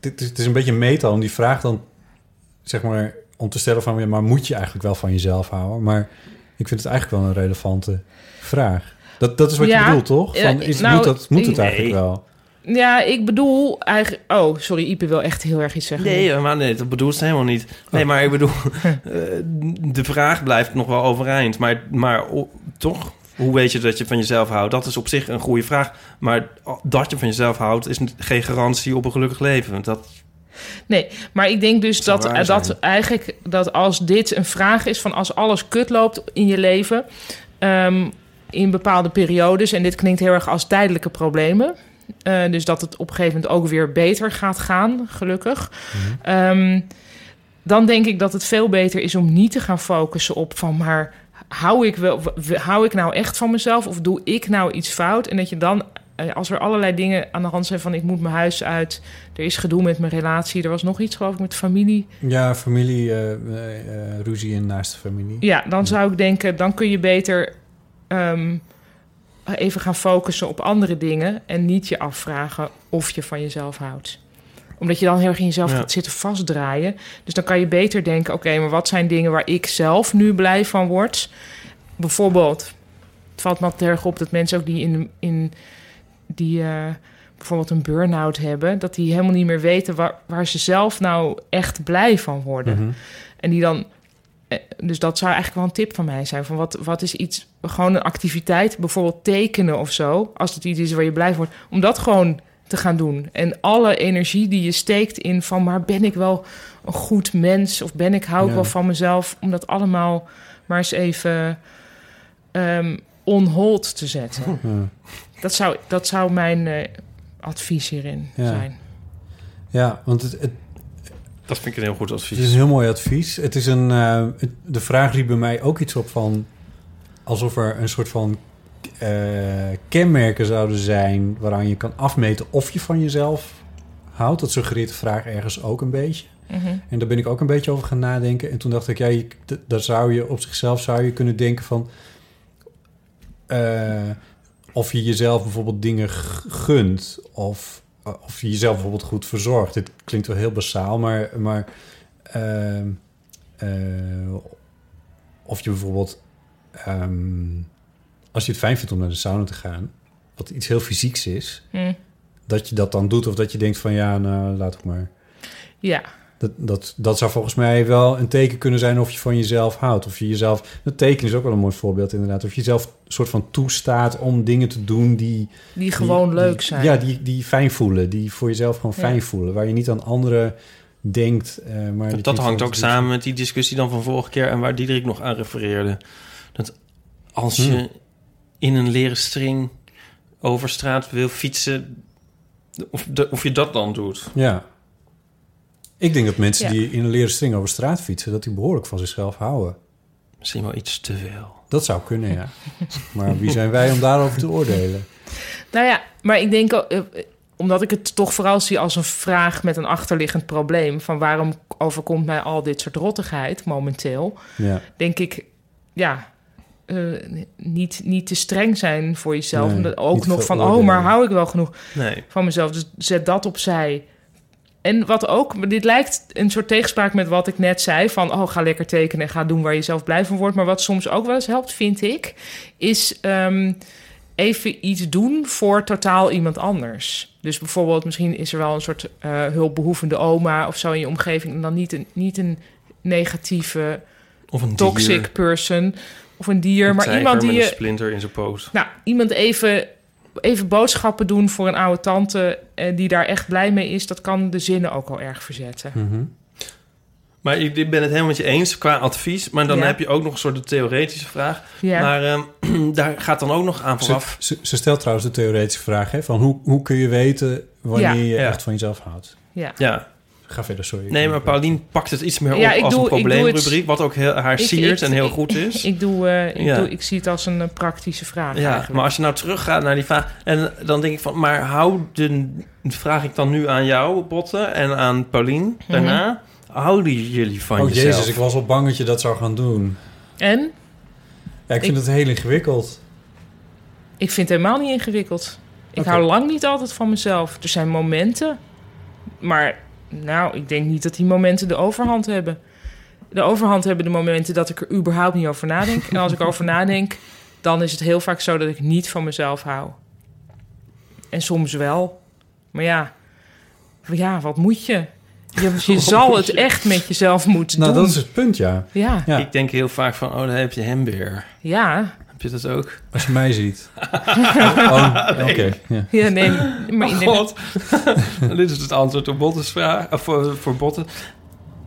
S2: dit is, het is een beetje meta om die vraag dan, zeg maar, om te stellen van, ja, maar moet je eigenlijk wel van jezelf houden? Maar ik vind het eigenlijk wel een relevante vraag. Dat, dat is wat
S3: Ja,
S2: je bedoelt, toch?
S3: ja,
S2: Van, is,
S3: nou,
S2: moet, dat, moet het
S3: nee.
S2: eigenlijk wel?
S3: Ja, ik bedoel eigenlijk. Oh, sorry, Ipe wil echt heel erg iets zeggen.
S1: Nee, maar nee, dat bedoelt ze helemaal niet.
S2: Oh.
S1: Nee, maar ik bedoel, eh, de vraag blijft nog wel overeind. Maar, maar o- toch, hoe weet je dat je van jezelf houdt? Dat is op zich een goede vraag. Maar dat je van jezelf houdt, is n- geen garantie op een gelukkig leven. Dat,
S3: Nee, maar ik denk dus
S1: zou
S3: dat,
S1: waar
S3: dat
S1: zijn.
S3: eigenlijk dat als dit een vraag is van als alles kut loopt in je leven ehm, in bepaalde periodes en dit klinkt heel erg als tijdelijke problemen, eh, dus dat het op een gegeven moment ook weer beter gaat gaan, gelukkig.
S1: Mhm.
S3: Ehm, dan denk ik dat het veel beter is om niet te gaan focussen op van maar hou ik wel w- hou ik nou echt van mezelf of doe ik nou iets fout en dat je dan eh, als er allerlei dingen aan de hand zijn van ik moet mijn huis uit, er is gedoe met mijn relatie, er was nog iets geloof ik met familie.
S2: Ja, familie, eh, eh, eh, ruzie en naaste familie.
S3: Ja, dan zou ik denken, dan kun je beter ehm, even gaan focussen op andere dingen en niet je afvragen of je van jezelf houdt omdat je dan heel erg in jezelf
S4: Ja.
S3: gaat zitten vastdraaien. Dus dan kan je beter denken: oké, maar wat zijn dingen waar ik zelf nu blij van word? Bijvoorbeeld, het valt me altijd erg op dat mensen ook die in, in die eh, bijvoorbeeld een burn-out hebben, dat die helemaal niet meer weten waar, waar ze zelf nou echt blij van worden.
S4: Mhm.
S3: En die dan. eh, Dus dat zou eigenlijk wel een tip van mij zijn. Van wat, wat is iets, gewoon een activiteit, bijvoorbeeld tekenen of zo. Als het iets is waar je blij van wordt. Om dat gewoon te gaan doen. En alle energie die je steekt in van... maar ben ik wel een goed mens? Of ben ik, hou ik
S4: Ja.
S3: wel van mezelf? Om dat allemaal maar eens even ehm on hold te zetten.
S2: Ja.
S3: Dat, zou, dat zou mijn eh, advies hierin
S2: Ja.
S3: zijn.
S2: Ja, want het, het,
S1: dat vind ik een heel goed advies.
S2: Het is een heel mooi advies. Het is een, eh, het- de vraag riep bij mij ook iets op van... alsof er een soort van eh, kenmerken zouden zijn... waaraan je kan afmeten of je van jezelf houdt. Dat suggereert de vraag ergens ook een beetje.
S4: Mhm.
S2: En daar ben ik ook een beetje over gaan nadenken. En toen dacht ik, ja, je, d- daar zou je op zichzelf zou je kunnen denken van... eh, of je jezelf bijvoorbeeld dingen g- gunt. Of, eh, of je jezelf bijvoorbeeld goed verzorgt. Dit klinkt wel heel basaal, maar... maar ehm, eh, of je bijvoorbeeld... ehm, als je het fijn vindt om naar de sauna te gaan... wat iets heel fysieks is...
S3: Mm.
S2: dat je dat dan doet. Of dat je denkt van, ja, nou, laat ik maar...
S3: Ja.
S2: Dat, dat, dat zou volgens mij wel een teken kunnen zijn of je van jezelf houdt. Of je jezelf. Dat teken is ook wel een mooi voorbeeld, inderdaad. Of je jezelf een soort van toestaat om dingen te doen die.
S3: Die gewoon leuk
S2: die-
S3: zijn.
S2: Ja, die, die fijn voelen. Die voor jezelf gewoon
S3: Ja.
S2: fijn voelen. Waar je niet aan anderen denkt. eh, maar die
S1: dat
S2: je
S1: hangt
S2: zelf
S1: ook
S2: doet.
S1: samen met die discussie dan van vorige keer... en waar Diederik nog aan refereerde. Dat als je
S2: Hmm.
S1: in een leren string over straat wil fietsen... of, de- of je dat dan doet.
S2: Ja. Ik denk dat mensen
S1: Ja.
S2: die in een leren string over straat fietsen, dat die behoorlijk van zichzelf houden.
S1: Misschien wel iets te veel.
S2: Dat zou kunnen, ja. maar wie zijn wij om daarover te oordelen?
S3: Nou ja, maar ik denk, ook, eh, eh, omdat ik het toch vooral zie als een vraag met een achterliggend probleem. Van waarom overkomt mij al dit soort rottigheid momenteel?
S2: Ja.
S3: Denk ik, ja, eh, niet, niet te streng zijn voor jezelf.
S4: Nee,
S3: Omdat ook
S4: niet
S3: nog van, oh,
S4: veroordelen.
S3: maar hou ik wel genoeg
S4: Nee.
S3: van mezelf? Dus zet dat opzij. En wat ook, dit lijkt een soort tegenspraak met wat ik net zei: van oh, ga lekker tekenen en ga doen waar je zelf blij van wordt. Maar wat soms ook wel eens helpt, vind ik, is ehm, even iets doen voor totaal iemand anders. Dus bijvoorbeeld, misschien is er wel een soort eh, hulpbehoevende oma of zo in je omgeving. En dan niet een, niet een negatieve,
S1: Of een
S3: toxic
S1: dier.
S3: person of een dier,
S1: Een
S3: maar
S1: tijger
S3: iemand die
S1: met een
S3: je
S1: splinter in zijn poot.
S3: nou, iemand even, even boodschappen doen voor een oude tante eh, die daar echt blij mee is, dat kan de zinnen ook al erg verzetten.
S1: Maar ik ik ben het helemaal met je eens qua advies. Maar dan
S3: Ja.
S1: heb je ook nog een soort de theoretische vraag.
S3: Ja.
S1: Maar ehm, daar gaat dan ook nog aan
S2: Ze,
S1: vooraf.
S2: ze, ze stelt trouwens de theoretische vraag, hè, van hoe, hoe kun je weten wanneer
S3: Ja.
S2: je
S1: Ja.
S2: echt van jezelf houdt?
S3: Ja.
S1: Ja.
S2: Ga verder, sorry.
S1: Nee, maar Paulien pakt het iets meer
S3: Ja,
S1: op
S3: ik
S1: als
S3: doe-
S1: een
S3: ik doe het-
S1: probleemrubriek. Wat ook heel, haar
S3: Ik-
S1: siert
S3: ik-
S1: en heel
S3: ik-
S1: goed is.
S3: Ik, doe, eh, ik,
S1: Ja.
S3: doe, ik zie het als een eh, praktische vraag
S1: Ja,
S3: eigenlijk.
S1: maar als je nou teruggaat naar die vraag... en dan denk ik van... maar houden... vraag ik dan nu aan jou, Botte... en aan Paulien
S3: Mhm.
S1: daarna... houden jullie van
S2: Oh
S1: jezelf?
S2: jezus, ik was al bang dat je dat zou gaan doen.
S3: En?
S2: Ja, ik vind
S3: Ik-
S2: het heel ingewikkeld.
S3: Ik vind het helemaal niet ingewikkeld. Ik
S2: Oké.
S3: hou lang niet altijd van mezelf. Er zijn momenten, maar nou, ik denk niet dat die momenten de overhand hebben. De overhand hebben de momenten dat ik er überhaupt niet over nadenk. En als ik over nadenk, dan is het heel vaak zo dat ik niet van mezelf hou. En soms wel. Maar ja, ja wat moet je? Je, je zal het echt met jezelf moeten
S2: Nou,
S3: doen.
S2: dat is het punt, ja.
S3: Ja.
S2: Ja.
S1: Ik denk heel vaak van... oh, daar heb je hem weer.
S3: Ja,
S1: Heb je dat ook?
S2: Als je mij ziet. oh, oké. Ja.
S3: ja nee, maar
S1: Oh,
S3: inderdaad-
S1: God. Dit is het antwoord op Botte's vraag. Of voor, voor Botte.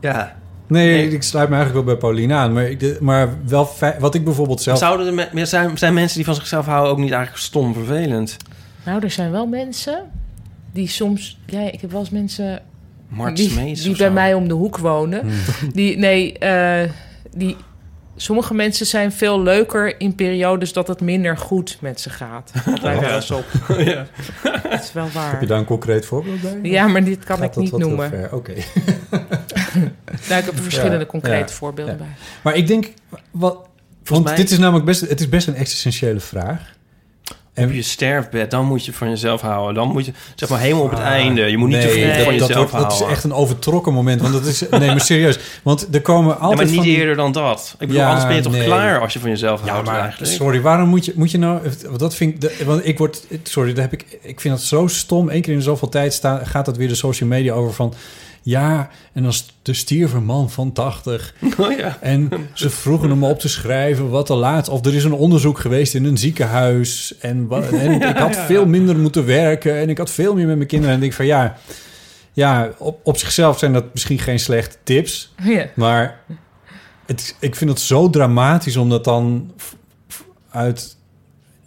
S1: Ja.
S2: Nee,
S1: Nee.
S2: ik sluit me eigenlijk wel bij Pauline aan. Maar, ik, de- maar wel fijn- wat ik bijvoorbeeld zelf...
S1: Zouden er me- meer zijn, zijn mensen die van zichzelf houden... ook niet eigenlijk stom vervelend?
S3: Nou, er zijn wel mensen die soms. Ja, ik heb wel eens mensen.
S1: Mart
S3: die
S1: Smeets
S3: die
S1: of
S3: bij
S1: zo.
S3: mij om de hoek wonen.
S2: Hmm.
S3: Die, nee, eh, die. Sommige mensen zijn veel leuker in periodes dat het minder goed met ze gaat. Dat lijkt wel eens op.
S1: ja.
S3: Dat is wel
S2: Heb je
S3: waar.
S2: daar een concreet voorbeeld bij?
S3: Ja, maar dit kan
S2: Gaat
S3: ik
S2: dat
S3: niet
S2: wat heel
S3: noemen.
S2: ver? Oké.
S3: Nou, ik heb er verschillende
S2: Ja,
S3: concrete
S2: ja,
S3: voorbeelden bij.
S2: Maar ik denk... Wat, want
S1: mij-
S2: dit is namelijk best, het is best een existentiële vraag.
S1: Op je sterfbed, dan moet je van jezelf houden. Dan moet je, zeg maar, helemaal op het einde. Je moet niet
S2: Ah, Nee,
S1: te veel
S2: dat,
S1: van
S2: dat,
S1: jezelf
S2: wordt- dat
S1: houden.
S2: is echt een overtrokken moment. Want dat is... Nee, maar serieus. Want er komen
S1: Ja,
S2: altijd
S1: maar niet
S2: van die-
S1: eerder dan dat. Ik bedoel,
S2: Ja,
S1: anders ben je toch
S2: nee.
S1: klaar als je van jezelf
S2: Ja,
S1: houdt
S2: maar
S1: eigenlijk.
S2: sorry, waarom moet je, moet je nou... want Dat vind ik, de- want ik word... Sorry, dat heb ik, ik vind dat zo stom. Eén keer in zoveel tijd sta, gaat dat weer de social media over van... Ja, en dan st- de stierf een man van 80.
S1: Oh ja.
S2: En ze vroegen hem op te schrijven wat te laat... Of er is een onderzoek geweest in een ziekenhuis. En, wa- en ik had veel minder moeten werken. En ik had veel meer met mijn kinderen. En dan denk ik van ja... Ja, op, op zichzelf zijn dat misschien geen slechte tips.
S3: Ja.
S2: Maar het, ik vind het zo dramatisch om dat dan f- f- uit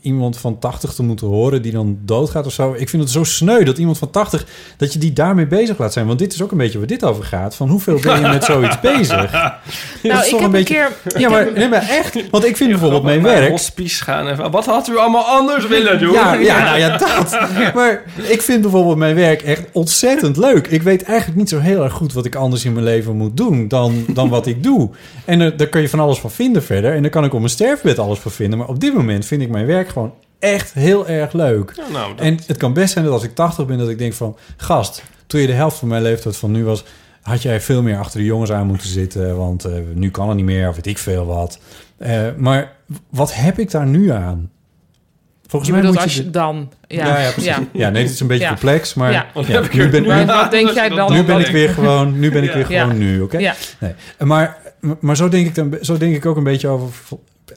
S2: iemand van 80 te moeten horen die dan doodgaat of zo. Ik vind het zo sneu dat iemand van 80 dat je die daarmee bezig laat zijn. Want dit is ook een beetje waar dit over gaat. Van hoeveel ben je met zoiets bezig?
S3: Nou,
S2: is
S3: ik heb
S2: toch een
S3: een
S2: beetje-
S3: keer.
S2: Ja, maar, nee, maar echt. Want ik vind bijvoorbeeld mijn
S1: Naar een
S2: werk.
S1: hospice gaan en van, wat had u allemaal anders willen doen?
S2: Ja, ja, nou ja, dat. Maar ik vind bijvoorbeeld mijn werk echt ontzettend leuk. Ik weet eigenlijk niet zo heel erg goed wat ik anders in mijn leven moet doen dan, dan wat ik doe. En er- daar kun je van alles van vinden verder. En daar kan ik op mijn sterfbed alles van vinden. Maar op dit moment vind ik mijn werk gewoon echt heel erg leuk.
S1: Ja, nou, dat-
S2: En het kan best zijn dat als ik 80 ben, dat ik denk van... Gast, toen je de helft van mijn leeftijd van nu was... had jij veel meer achter de jongens aan moeten zitten. Want eh, nu kan het niet meer, of weet ik veel wat. Eh, maar wat heb ik daar nu aan? Volgens
S3: Je
S2: mij
S3: bedoelt als
S2: moet je...
S3: je dan. Ja,
S2: Ja, ja, precies. Ja. nee, dit is een beetje
S3: Ja.
S2: complex, maar
S3: Ja.
S2: ja,
S1: heb ik
S2: nu,
S1: er
S2: ben,
S1: nu
S3: Maar
S2: nu,
S1: aan?
S3: wat denk jij dan?
S2: nu ben ik weer gewoon, nu ben ik weer
S3: Ja.
S2: gewoon nu, oké?
S3: Ja.
S2: Nee. Maar, maar zo, denk ik dan, zo denk ik ook een beetje over...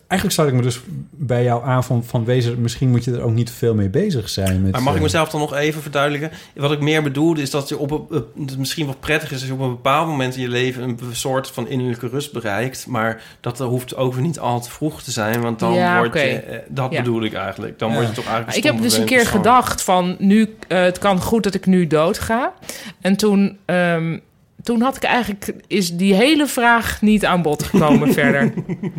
S2: Eigenlijk sluit ik me dus bij jou aan van, van wezen... misschien moet je er ook niet te veel mee bezig zijn. Met,
S1: Maar mag ik
S2: eh,
S1: mezelf dan nog even verduidelijken? Wat ik meer bedoelde is dat je op een, eh, het misschien wel prettig is... als je op een bepaald moment in je leven een soort van innerlijke rust bereikt. Maar dat eh, hoeft ook weer niet al te vroeg te zijn. Want dan
S3: Ja,
S1: word je...
S3: oké.
S1: eh, Dat
S3: Ja.
S1: bedoel ik eigenlijk. Dan word je toch eigenlijk
S3: Ik heb
S1: stom
S3: dus een keer
S1: vervelend persoon.
S3: gedacht van, nu, eh, het kan goed dat ik nu doodga. En toen, ehm, toen had ik eigenlijk, is die hele vraag niet aan bod gekomen verder.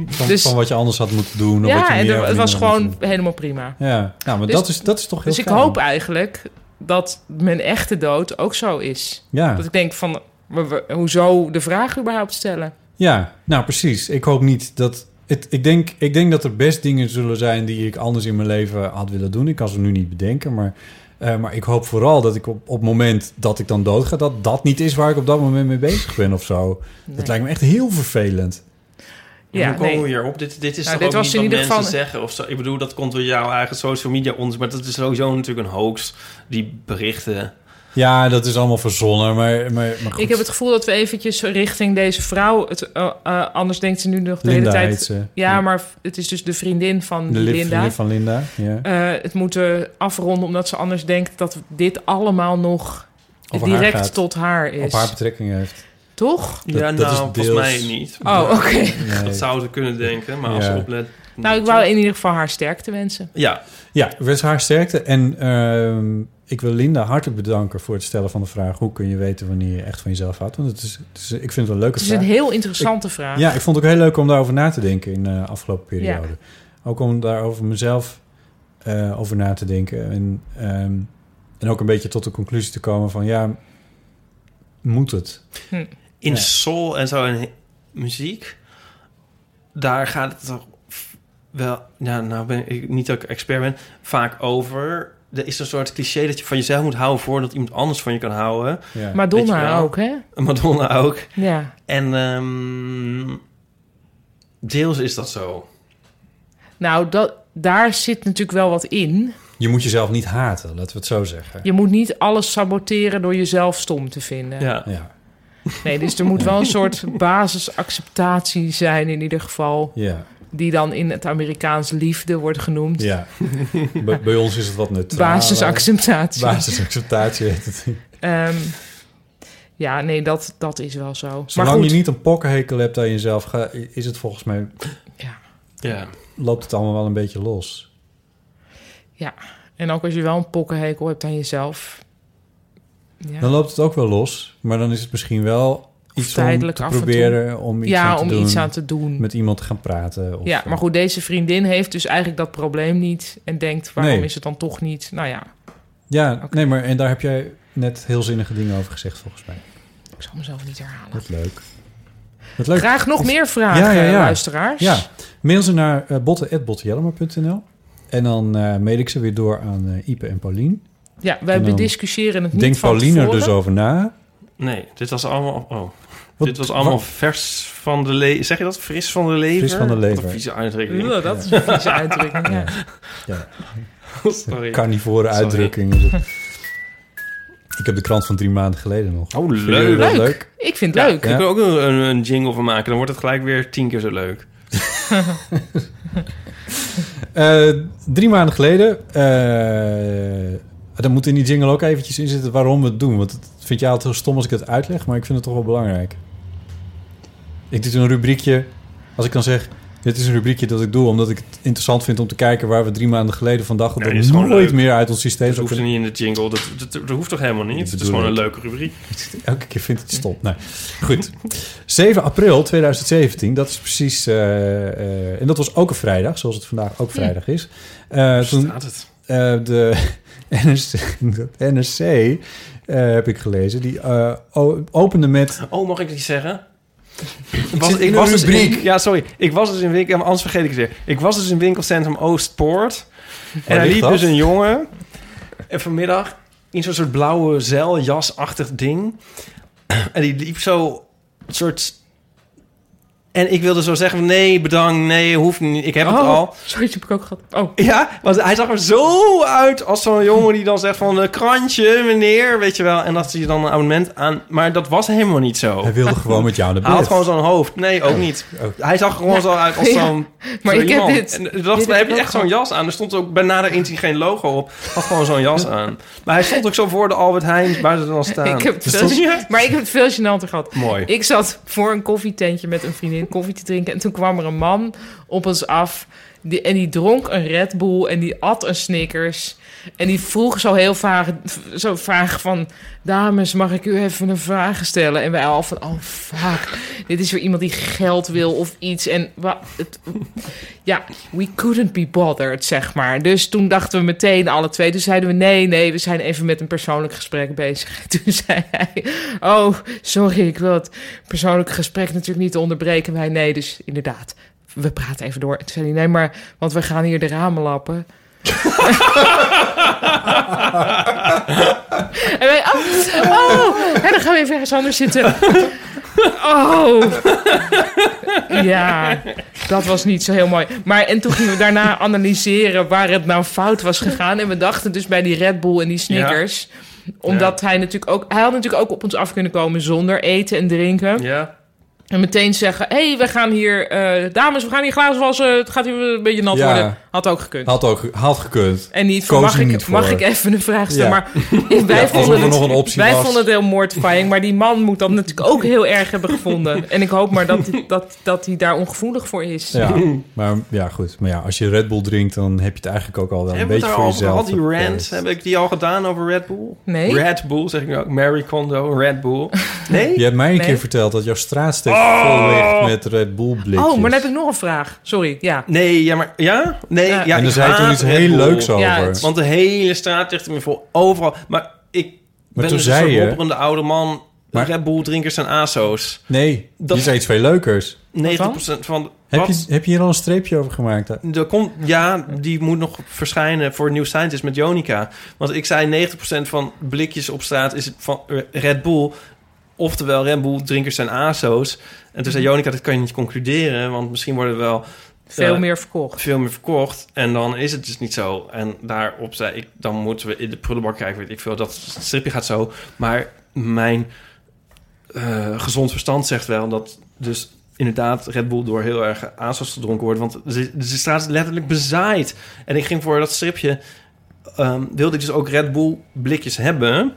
S2: van,
S3: dus-
S2: van wat je anders had moeten doen. of wat
S3: Ja,
S2: je
S3: en
S2: meer
S3: er-
S2: of
S3: het was
S2: minder had
S3: gewoon
S2: moeten
S3: helemaal prima.
S2: doen. Ja, nou, maar
S3: Dus-
S2: dat, is, dat is toch heel
S3: Dus ik
S2: fijn.
S3: hoop eigenlijk dat mijn echte dood ook zo is.
S2: Ja.
S3: Dat ik denk van, we- we- hoezo de vraag überhaupt stellen?
S2: Ja, nou precies. Ik hoop niet dat. Het, ik, denk, ik denk dat er best dingen zullen zijn die ik anders in mijn leven had willen doen. Ik kan ze nu niet bedenken, maar Eh, maar ik hoop vooral dat ik op, op het moment dat ik dan doodga... dat dat niet is waar ik op dat moment mee bezig ben of zo.
S3: Nee.
S2: Dat lijkt me echt heel vervelend.
S3: Ja,
S1: Hoe komen
S3: nee.
S1: we hierop? Dit, dit is
S3: Nou,
S1: toch
S3: dit
S1: ook
S3: was
S1: niet
S3: in
S1: wat
S3: ieder
S1: mensen
S3: geval-
S1: zeggen of zo? Ik bedoel, dat komt door jouw eigen social media ons, maar dat is sowieso natuurlijk een hoax. Die berichten.
S2: Ja, dat is allemaal verzonnen, maar, maar, maar goed.
S3: Ik heb het gevoel dat we eventjes richting deze vrouw... Het, eh, eh, anders denkt ze nu nog de
S2: Linda
S3: hele
S2: heet
S3: tijd...
S2: ze.
S3: Ja, maar het is dus de vriendin van
S2: de lid-
S3: Linda.
S2: vriendin van Linda. Ja.
S3: Eh, het moeten afronden omdat ze anders denkt dat dit allemaal nog
S2: Over haar
S3: direct
S2: gaat.
S3: tot haar is.
S2: Op haar betrekking heeft.
S3: Toch?
S2: Dat-
S1: ja,
S2: dat
S1: nou,
S2: is
S1: volgens
S2: deels-
S1: mij niet.
S3: Oh, oké.
S2: Nee.
S1: Dat zouden ze kunnen denken, maar als
S2: Ja.
S1: ze oplet...
S3: Nou, ik wou in ieder geval haar sterkte wensen.
S1: Ja,
S2: Ja, wens haar sterkte. En ehm, ik wil Linda hartelijk bedanken voor het stellen van de vraag... hoe kun je weten wanneer je echt van jezelf houdt? Want het is, het is- ik vind het wel een leuke
S3: Het is
S2: vraag.
S3: een heel interessante vraag.
S2: Ja, ik vond het ook heel leuk om daarover na te denken in de afgelopen periode. Ook om daarover mezelf eh, over na te denken. En, ehm, en ook een beetje tot de conclusie te komen van... ja, moet het?
S1: in
S2: Ja.
S1: soul en zo, en he- muziek, daar gaat het toch f- wel... Ja, nou ben ik niet dat ik expert ben, vaak over... Er is een soort cliché dat je van jezelf moet houden... voordat iemand anders van je kan houden.
S2: Ja.
S1: Weet je
S3: Madonna
S1: wel.
S3: ook, hè?
S1: Madonna ook.
S3: Ja.
S1: En ehm, deels is dat zo.
S3: Nou, dat, daar zit natuurlijk wel wat in.
S2: Je moet jezelf niet haten, laten we het zo zeggen.
S3: Je moet niet alles saboteren door jezelf stom te vinden.
S1: Ja.
S2: Ja,
S3: Nee, dus er moet wel een soort basisacceptatie zijn in ieder geval.
S2: ja,
S3: Die dan in het Amerikaans liefde wordt genoemd.
S2: ja. bij, bij ons is het wat neutraal.
S3: Basisacceptatie.
S2: Basisacceptatie heet het.
S3: Ehm, ja, nee, dat, dat is wel zo.
S2: Zolang
S3: maar goed,
S2: je niet een pokkenhekel hebt aan jezelf... ga- is het volgens mij...
S1: Ja.
S2: loopt het allemaal wel een beetje los.
S3: ja. En ook als je wel een pokkenhekel hebt aan jezelf. Ja.
S2: Dan loopt het ook wel los. Maar dan is het misschien wel iets om
S3: tijdelijk
S2: te
S3: af en toe.
S2: proberen... om iets,
S3: ja,
S2: aan, te
S3: om
S2: doen,
S3: iets aan te doen.
S2: Met iemand te gaan praten. Of,
S3: Ja, maar goed, deze vriendin heeft dus eigenlijk dat probleem niet. En denkt, waarom
S2: Nee.
S3: is het dan toch niet? Nou ja,
S2: Ja, nee, maar en daar heb jij net heel zinnige dingen over gezegd, volgens mij.
S3: ik zal mezelf niet herhalen.
S2: Wat leuk. Wat leuk.
S3: Graag nog meer vragen, luisteraars.
S2: Ja, mail ze naar eh, botten@bottenjellema.nl. En dan eh mail ik ze weer door aan eh, Ipe en Paulien.
S3: Ja, wij
S2: En dan
S3: bediscussiëren het niet
S2: Denkt
S3: van
S2: Paulien er
S3: tevoren.
S2: dus over na.
S1: Nee, dit was allemaal... Oh.
S2: Wat-
S1: dit was allemaal
S2: wat-
S1: vers van de lever. Zeg je dat? Fris van de lever?
S2: Fris van de lever.
S1: Wat een vieze uitdrukking.
S3: Ja, dat is een vieze uitdrukking, ja.
S2: Ja,
S1: Oh, Sorry.
S2: carnivore
S1: Sorry.
S2: uitdrukking. is het. ik heb de krant van drie maanden geleden nog.
S1: Oh,
S2: Vinden jullie
S1: leuk.
S2: dat
S3: Leuk.
S2: leuk?
S3: Ik vind het
S1: Ja,
S3: leuk.
S1: Ik wil er ook een, een, een jingle van maken. Dan wordt het gelijk weer tien keer zo leuk.
S2: Eh, drie maanden geleden. eh dan moet in die jingle ook eventjes in zitten waarom we het doen. Want het vind jij altijd heel stom als ik het uitleg, maar ik vind het toch wel belangrijk. Ik doe een rubriekje. Als ik dan zeg, dit is een rubriekje dat ik doe omdat ik het interessant vind om te kijken waar we drie maanden geleden vandaag op
S1: Nee,
S2: dat
S1: dit is gewoon
S2: nooit
S1: leuk.
S2: meer uit ons systeem
S1: Dat
S2: zou
S1: hoeft er
S2: kunnen.
S1: niet in de jingle. Dat, dat, dat hoeft toch helemaal
S2: Ik
S1: niet? Het is
S2: bedoel
S1: gewoon een
S2: het.
S1: leuke rubriek.
S2: Elke keer vind ik het stom. Nee. Goed. 7 april 2017, dat is precies. eh, eh, en dat was ook een vrijdag, zoals het vandaag ook vrijdag is. Eh, toen,
S1: Staat het?
S2: Eh, de NRC, dat NRC eh, heb ik gelezen, die eh, o- opende met...
S1: Oh, mag ik iets zeggen?
S2: zit in een
S1: dus
S2: rubriek.
S1: ja, sorry. Ik was dus in winkel... ja, Anders vergeet ik het weer. Ik was dus in winkelcentrum Oostpoort. En daar
S2: ligt
S1: liep
S2: dat?
S1: dus een jongen. En vanmiddag in zo'n soort blauwe zeiljasachtig ding. En die liep zo een soort... En ik wilde zo zeggen van, nee, bedankt, nee, hoeft niet, ik heb het
S3: Oh,
S1: al.
S3: sorry, die heb ik ook gehad. Oh,
S1: Ja, want hij zag er zo uit als zo'n jongen die dan zegt van... eh, krantje, meneer, weet je wel. En dat hij dan een abonnement aan... Maar dat was helemaal niet zo.
S2: Hij wilde gewoon met jou naar
S1: Hij had
S2: bed.
S1: gewoon zo'n hoofd. Nee, ook niet. Hij zag er gewoon zo uit als
S3: Ja.
S1: zo'n...
S3: Maar
S1: zo'n
S3: ik heb
S1: iemand.
S3: dit.
S1: En ik dacht,
S3: Dit
S1: daar
S3: heb
S1: heb je
S3: ik
S1: echt
S3: ook
S1: zo'n jas aan. Er stond ook bij nader inzien geen logo op. Hij had gewoon zo'n jas aan. Maar hij stond ook zo voor de Albert Heijn, waar ze dan staan.
S3: ik heb het
S1: Dus
S3: veel,
S1: dat- Ja.
S3: maar ik heb het veel gênanter gehad.
S1: Mooi.
S3: Ik zat voor een koffietentje met een vriendin koffie te drinken. En toen kwam er een man op ons af. Die, en die dronk een Red Bull en die at een Snickers. En die vroeg zo heel vaag, zo vaag van... Dames, mag ik u even een vraag stellen? En wij al van, oh fuck. Dit is weer iemand die geld wil of iets. En wa- het, ja, we couldn't be bothered, zeg maar. Dus toen dachten we meteen alle twee. Toen zeiden we, nee, nee, we zijn even met een persoonlijk gesprek bezig. Toen zei hij, oh, sorry, ik wil het persoonlijk gesprek natuurlijk niet onderbreken. Wij, nee, dus inderdaad, we praten even door. En toen zei hij, nee, maar, want we gaan hier de ramen lappen. En wij, oh, oh, en dan gaan we even ergens anders zitten. Oh. Ja, dat was niet zo heel mooi. Maar en toen gingen we daarna analyseren waar het nou fout was gegaan. En we dachten dus bij die Red Bull en die Snickers. Omdat hij natuurlijk ook... Hij had natuurlijk ook op ons af kunnen komen zonder eten en drinken.
S1: Ja.
S3: En meteen zeggen, hé, hey, we gaan hier... eh, dames, we gaan hier glazen wassen. Het gaat hier een beetje nat
S2: Ja.
S3: worden. Had ook gekund.
S2: Had ook had gekund.
S3: En niet van,
S2: Koos
S3: mag,
S2: er
S3: ik,
S2: niet voor.
S3: mag ik even een vraag stellen?
S2: Ja.
S3: Maar wij,
S2: Ja, alsof
S3: vonden,
S2: er
S3: het,
S2: nog een optie
S3: wij
S2: was.
S3: vonden het heel mortifying. Maar die man moet dat natuurlijk ook heel erg hebben gevonden. En ik hoop maar dat, dat, dat hij daar ongevoelig voor is.
S2: Ja, maar ja, goed. Maar ja, als je Red Bull drinkt, dan heb je het eigenlijk ook al wel een
S1: Hebben we
S2: beetje
S1: daar
S2: voor
S1: al over
S2: jezelf. eh.
S1: gehad, die
S2: geprobeerd.
S1: rant? Heb ik die al gedaan over Red Bull?
S3: Nee.
S1: Red Bull, zeg ik nu ook. Mary Kondo, Red Bull. Nee?
S2: Je hebt mij een
S3: Nee.
S2: keer verteld dat jouw straatsteek
S1: Oh!
S2: vol ligt met Red Bull blikjes.
S3: Oh, maar dan heb ik nog een vraag. Sorry, ja.
S1: Nee, ja, maar... Ja? Nee, ja,
S2: en
S1: ik
S2: daar zei je toen
S1: haat
S2: iets
S1: Red
S2: heel
S1: Bull.
S2: leuks over.
S3: Ja, het-
S1: Want de hele straat ligt er me vol. Overal. Maar ik ben
S2: toen
S1: dus
S2: zei
S1: een
S2: je-
S1: soort hopperende oude man.
S2: Maar-
S1: Red Bull drinkers zijn aso's.
S2: Nee,
S1: Dat-
S2: je zei iets veel leukers.
S1: 90% van...
S2: Heb
S1: wat-
S2: je, heb je hier al een streepje over gemaakt?
S1: Er komt, ja, die moet nog verschijnen voor New Scientist met Jonica. Want ik zei 90% van blikjes op straat is van Red Bull. Oftewel, Red Bull drinkers zijn ASO's. En toen zei Jonica, dat kan je niet concluderen. Want misschien worden er wel
S3: Veel
S1: eh,
S3: meer verkocht.
S1: veel meer verkocht. En dan is het dus niet zo. En daarop zei ik, dan moeten we in de prullenbak kijken. Weet ik veel, dat stripje gaat zo. Maar mijn eh, gezond verstand zegt wel dat dus inderdaad Red Bull door heel erg ASOS gedronken wordt. Want de, de straat is letterlijk bezaaid. En ik ging voor dat stripje... ehm, wilde ik dus ook Red Bull blikjes hebben.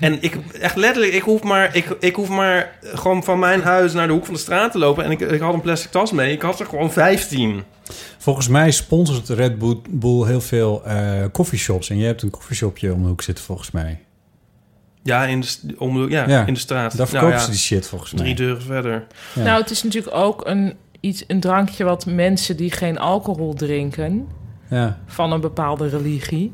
S1: en ik, echt letterlijk, ik hoef, maar, ik, ik hoef maar gewoon van mijn huis naar de hoek van de straat te lopen. En ik, ik had een plastic tas mee. Ik had er gewoon 15.
S2: Volgens mij sponsort Red Bull- Bull heel veel eh coffeeshops. En jij hebt een coffeeshopje om de hoek zitten, volgens mij.
S1: Ja, in de, st- om de- ja,
S2: Ja,
S1: in de straat.
S2: Daar
S1: Nou
S2: verkopen
S1: ja,
S2: ze die shit, volgens mij.
S1: Drie deuren verder.
S2: Ja.
S3: Nou, het is natuurlijk ook een, iets, een drankje wat mensen die geen alcohol drinken...
S2: Ja,
S3: van een bepaalde religie,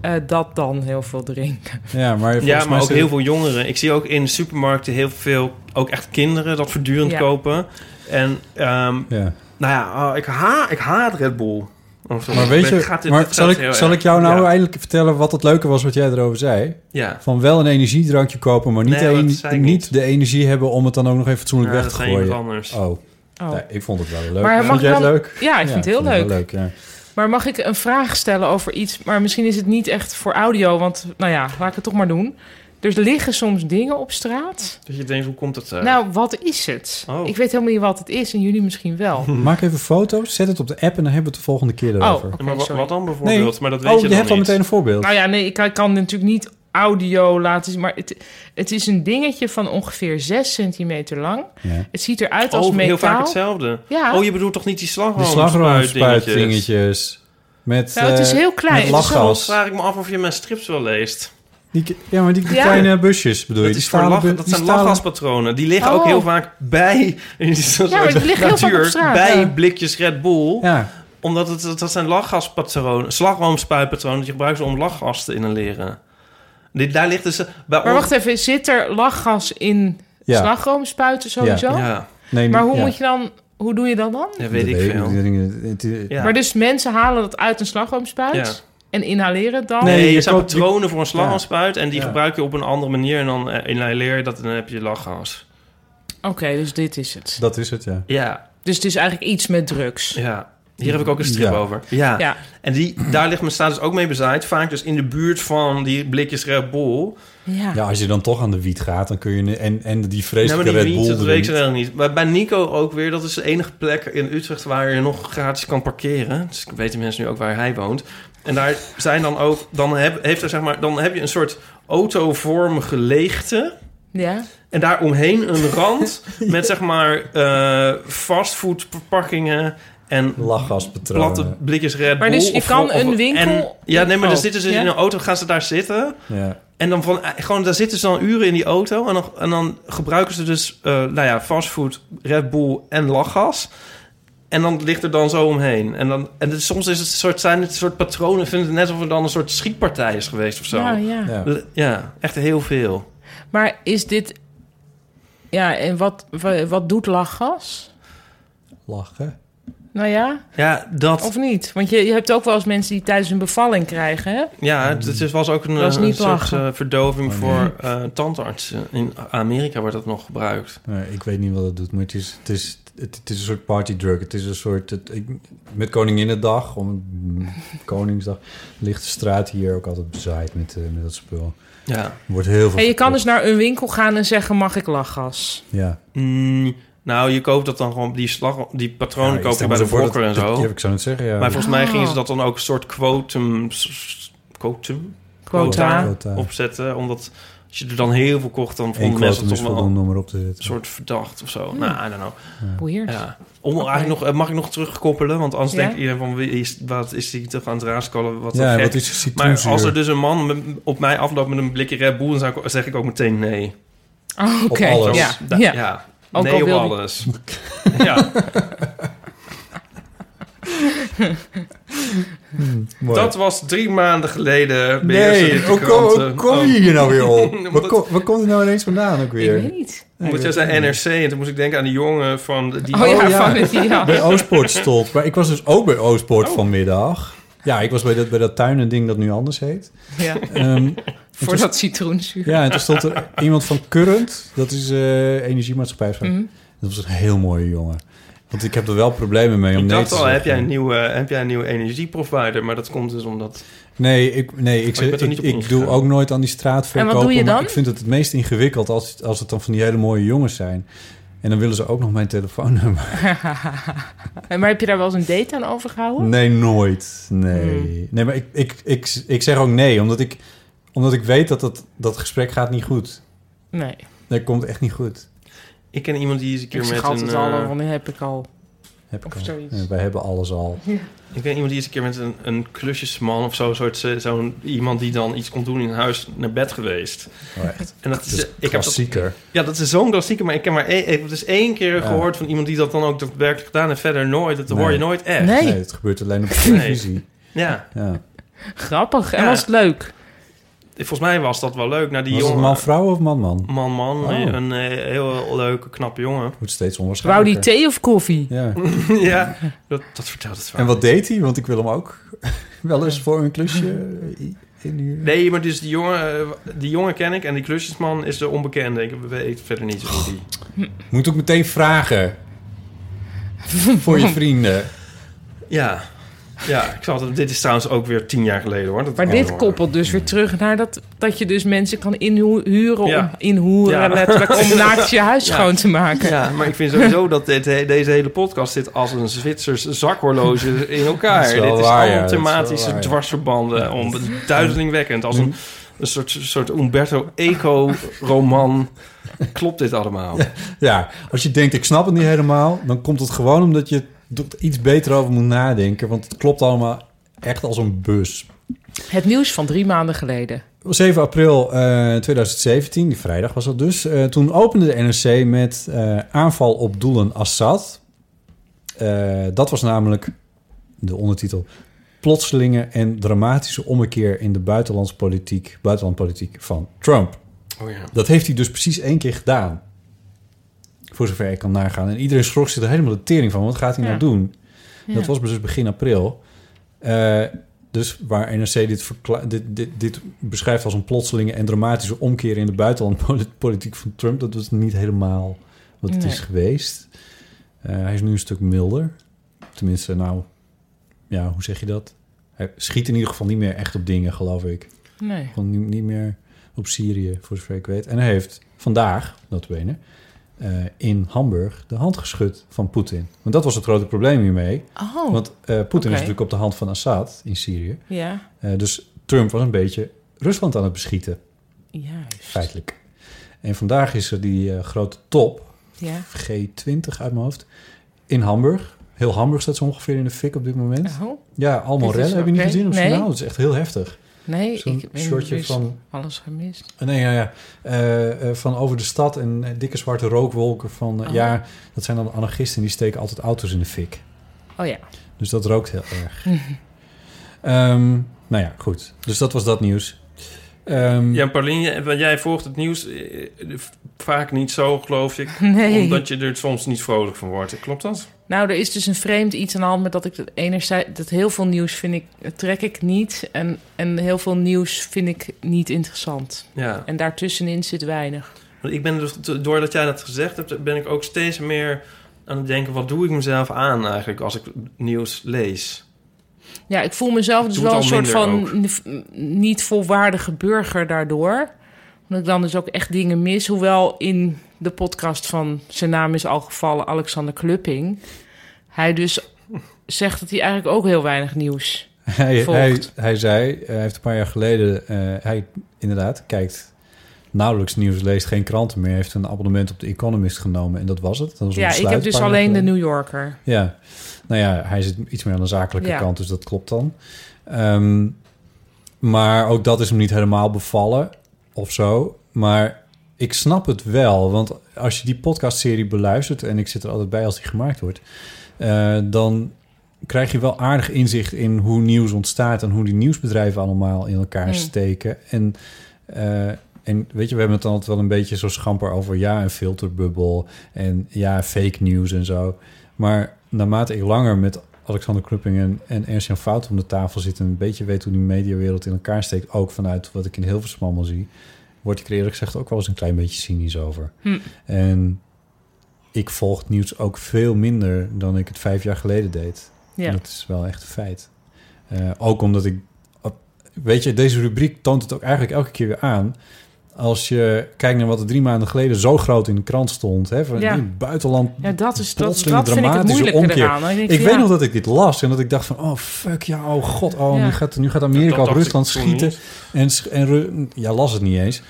S3: eh, dat dan heel veel drinken.
S2: ja, maar volgens
S1: Ja,
S2: mij
S1: maar ook
S2: zit-
S1: heel veel jongeren. Ik zie ook in supermarkten heel veel, ook echt kinderen, dat voortdurend
S3: Ja.
S1: kopen. En ehm,
S2: Ja.
S1: nou ja, oh, ik, ha ik haat Red Bull. Of zo.
S2: Maar weet
S1: Ik ben-
S2: je,
S1: gaat dit-
S2: maar
S1: dit
S2: zal,
S1: gaat heel
S2: ik, zal
S1: erg.
S2: ik jou nou
S1: Ja.
S2: eindelijk vertellen wat het leuke was wat jij erover zei?
S1: Ja.
S2: Van wel een energiedrankje kopen, maar niet,
S1: Nee, dat
S2: een-
S1: zei ik
S2: niet
S1: niet.
S2: de energie hebben om het dan ook nog even fatsoenlijk
S1: Ja,
S2: weg
S1: dat
S2: te
S1: zei iemand
S2: gooien.
S1: anders.
S2: Oh,
S3: Oh.
S2: Nee, ik vond het wel leuk.
S3: Maar mag
S2: vond jij
S3: dan-
S2: het leuk?
S3: Ja, ik vind het heel
S2: wel
S3: leuk.
S2: ja.
S3: Maar mag ik een vraag stellen over iets? Maar misschien is het niet echt voor audio, want nou ja, laat ik het toch maar doen. Er liggen soms dingen op straat.
S1: Dat je denkt, hoe komt dat? eh?
S3: Nou, wat is het?
S1: Oh.
S3: Ik weet helemaal niet wat het is en jullie misschien wel.
S2: Maak even foto's, zet het op de app en dan hebben we het de volgende
S3: Oh,
S2: keer erover.
S3: oké,
S1: maar wa-
S3: sorry.
S1: wat dan bijvoorbeeld? Maar dat weet
S2: oh,
S1: je,
S2: je,
S1: dan
S2: hebt al
S1: niet.
S2: meteen een voorbeeld.
S3: Nou ja, nee, ik kan, kan natuurlijk niet audio laten zien, maar het, het is een dingetje van ongeveer 6 centimeter lang.
S2: Ja.
S3: Het ziet eruit als
S1: oh,
S3: metaal.
S1: heel vaak hetzelfde.
S3: Ja.
S1: Oh, je bedoelt toch niet die
S2: De
S1: slagroomspuitdingetjes?
S2: slagroomspuitdingetjes. Met,
S3: Nou, het is
S2: eh,
S3: heel klein.
S2: Met
S3: Het is wel
S2: lachgas.
S1: Vraag ik me af of je mijn strips wel leest.
S2: Die, ja, maar die
S3: Ja.
S2: kleine busjes bedoel je.
S1: Dat,
S2: die
S1: is voor
S2: stalen
S1: lach-
S2: bu-
S1: dat
S2: die
S1: zijn
S2: stalen-
S1: lachgaspatronen. Die liggen ook
S3: Oh.
S1: heel vaak bij... In zo'n
S3: maar
S1: soort
S3: die liggen heel vaak op straat,
S1: Bij
S3: ja.
S1: blikjes Red Bull.
S2: Ja,
S1: Omdat het, dat- dat zijn lachgaspatronen. Slagroomspuitpatronen. Die gebruiken ze om lachgas te inhaleren. Dit, daar ligt dus... eh, Bij
S3: Maar
S1: ons-
S3: wacht even, zit er lachgas in
S2: Ja.
S3: slagroomspuiten sowieso?
S1: Ja,
S2: nee,
S3: Maar hoe
S2: ja.
S3: moet je dan, hoe doe je dat dan?
S1: dat weet
S2: Dat
S1: ik veel.
S2: die dingen- eh, het-
S1: Ja.
S3: Maar dus mensen halen dat uit een slagroomspuit
S1: Ja.
S3: en inhaleren het dan?
S1: Nee,
S2: Nee, je
S1: je zijn
S2: koopt-
S1: patronen voor een slagroomspuit... en die
S2: Ja.
S1: gebruik je op een andere manier... en dan eh, inhaleer je dat en dan heb je lachgas.
S3: Oké, dus dit is het.
S2: Dat is het, ja.
S1: Ja,
S3: Dus het is eigenlijk iets met drugs.
S1: ja. Hier heb ik ook een strip
S2: Ja.
S1: over. Ja.
S3: Ja,
S1: En die, daar ligt mijn status ook mee bezaaid. Vaak dus in de buurt van die blikjes Red Bull.
S3: ja.
S2: Ja, als je dan toch aan de wiet gaat, dan kun je... En, en die
S1: Nee, maar
S2: vreselijke
S1: die
S2: Red
S1: wiet,
S2: Bull
S1: dat weet ik
S2: drinken.
S1: wel niet. Maar bij Nico ook weer. Dat is de enige plek in Utrecht waar je nog gratis kan parkeren. Dus ik weet de mensen nu ook waar hij woont. En daar zijn dan ook... Dan heb, heeft er, zeg maar, dan heb je een soort autovormige leegte...
S3: ja.
S1: En daaromheen een rand met zeg maar eh fastfoodverpakkingen en
S2: Lachgaspatronen.
S1: platte blikjes Red Bull.
S3: Maar dus je
S1: of-
S3: kan
S1: of-
S3: een winkel-
S1: en- ja, nee, maar
S3: Oh,
S1: dan zitten ze
S3: ja.
S1: in een auto, gaan ze daar zitten.
S2: Ja.
S1: En dan van, eh, gewoon, daar zitten ze dan uren in die auto. En dan, en dan gebruiken ze dus, eh nou ja, fastfood, Red Bull en lachgas. En dan ligt er dan zo omheen. En, dan, en het- soms is het een soort, zijn het een soort patronen. Ik vind het net alsof er dan een soort schietpartij is geweest of zo.
S3: Nou,
S1: Ja,
S3: ja.
S2: Ja.
S1: echt heel veel.
S3: Maar is dit... Ja, en wat, wa- wat doet lachgas?
S2: Lachen.
S4: Nou ja.
S1: Ja, dat...
S4: Of niet? Want je, je hebt ook wel eens mensen die tijdens een bevalling krijgen, hè?
S1: Ja, het, het was ook een,
S4: Dat is
S1: eh,
S4: niet
S1: een soort
S4: lachen.
S1: eh, verdoving
S2: Oh,
S1: voor eh tandartsen. In Amerika wordt dat nog gebruikt.
S2: Nee, ik weet niet wat het doet, maar het is, het is, het, het is een soort partydrug. Het is een soort... Het, ik, met Koninginnedag, om, Koningsdag, ligt de straat hier ook altijd bezaaid met, eh, met dat spul.
S1: Ja.
S2: Er wordt heel veel...
S4: En je kan dus naar een winkel gaan en zeggen, mag ik lachgas?
S2: Ja.
S1: Mm, nou, je koopt dat dan gewoon die slag, die patronen
S2: Ja, ik
S1: koop je
S2: stel
S1: bij
S2: me
S1: de
S2: zo voor
S1: Fokker en
S2: dat-
S1: zo.
S2: dat- ja, ik zou het zeggen, ja.
S1: Maar volgens mij
S2: Ah.
S4: Oh.
S1: gingen ze dat dan ook een soort quotum, s- s- quotum,
S2: Quota. Quota.
S1: opzetten, omdat als je er dan heel veel kocht, dan vonden
S2: Eén
S1: mensen
S2: quotum
S1: het
S2: is
S1: toch wel
S2: voldoende om erop te
S1: een
S2: zetten.
S1: soort verdacht of zo.
S4: Hmm.
S1: Nou, I don't know.
S4: Weird.
S1: Ja. Om, eigenlijk nog, eh, mag ik nog terugkoppelen? Want anders
S4: Ja.
S1: denkt iedereen van... wie is- Wat is die toch aan het raaskallen? Wat,
S2: Ja,
S1: een gek.
S2: wat is die
S1: Maar
S2: citroenzuur?
S1: als er dus een man met- op mij afloopt met een blikje Red Bull... dan zou ik, zeg ik ook meteen nee.
S4: Oh,
S1: Op
S4: oké.
S1: alles.
S4: Ja.
S1: Da-
S4: Ja.
S1: ja.
S4: Ook al
S1: nee op
S4: wil die-
S1: alles. ja.
S2: mooi.
S1: dus- Dat was drie maanden geleden. bij
S2: Nee,
S1: Eerste
S2: hoe kom, hoe
S1: Kranten.
S2: kom je
S1: Oh.
S2: hier nou weer op? Waar
S1: Omdat-
S2: kom- Waar komt het nou ineens vandaan ook weer? Nee,
S1: Omdat
S2: ik
S1: jij
S2: weet
S1: zei
S2: het niet.
S1: NRC en toen moest ik denken aan die jongen van... de- Die
S4: Oh ja, van het- ja.
S2: Bij Oostpoort stond. Maar ik was dus ook bij Oostpoort
S1: Oh.
S2: vanmiddag. Ja, ik was bij dat, bij dat tuinending dat nu anders heet.
S4: Ja.
S2: Ehm, en
S4: Voor
S2: toen-
S4: dat citroenzuur.
S2: Ja, en toen stond er iemand van Current. Dat is eh energiemaatschappij. of zo.
S4: Mhm.
S2: Dat was een heel mooie jongen. Want ik heb er wel problemen mee om
S1: Ik
S2: nee
S1: dacht
S2: te
S1: al,
S2: zeggen.
S1: heb jij, een nieuwe, heb jij een nieuwe energieprovider? Maar dat komt dus omdat...
S2: Nee, ik, nee, ik,
S1: Maar Oh, je bent
S2: zeg,
S1: er
S2: ik,
S1: niet op
S2: ik doe
S1: ingegaan.
S2: ook nooit aan die straatverkopen.
S4: En wat doe je
S2: maar
S4: dan?
S2: Ik vind het het meest ingewikkeld als, als het dan van die hele mooie jongens zijn. En dan willen ze ook nog mijn telefoonnummer.
S4: maar heb je daar wel eens een date aan overgehouden?
S1: Mm.
S2: Nee, nooit. Nee.
S4: Hmm.
S2: Nee, maar ik, ik, ik, ik zeg ook nee, omdat ik, omdat ik weet dat dat, dat gesprek gaat niet goed.
S4: Nee.
S2: Dat komt echt niet goed.
S1: Ik ken iemand die is een keer
S4: Ik
S1: met
S4: zeg
S1: een...
S4: altijd al,
S1: eh,
S4: want nu heb ik al.
S2: Heb ik
S4: of zoiets.
S2: Ja, wij hebben alles al.
S1: Ik ken iemand die is een keer met een, een klusjesman of zo, soort, eh, zo'n iemand die dan iets kon doen in huis naar bed geweest.
S2: Oh, echt?
S1: En dat
S2: Dat
S1: is,
S2: is
S1: eh, ik heb dat,
S2: klassieker.
S1: ja, dat is zo'n klassieker, maar ik heb maar één, ik heb dus één keer
S2: Ja.
S1: gehoord van iemand die dat dan ook daadwerkelijk gedaan heeft. Verder nooit, dat hoor je nooit echt.
S2: Nee. het gebeurt alleen op de
S1: Nee.
S2: televisie.
S1: Ja.
S2: Ja.
S4: Grappig. En
S1: Ja.
S4: was het leuk?
S1: Volgens mij was dat wel leuk. Naar die
S2: Was het
S1: jongen,
S2: man-vrouw of man-man? Hoe
S1: man, man,
S2: Oh.
S1: een eh, heel leuke, knappe jongen.
S2: het steeds
S4: Wou
S2: onwaarschijnlijker.
S4: die thee of koffie?
S2: Ja.
S1: ja, dat, dat vertelt het verhaal.
S2: En wat deed hij? Want ik wil hem ook wel eens voor een klusje eh, inhuren.
S1: Nee, maar dus die jongen, eh, die jongen ken ik en die klusjesman is de onbekende. Ik weet verder niet zo goed die.
S2: Moet ook meteen vragen. voor je vrienden.
S1: Ja. Ja, ik zal het, dit is trouwens ook weer tien jaar geleden hoor. Dat
S4: Maar
S1: ik
S4: dit
S1: hoor.
S4: koppelt dus weer terug naar dat, dat je dus mensen kan inhuren,
S1: Ja.
S4: om, inhoeren
S1: Ja.
S4: letterlijk, om naakt je huis
S1: Ja.
S4: schoon te maken.
S1: Ja, maar ik vind sowieso dat dit, he- deze hele podcast zit als een Zwitsers zakhorloge in elkaar.
S2: Dat is wel
S1: dit is
S2: waar,
S1: allemaal
S2: ja, dat is wel
S1: thematische
S2: waar, ja. Mhm.
S1: dwarsverbanden. om, duizelingwekkend. Als een, een soort, soort Umberto Eco-roman klopt dit allemaal.
S2: Ja, als je denkt, ik snap het niet helemaal... dan komt het gewoon omdat je er iets beter over moet nadenken. Want het klopt allemaal echt als een bus.
S4: Het nieuws van drie maanden geleden.
S2: Op 7 april eh, 2017, die vrijdag was dat dus... eh, toen opende de NRC met eh, aanval op doelen Assad. Eh, dat was namelijk de ondertitel... plotselinge en dramatische ommekeer in de buitenlandspolitiek, buitenlandpolitiek van Trump.
S1: Oh ja.
S2: Dat heeft hij dus precies één keer gedaan. Voor zover ik kan nagaan. En iedereen schrok zich er helemaal de tering van. Wat gaat hij
S4: Ja.
S2: nou doen?
S4: Ja.
S2: Dat was dus begin april. Eh, dus waar NRC dit, verkla- dit, dit, dit beschrijft als een plotselinge en dramatische omkeer in de buitenlandpolitiek van Trump, dat was niet helemaal wat het
S4: Nee.
S2: is geweest. Eh, hij is nu een stuk milder. Tenminste, nou, ja, hoe zeg je dat? Hij schiet in ieder geval niet meer echt op dingen, geloof ik.
S4: Nee.
S2: Gewoon niet, niet meer op Syrië, voor zover ik weet. En hij heeft vandaag, notabene, eh in Hamburg de hand geschud van Poetin. Want dat was het grote probleem hiermee.
S4: Oh.
S2: Want eh, Poetin
S4: Oké.
S2: is natuurlijk op de hand van Assad in Syrië.
S4: Ja.
S2: Eh, dus Trump was een beetje Rusland aan het beschieten,
S4: Juist.
S2: feitelijk. En vandaag is er die eh, grote top,
S4: Ja.
S2: G20 uit mijn hoofd, in Hamburg. Heel Hamburg staat zo ongeveer in de fik op dit moment.
S4: Oh.
S2: Ja, allemaal
S4: Dit is
S2: rellen. Heb je niet
S4: oké.
S2: gezien op
S4: Nee.
S2: journaal? Dat is echt heel heftig.
S4: Nee,
S2: Zo'n
S4: ik ben
S2: shortje
S4: dus
S2: van-
S4: alles gemist.
S2: Nee, ja, ja. Eh, eh, van over de stad en eh, dikke zwarte rookwolken van... eh,
S4: Oh.
S2: Ja, dat zijn dan anarchisten die steken altijd auto's in de fik.
S4: Oh ja.
S2: Dus dat rookt heel erg. Ehm, nou ja, goed. Dus dat was dat nieuws. Ehm,
S1: Ja, Paulien, jij- want jij volgt het nieuws eh, eh, vaak niet zo, geloof ik.
S4: Nee.
S1: Omdat je er soms niet vrolijk van wordt. Klopt dat?
S3: Nou, er is dus een vreemd iets aan de hand met dat ik dat enerzijds dat heel veel nieuws vind ik eh, trek ik niet en en heel veel nieuws vind ik niet interessant.
S1: Ja.
S3: En daartussenin zit weinig.
S1: Want ik ben dus, doordat jij dat gezegd hebt, ben ik ook steeds meer aan het denken: wat doe ik mezelf aan eigenlijk als ik nieuws lees?
S3: Ja, ik voel mezelf dus
S1: Doe
S3: wel
S1: het
S3: een
S1: al
S3: soort van
S1: minder
S3: n- niet volwaardige burger daardoor. Omdat ik dan dus ook echt dingen mis. Hoewel in de podcast van zijn naam is al gevallen, Alexander Klupping. Hij dus zegt dat hij eigenlijk ook heel weinig nieuws
S2: Hij,
S3: volgt.
S2: hij, hij zei, eh, hij heeft een paar jaar geleden, eh, hij inderdaad kijkt nauwelijks nieuws, leest geen kranten meer, heeft een abonnement op de Economist genomen en dat was het. Dat was een
S3: ja, ik
S2: besluit
S3: heb
S2: een
S3: dus
S2: paar jaar
S3: alleen de
S2: geleden.
S3: New Yorker.
S2: Ja, nou ja, hij zit iets meer aan de zakelijke
S3: Ja.
S2: kant, dus dat klopt dan. Ehm, maar ook dat is hem niet helemaal bevallen of zo. Maar ik snap het wel, want als je die podcastserie beluistert... en ik zit er altijd bij als die gemaakt wordt... eh, dan krijg je wel aardig inzicht in hoe nieuws ontstaat... en hoe die nieuwsbedrijven allemaal in elkaar
S3: Mm.
S2: steken. En, eh, en weet je, we hebben het dan altijd wel een beetje zo schamper over... ja, een filterbubbel en ja, fake nieuws en zo. Maar naarmate ik langer met Alexander Klupping en, en Ernst-Jan Fout om de tafel zit... en een beetje weet hoe die mediawereld in elkaar steekt... ook vanuit wat ik in Hilversum allemaal zie... word ik er eerlijk gezegd ook wel eens een klein beetje cynisch over.
S3: Hm.
S2: En ik volg het nieuws ook veel minder dan ik het vijf jaar geleden deed.
S3: Ja.
S2: En dat is wel echt een feit. Eh, ook omdat ik... op- Weet je, deze rubriek toont het ook eigenlijk elke keer weer aan... Als je kijkt naar wat er drie maanden geleden zo groot in de krant stond... Hè, van
S3: Ja.
S2: in het buitenland
S3: Ja, dat is dat,
S2: plotseling
S3: dat vind ik het
S2: dramatische
S3: moeilijke
S2: omkeer.
S3: eraan. Dan denk
S2: ik
S3: ja,
S2: weet nog dat ik dit las en dat ik dacht van... oh, fuck ja, oh god, oh,
S3: Ja.
S2: nu, gaat, nu gaat Amerika
S1: Dat
S2: op
S1: dacht
S2: Rusland
S1: ik toen
S2: schieten. En, sch- en Ru- ja, las het niet eens.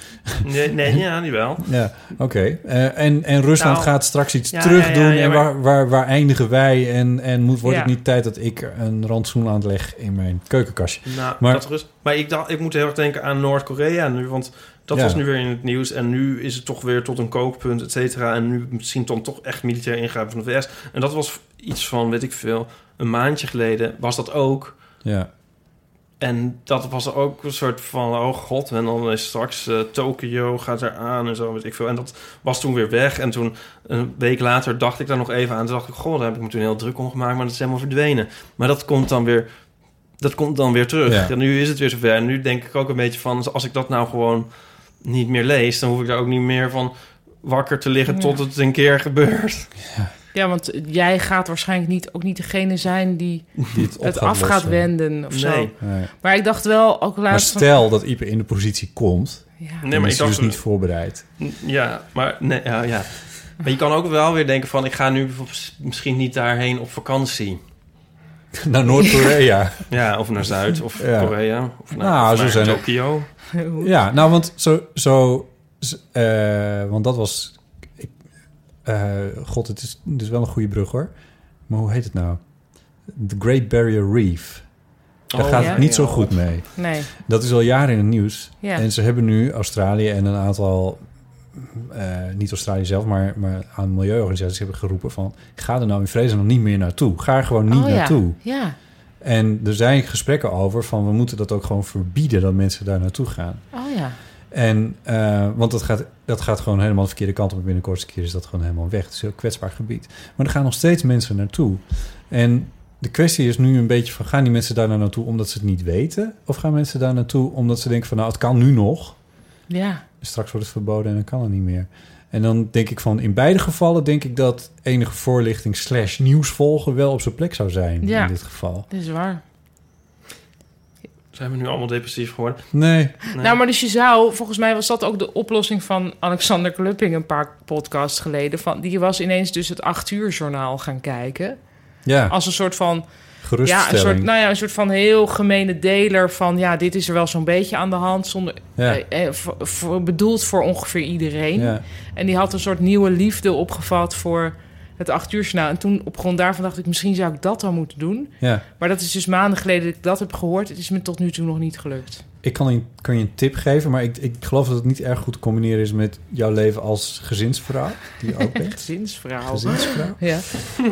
S1: Nee, nee ja, niet wel.
S2: Ja, oké. Eh, en, en Rusland
S1: Nou,
S2: gaat straks iets
S1: ja,
S2: terug
S1: ja,
S2: doen.
S1: ja, ja,
S2: en
S1: maar-
S2: waar, waar, waar eindigen wij? En, en moet, wordt
S1: Ja.
S2: het niet tijd dat ik een rantsoen aanleg in mijn keukenkastje?
S1: Nou,
S2: maar,
S1: dat rust. Maar ik, dacht, ik moet heel erg denken aan Noord-Korea nu. Want dat
S2: Ja.
S1: was nu weer in het nieuws. En nu is het toch weer tot een kookpunt, et cetera. En nu misschien dan toch echt militair ingrijpen van de VS. En dat was iets van, weet ik veel, een maandje geleden was dat ook.
S2: ja.
S1: En dat was ook een soort van, oh god, en dan is straks eh, Tokio gaat eraan en zo, weet ik veel. En dat was toen weer weg. En toen, een week later, dacht ik daar nog even aan. Toen dacht ik, goh, daar heb ik me toen heel druk om gemaakt, maar dat is helemaal verdwenen. Maar dat komt dan weer, dat komt dan weer terug.
S2: Ja.
S1: En nu is het weer zover. En nu denk ik ook een beetje van, als ik dat nou gewoon niet meer lees... dan hoef ik daar ook niet meer van wakker te liggen
S3: Ja.
S1: tot het een keer gebeurt.
S3: Ja, want jij gaat waarschijnlijk niet, ook niet degene zijn die,
S2: het op
S3: het
S2: gaat
S3: af gaat
S2: lossen.
S3: wenden of zo.
S2: Nee.
S1: Nou,
S2: Nee.
S3: Maar ik dacht wel, ook
S2: maar
S3: laatst... van-
S2: stel dat Ipe in de positie komt.
S3: Ja.
S1: Nee,
S2: Nee,
S1: maar
S2: maar
S1: ik
S2: is hij
S1: dacht-
S2: dus niet voorbereid.
S1: Ja, maar nee, ja, ja. Maar je kan ook wel weer denken van... ik ga nu bijvoorbeeld misschien niet daarheen op vakantie.
S2: Naar Noord-Korea.
S1: Ja, of naar Zuid, of
S2: Ja.
S1: Korea, of naar,
S2: Nou,
S1: of
S2: zo
S1: naar
S2: zijn er-
S1: Tokio.
S2: Ja, nou, want zo... zo z- eh, want dat was... Ik, eh, God, het is, het is wel een goede brug, hoor. Maar hoe heet het nou? The Great Barrier Reef. Daar
S3: Oh,
S2: gaat
S3: ja.
S2: het niet zo goed mee.
S3: Nee.
S2: Dat is al jaren in het nieuws.
S3: Ja.
S2: En ze hebben nu Australië en een aantal... eh, niet Australië zelf, maar, maar aan milieuorganisaties hebben geroepen van... ga er nou in vredesnaam niet meer naartoe. Ga er gewoon niet
S3: Oh, ja.
S2: naartoe.
S3: Ja.
S2: En er zijn gesprekken over van... we moeten dat ook gewoon verbieden dat mensen daar naartoe gaan.
S3: Oh ja.
S2: En, eh, want dat gaat, dat gaat gewoon helemaal de verkeerde kant op. Binnen de kortste keer is dat gewoon helemaal weg. Het is een heel kwetsbaar gebied. Maar er gaan nog steeds mensen naartoe. En de kwestie is nu een beetje van... gaan die mensen daar nou naartoe omdat ze het niet weten? Of gaan mensen daar naartoe omdat ze denken van... nou, het kan nu nog.
S3: Ja.
S2: Straks wordt het verboden en dan kan het niet meer. En dan denk ik van... in beide gevallen denk ik dat enige voorlichting... slash nieuws volgen wel op zijn plek zou zijn
S3: Ja.
S2: in dit geval.
S3: Dat is waar.
S1: Zijn we nu allemaal depressief geworden?
S2: Nee.
S3: Nou, maar dus je zou, volgens mij was dat ook de oplossing van Alexander Klupping een paar podcasts geleden. Van, die was ineens dus het acht uur journaal gaan kijken.
S2: Ja.
S3: Als een soort van. Ja, een
S2: Geruststelling.
S3: soort, nou ja, een soort van heel gemene deler van ja, dit is er wel zo'n beetje aan de hand. Zonder,
S2: Ja.
S3: eh, eh, voor- voor- bedoeld voor ongeveer iedereen.
S2: Ja.
S3: En die had een soort nieuwe liefde opgevat voor het acht uur journaal. En toen op grond daarvan dacht ik, misschien zou ik dat dan moeten doen.
S2: Ja.
S3: Maar dat is dus maanden geleden dat ik dat heb gehoord. Het is me tot nu toe nog niet gelukt.
S2: Ik kan, een, kan je een tip geven, maar ik, ik geloof dat het niet erg goed te combineren is met jouw leven als gezinsvrouw. Die je ook bent.
S3: Gezinsvrouw.
S2: Gezinsvrouw.
S3: Ja.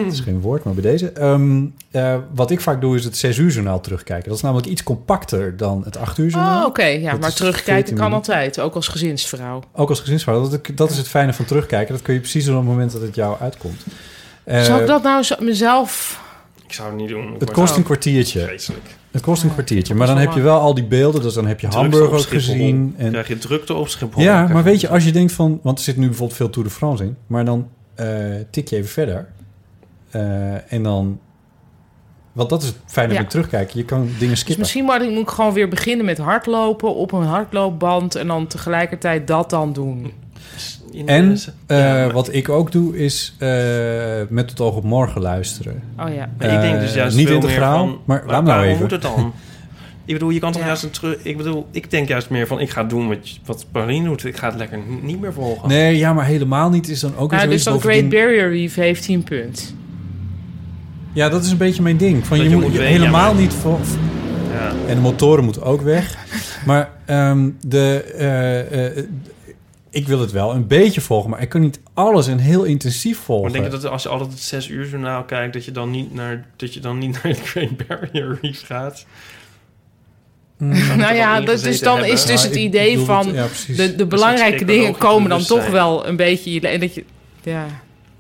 S2: Dat is geen woord, maar bij deze. Ehm, eh, wat ik vaak doe is het 6 uur journaal terugkijken. Dat is namelijk iets compacter dan het 8 uur journaal.
S3: Oh, oké. Ja,
S2: Dat
S3: maar
S2: is
S3: terugkijken
S2: 14
S3: kan
S2: minuten.
S3: altijd. Ook als gezinsvrouw.
S2: Ook als gezinsvrouw. Dat, dat is het fijne van terugkijken. Dat kun je precies op het moment dat het jou uitkomt. Eh,
S3: Zou ik dat nou zo- mezelf...
S1: Ik zou het niet doen.
S2: Het kost een kwartiertje. Het kost een kwartiertje. Maar dan
S1: wel
S2: heb je wel al die beelden. Dus dan heb je Hamburg ook gezien.
S1: En... Krijg je drukte op Schiphol.
S2: Ja, maar weet je, als je denkt van... Want er zit nu bijvoorbeeld veel Tour de France in. Maar dan eh, tik je even verder. Eh, en dan... Want dat is het fijne
S3: Ja.
S2: met terugkijken. Je kan dingen
S3: Dus
S2: skippen.
S3: misschien moet ik, moet ik gewoon weer beginnen met hardlopen op een hardloopband... en dan tegelijkertijd dat dan doen.
S2: En eh, wat ik ook doe is eh, met het oog op morgen luisteren.
S3: Oh ja.
S1: Maar ik denk dus
S2: Eh,
S1: juist
S2: niet
S1: veel
S2: integraal,
S1: meer van,
S2: maar laat me nou
S1: waarom
S2: even.
S1: moet het dan? ik bedoel, je kan toch juist een terug... Ik bedoel, ik denk juist meer van... Ik ga doen wat, je- wat Paulien doet. Ik ga het lekker n- niet meer volgen.
S2: Nee, ja, maar helemaal niet is dan ook weer
S3: Nou, dus
S2: zoiets
S3: dat
S2: bovendien-
S3: Great Barrier Reef heeft 10 punt.
S2: Ja, dat is een beetje mijn ding. Van,
S1: Dat
S2: je,
S1: je
S2: moet,
S1: moet
S2: je
S1: weten,
S2: helemaal
S1: ja, maar-
S2: niet... Voor,
S1: Ja.
S2: En de motoren moeten ook weg. maar ehm, de, eh, eh, ik wil het wel een beetje volgen, maar ik kan niet alles en heel intensief
S1: Maar
S2: volgen.
S1: denk je dat als je altijd het zes uur journaal kijkt... dat je dan niet naar, dat je dan niet naar de Great Barrier Reef gaat?
S3: Nou ja, dat, dus dan is dus
S2: Nou,
S3: het
S2: ik
S3: idee
S2: bedoel
S3: van...
S2: het- ja, precies.
S3: de,
S2: Dus
S3: de
S2: het
S3: belangrijke
S1: spreekt wel
S3: dingen
S1: over het
S3: komen dan toch
S1: bewustzijn.
S3: wel een beetje... in- En dat je... Ja.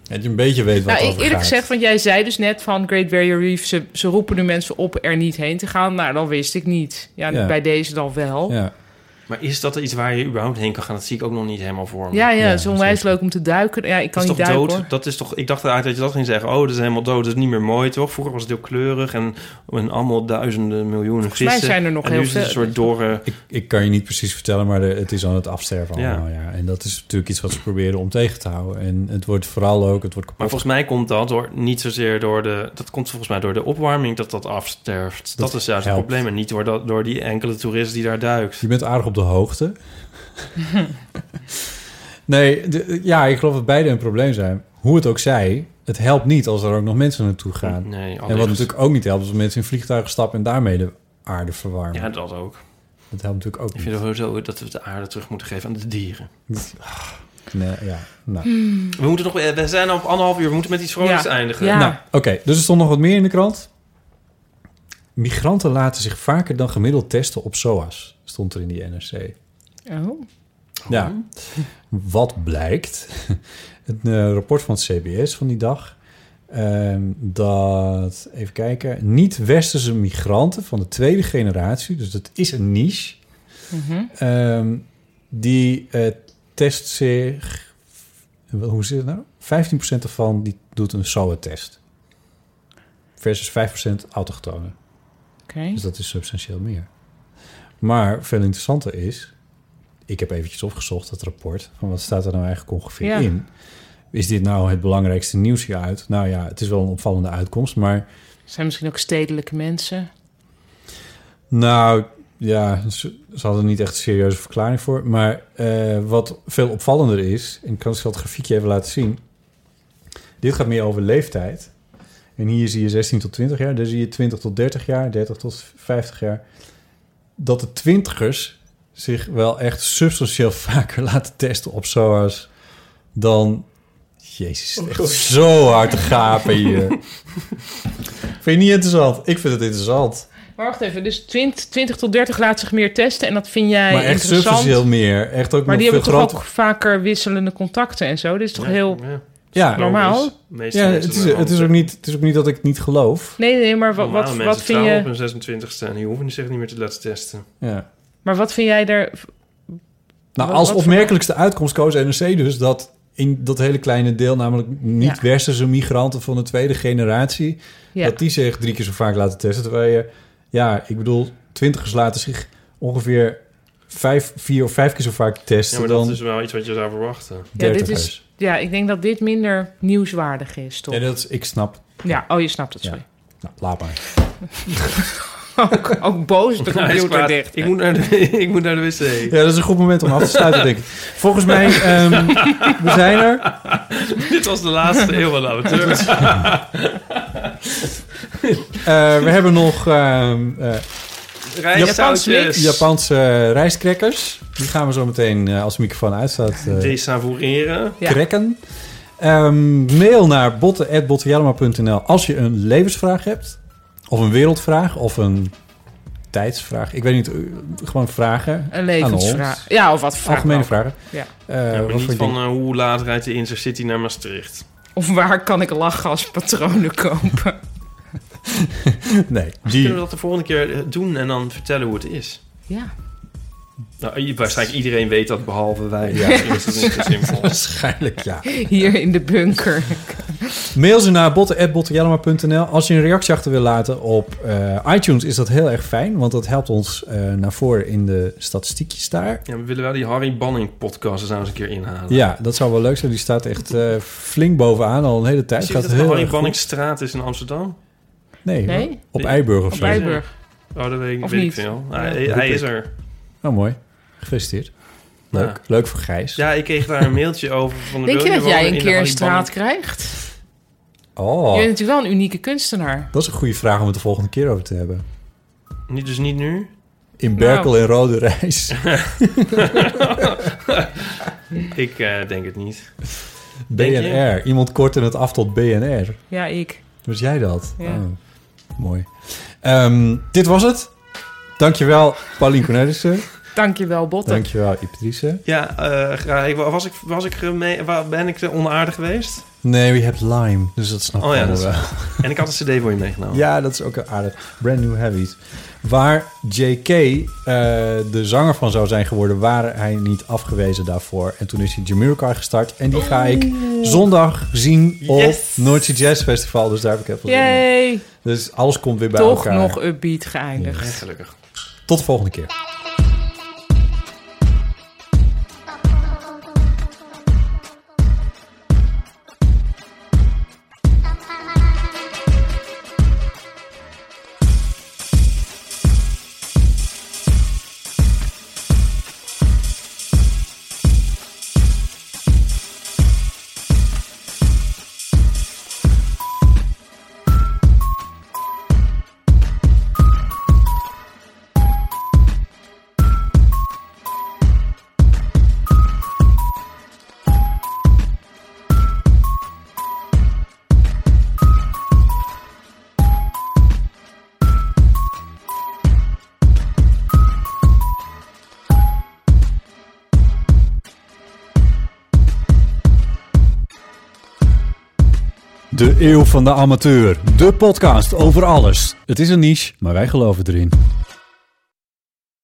S2: Dat je een beetje weet wat
S3: Nou,
S2: er
S3: ik-
S2: over
S3: eerlijk
S2: gaat.
S3: gezegd, want jij zei dus net van Great Barrier Reef... Ze, ze roepen nu mensen op er niet heen te gaan. Nou, dan wist ik niet. Ja,
S2: Ja.
S3: bij deze dan wel. Ja,
S2: Ja.
S1: Maar is dat iets waar je überhaupt heen kan gaan? Dat zie ik ook nog niet helemaal voor me.
S3: ja,
S2: Ja,
S3: het is onwijs leuk om te duiken. Ja, ik kan niet
S1: dat is toch
S3: duiken
S1: dood?
S3: hoor.
S1: Dat is toch, ik dacht eigenlijk dat je dat ging zeggen. Oh, dat is helemaal dood. Dat is niet meer mooi, toch? Vroeger was het heel kleurig en, en allemaal duizenden, miljoenen
S3: mij
S1: vissen.
S3: zijn er nog
S1: en
S3: heel
S1: nu is het een
S3: veel.
S1: soort dorre...
S2: Ik, ik kan je niet precies vertellen, maar de- het is aan het afsterven
S1: Ja.
S2: allemaal. Ja. En dat is natuurlijk iets wat ze proberen om tegen te houden. En het wordt vooral ook, het wordt kapot.
S1: Maar volgens mij komt dat door, niet zozeer door de... Dat komt volgens mij door de opwarming dat dat afsterft. Dat,
S2: Dat
S1: is juist het
S2: helpt.
S1: probleem. En niet door, dat, door die enkele toerist die daar duikt.
S2: Je bent aardig op de hoogte. nee, de- ja, ik geloof dat beide een probleem zijn. Hoe het ook zij, het helpt niet als er ook nog mensen naartoe gaan.
S1: Nee,
S2: en wat
S1: allicht.
S2: natuurlijk ook niet helpt, is als mensen in vliegtuigen stappen en daarmee de aarde verwarmen.
S1: Ja, dat ook.
S2: Dat helpt natuurlijk ook
S1: Ik
S2: niet.
S1: vind sowieso dat we de aarde terug moeten geven aan de dieren.
S2: Nee, ja, nou.
S1: We, moeten nog, eh, we zijn al op anderhalf uur. We moeten met iets vrolijks
S3: Ja.
S1: eindigen.
S3: Ja.
S2: Nou, oké, dus er stond nog wat meer in de krant. Migranten laten zich vaker dan gemiddeld testen op SOA's, stond er in die NRC.
S3: Oh.
S2: Ja. Wat blijkt? Het eh, rapport van het CBS van die dag. ehm, dat, even kijken, niet-westerse migranten van de tweede generatie, dus dat is een niche, ehm, die eh, test zich, wel, hoe zit het nou? 15% ervan die doet een SOA-test. Versus 5% autochtonen.
S3: Oké.
S2: Dus dat is substantieel meer. Maar veel interessanter is... Ik heb eventjes opgezocht dat rapport. Van wat staat er nou eigenlijk ongeveer
S3: Ja.
S2: in? Is dit nou het belangrijkste nieuws hieruit? Nou ja, het is wel een opvallende uitkomst. Maar
S3: Zijn misschien ook stedelijke mensen.
S2: nou ja, ze, ze hadden niet echt een serieuze verklaring voor. Maar eh, wat veel opvallender is... En ik kan zelf het grafiekje even laten zien. Dit gaat meer over leeftijd. En hier zie je 16 tot 20 jaar. Daar zie je 20 tot 30 jaar, 30 tot 50 jaar. Dat de twintigers zich wel echt substantieel vaker laten testen op SOA's dan... Jezus, echt zo hard te gapen hier. vind je niet interessant? Ik vind het interessant.
S3: Maar wacht even, dus 20, 20 tot 30 laat zich meer testen. En dat vind jij
S2: maar echt
S3: interessant.
S2: substantieel meer. Echt ook
S3: maar
S2: nog
S3: die
S2: veel
S3: hebben toch
S2: groter.
S3: ook vaker wisselende contacten en zo. Dit is toch
S1: Ja,
S3: heel...
S1: ja. dus
S2: Ja,
S3: Normaal.
S1: Meeste
S2: ja
S1: mensen
S2: het, is,
S1: zijn
S2: het, is ook niet, het is ook niet dat ik het niet geloof.
S3: Nee, nee, maar wat, wat,
S1: Normale mensen
S3: wat vind
S1: trouwen
S3: je...
S1: op hun 26e en die hoeven zich niet meer te laten testen.
S2: Ja.
S3: Maar wat vind jij er...
S2: Nou,
S3: Wat-
S2: als
S3: wat
S2: opmerkelijkste uitkomst koos NRC dus dat in dat hele kleine deel, namelijk niet-westerse migranten van de tweede generatie,
S3: Ja.
S2: dat die zich drie keer zo vaak laten testen. Terwijl je, ja, ik bedoel, twintigers laten zich ongeveer vijf, vier of vijf keer zo vaak
S1: Ja,
S2: testen
S1: maar dat
S2: dan
S1: is wel iets wat je zou verwachten.
S3: Ja, dit
S2: dertigers.
S3: is, ja, ik denk dat dit minder nieuwswaardig is, toch?
S2: Ja,
S3: Ja,
S2: dat is, ik snap.
S3: oh, je snapt het,
S2: Ja.
S3: sorry.
S2: Nou, laat maar.
S3: Ook, ook boos de
S1: Hij Nou, is
S3: computer
S1: kwaad.
S3: dicht.
S1: Ik moet, naar de, ik moet naar de wc.
S2: Ja, dat is een goed moment om af te sluiten, denk ik. Volgens mij, ehm, we zijn er.
S1: Dit was de laatste eeuw van de amateur.
S2: Eh, we hebben nog ehm eh,
S1: Rijstzoutjes.
S2: Japanse rijstkrekkers. Die gaan we zo meteen, eh, als de microfoon uitstaat, eh,
S1: Desavoureren.
S3: Ja.
S2: krekken. Ehm, mail naar botten.bottenjellema.nl als je een levensvraag hebt. Of een wereldvraag. Of een tijdsvraag. Ik weet niet. eh, Gewoon vragen.
S3: Een
S2: Aan ons.
S3: levensvraag. Ja, of wat Eh, vraag
S2: Algemene
S3: dan ook.
S2: vragen.
S3: Ja.
S2: Eh,
S1: Ja, maar
S2: wat
S1: niet
S2: voor
S1: van
S2: ding-
S1: eh, hoe laat rijdt de Intercity naar Maastricht.
S4: Of waar kan ik lachgaspatronen kopen?
S2: Nee.
S1: Kunnen we dat de volgende keer eh, doen en dan vertellen hoe het is?
S4: Ja.
S1: Nou, i- waarschijnlijk iedereen weet dat behalve wij.
S2: Ja.
S1: Ja, is het niet zo simpel.
S2: Waarschijnlijk ja.
S4: Hier in de bunker.
S2: Mail ze naar botten.bottenjellema.nl. Als je een reactie achter wil laten op eh, iTunes is dat heel erg fijn. Want dat helpt ons eh, naar voren in de statistiekjes daar.
S1: Ja, we willen wel die Harry Banning podcast eens eens een keer inhalen.
S2: Ja, dat zou wel leuk zijn. Die staat echt eh, flink bovenaan al een hele tijd.
S1: Zie je dat
S2: het
S1: de Harry
S2: erg goed.
S1: Banningstraat is in Amsterdam?
S2: Nee,
S4: Nee?
S2: hoor. op Eiburg of
S4: Op
S2: zo.
S4: Eiburg.
S1: Oh, dat weet ik,
S4: Of
S1: weet ik
S4: niet?
S1: veel.
S4: Ja.
S1: Hij,
S2: Roep
S1: hij
S2: ik.
S1: is er.
S2: Oh, mooi. Gefeliciteerd. Leuk.
S1: Ja.
S2: Leuk voor Gijs.
S1: Ja, ik kreeg daar een mailtje over. Van de
S4: Denk je
S1: wil
S4: dat jij
S1: wonen
S4: een
S1: in de
S4: keer een
S1: Harry
S4: straat
S1: Banning-
S4: krijgt? Je
S2: Oh,
S4: bent natuurlijk wel een unieke kunstenaar.
S2: dat is een goede vraag om het de volgende keer over te hebben.
S1: Niet, dus niet nu?
S2: In Berkel
S4: Nou.
S2: en Rode Reis.
S1: Ik eh, denk het niet. Denk je?
S2: BNR. Iemand kortte het af tot BNR.
S4: Ja, ik.
S2: Was jij dat?
S4: Ja.
S2: Oh, mooi. Ehm, dit was het. Dankjewel, Paulien Cornelissen.
S4: Dankjewel, Botte.
S2: Dankjewel, Ipatrice.
S1: Ja, eh, graag. Ik- Was ik, was ik, geme- wa- ben ik eh, onaardig geweest?
S2: Nee, je hebt Lime, dus dat snap ik
S1: Oh ja,
S2: allemaal
S1: dat
S2: wel.
S1: is- En ik had een cd voor je meegenomen.
S2: Ja, dat is ook een aardig. Brand New Habits. Waar J.K. eh, de zanger van zou zijn geworden, waren hij niet afgewezen daarvoor. En toen is hij Jamiroquai gestart. En die ga ik zondag zien op
S1: Yes.
S2: Noordzee Jazz Festival. Dus daar heb ik heel veel zin in.
S4: Yay!
S2: Dus alles komt weer bij
S4: Toch
S2: elkaar.
S4: nog upbeat geëindigd.
S1: Ja, gelukkig.
S2: Tot de volgende keer. De Eeuw van de Amateur. De podcast over alles. Het is een niche, maar wij geloven erin.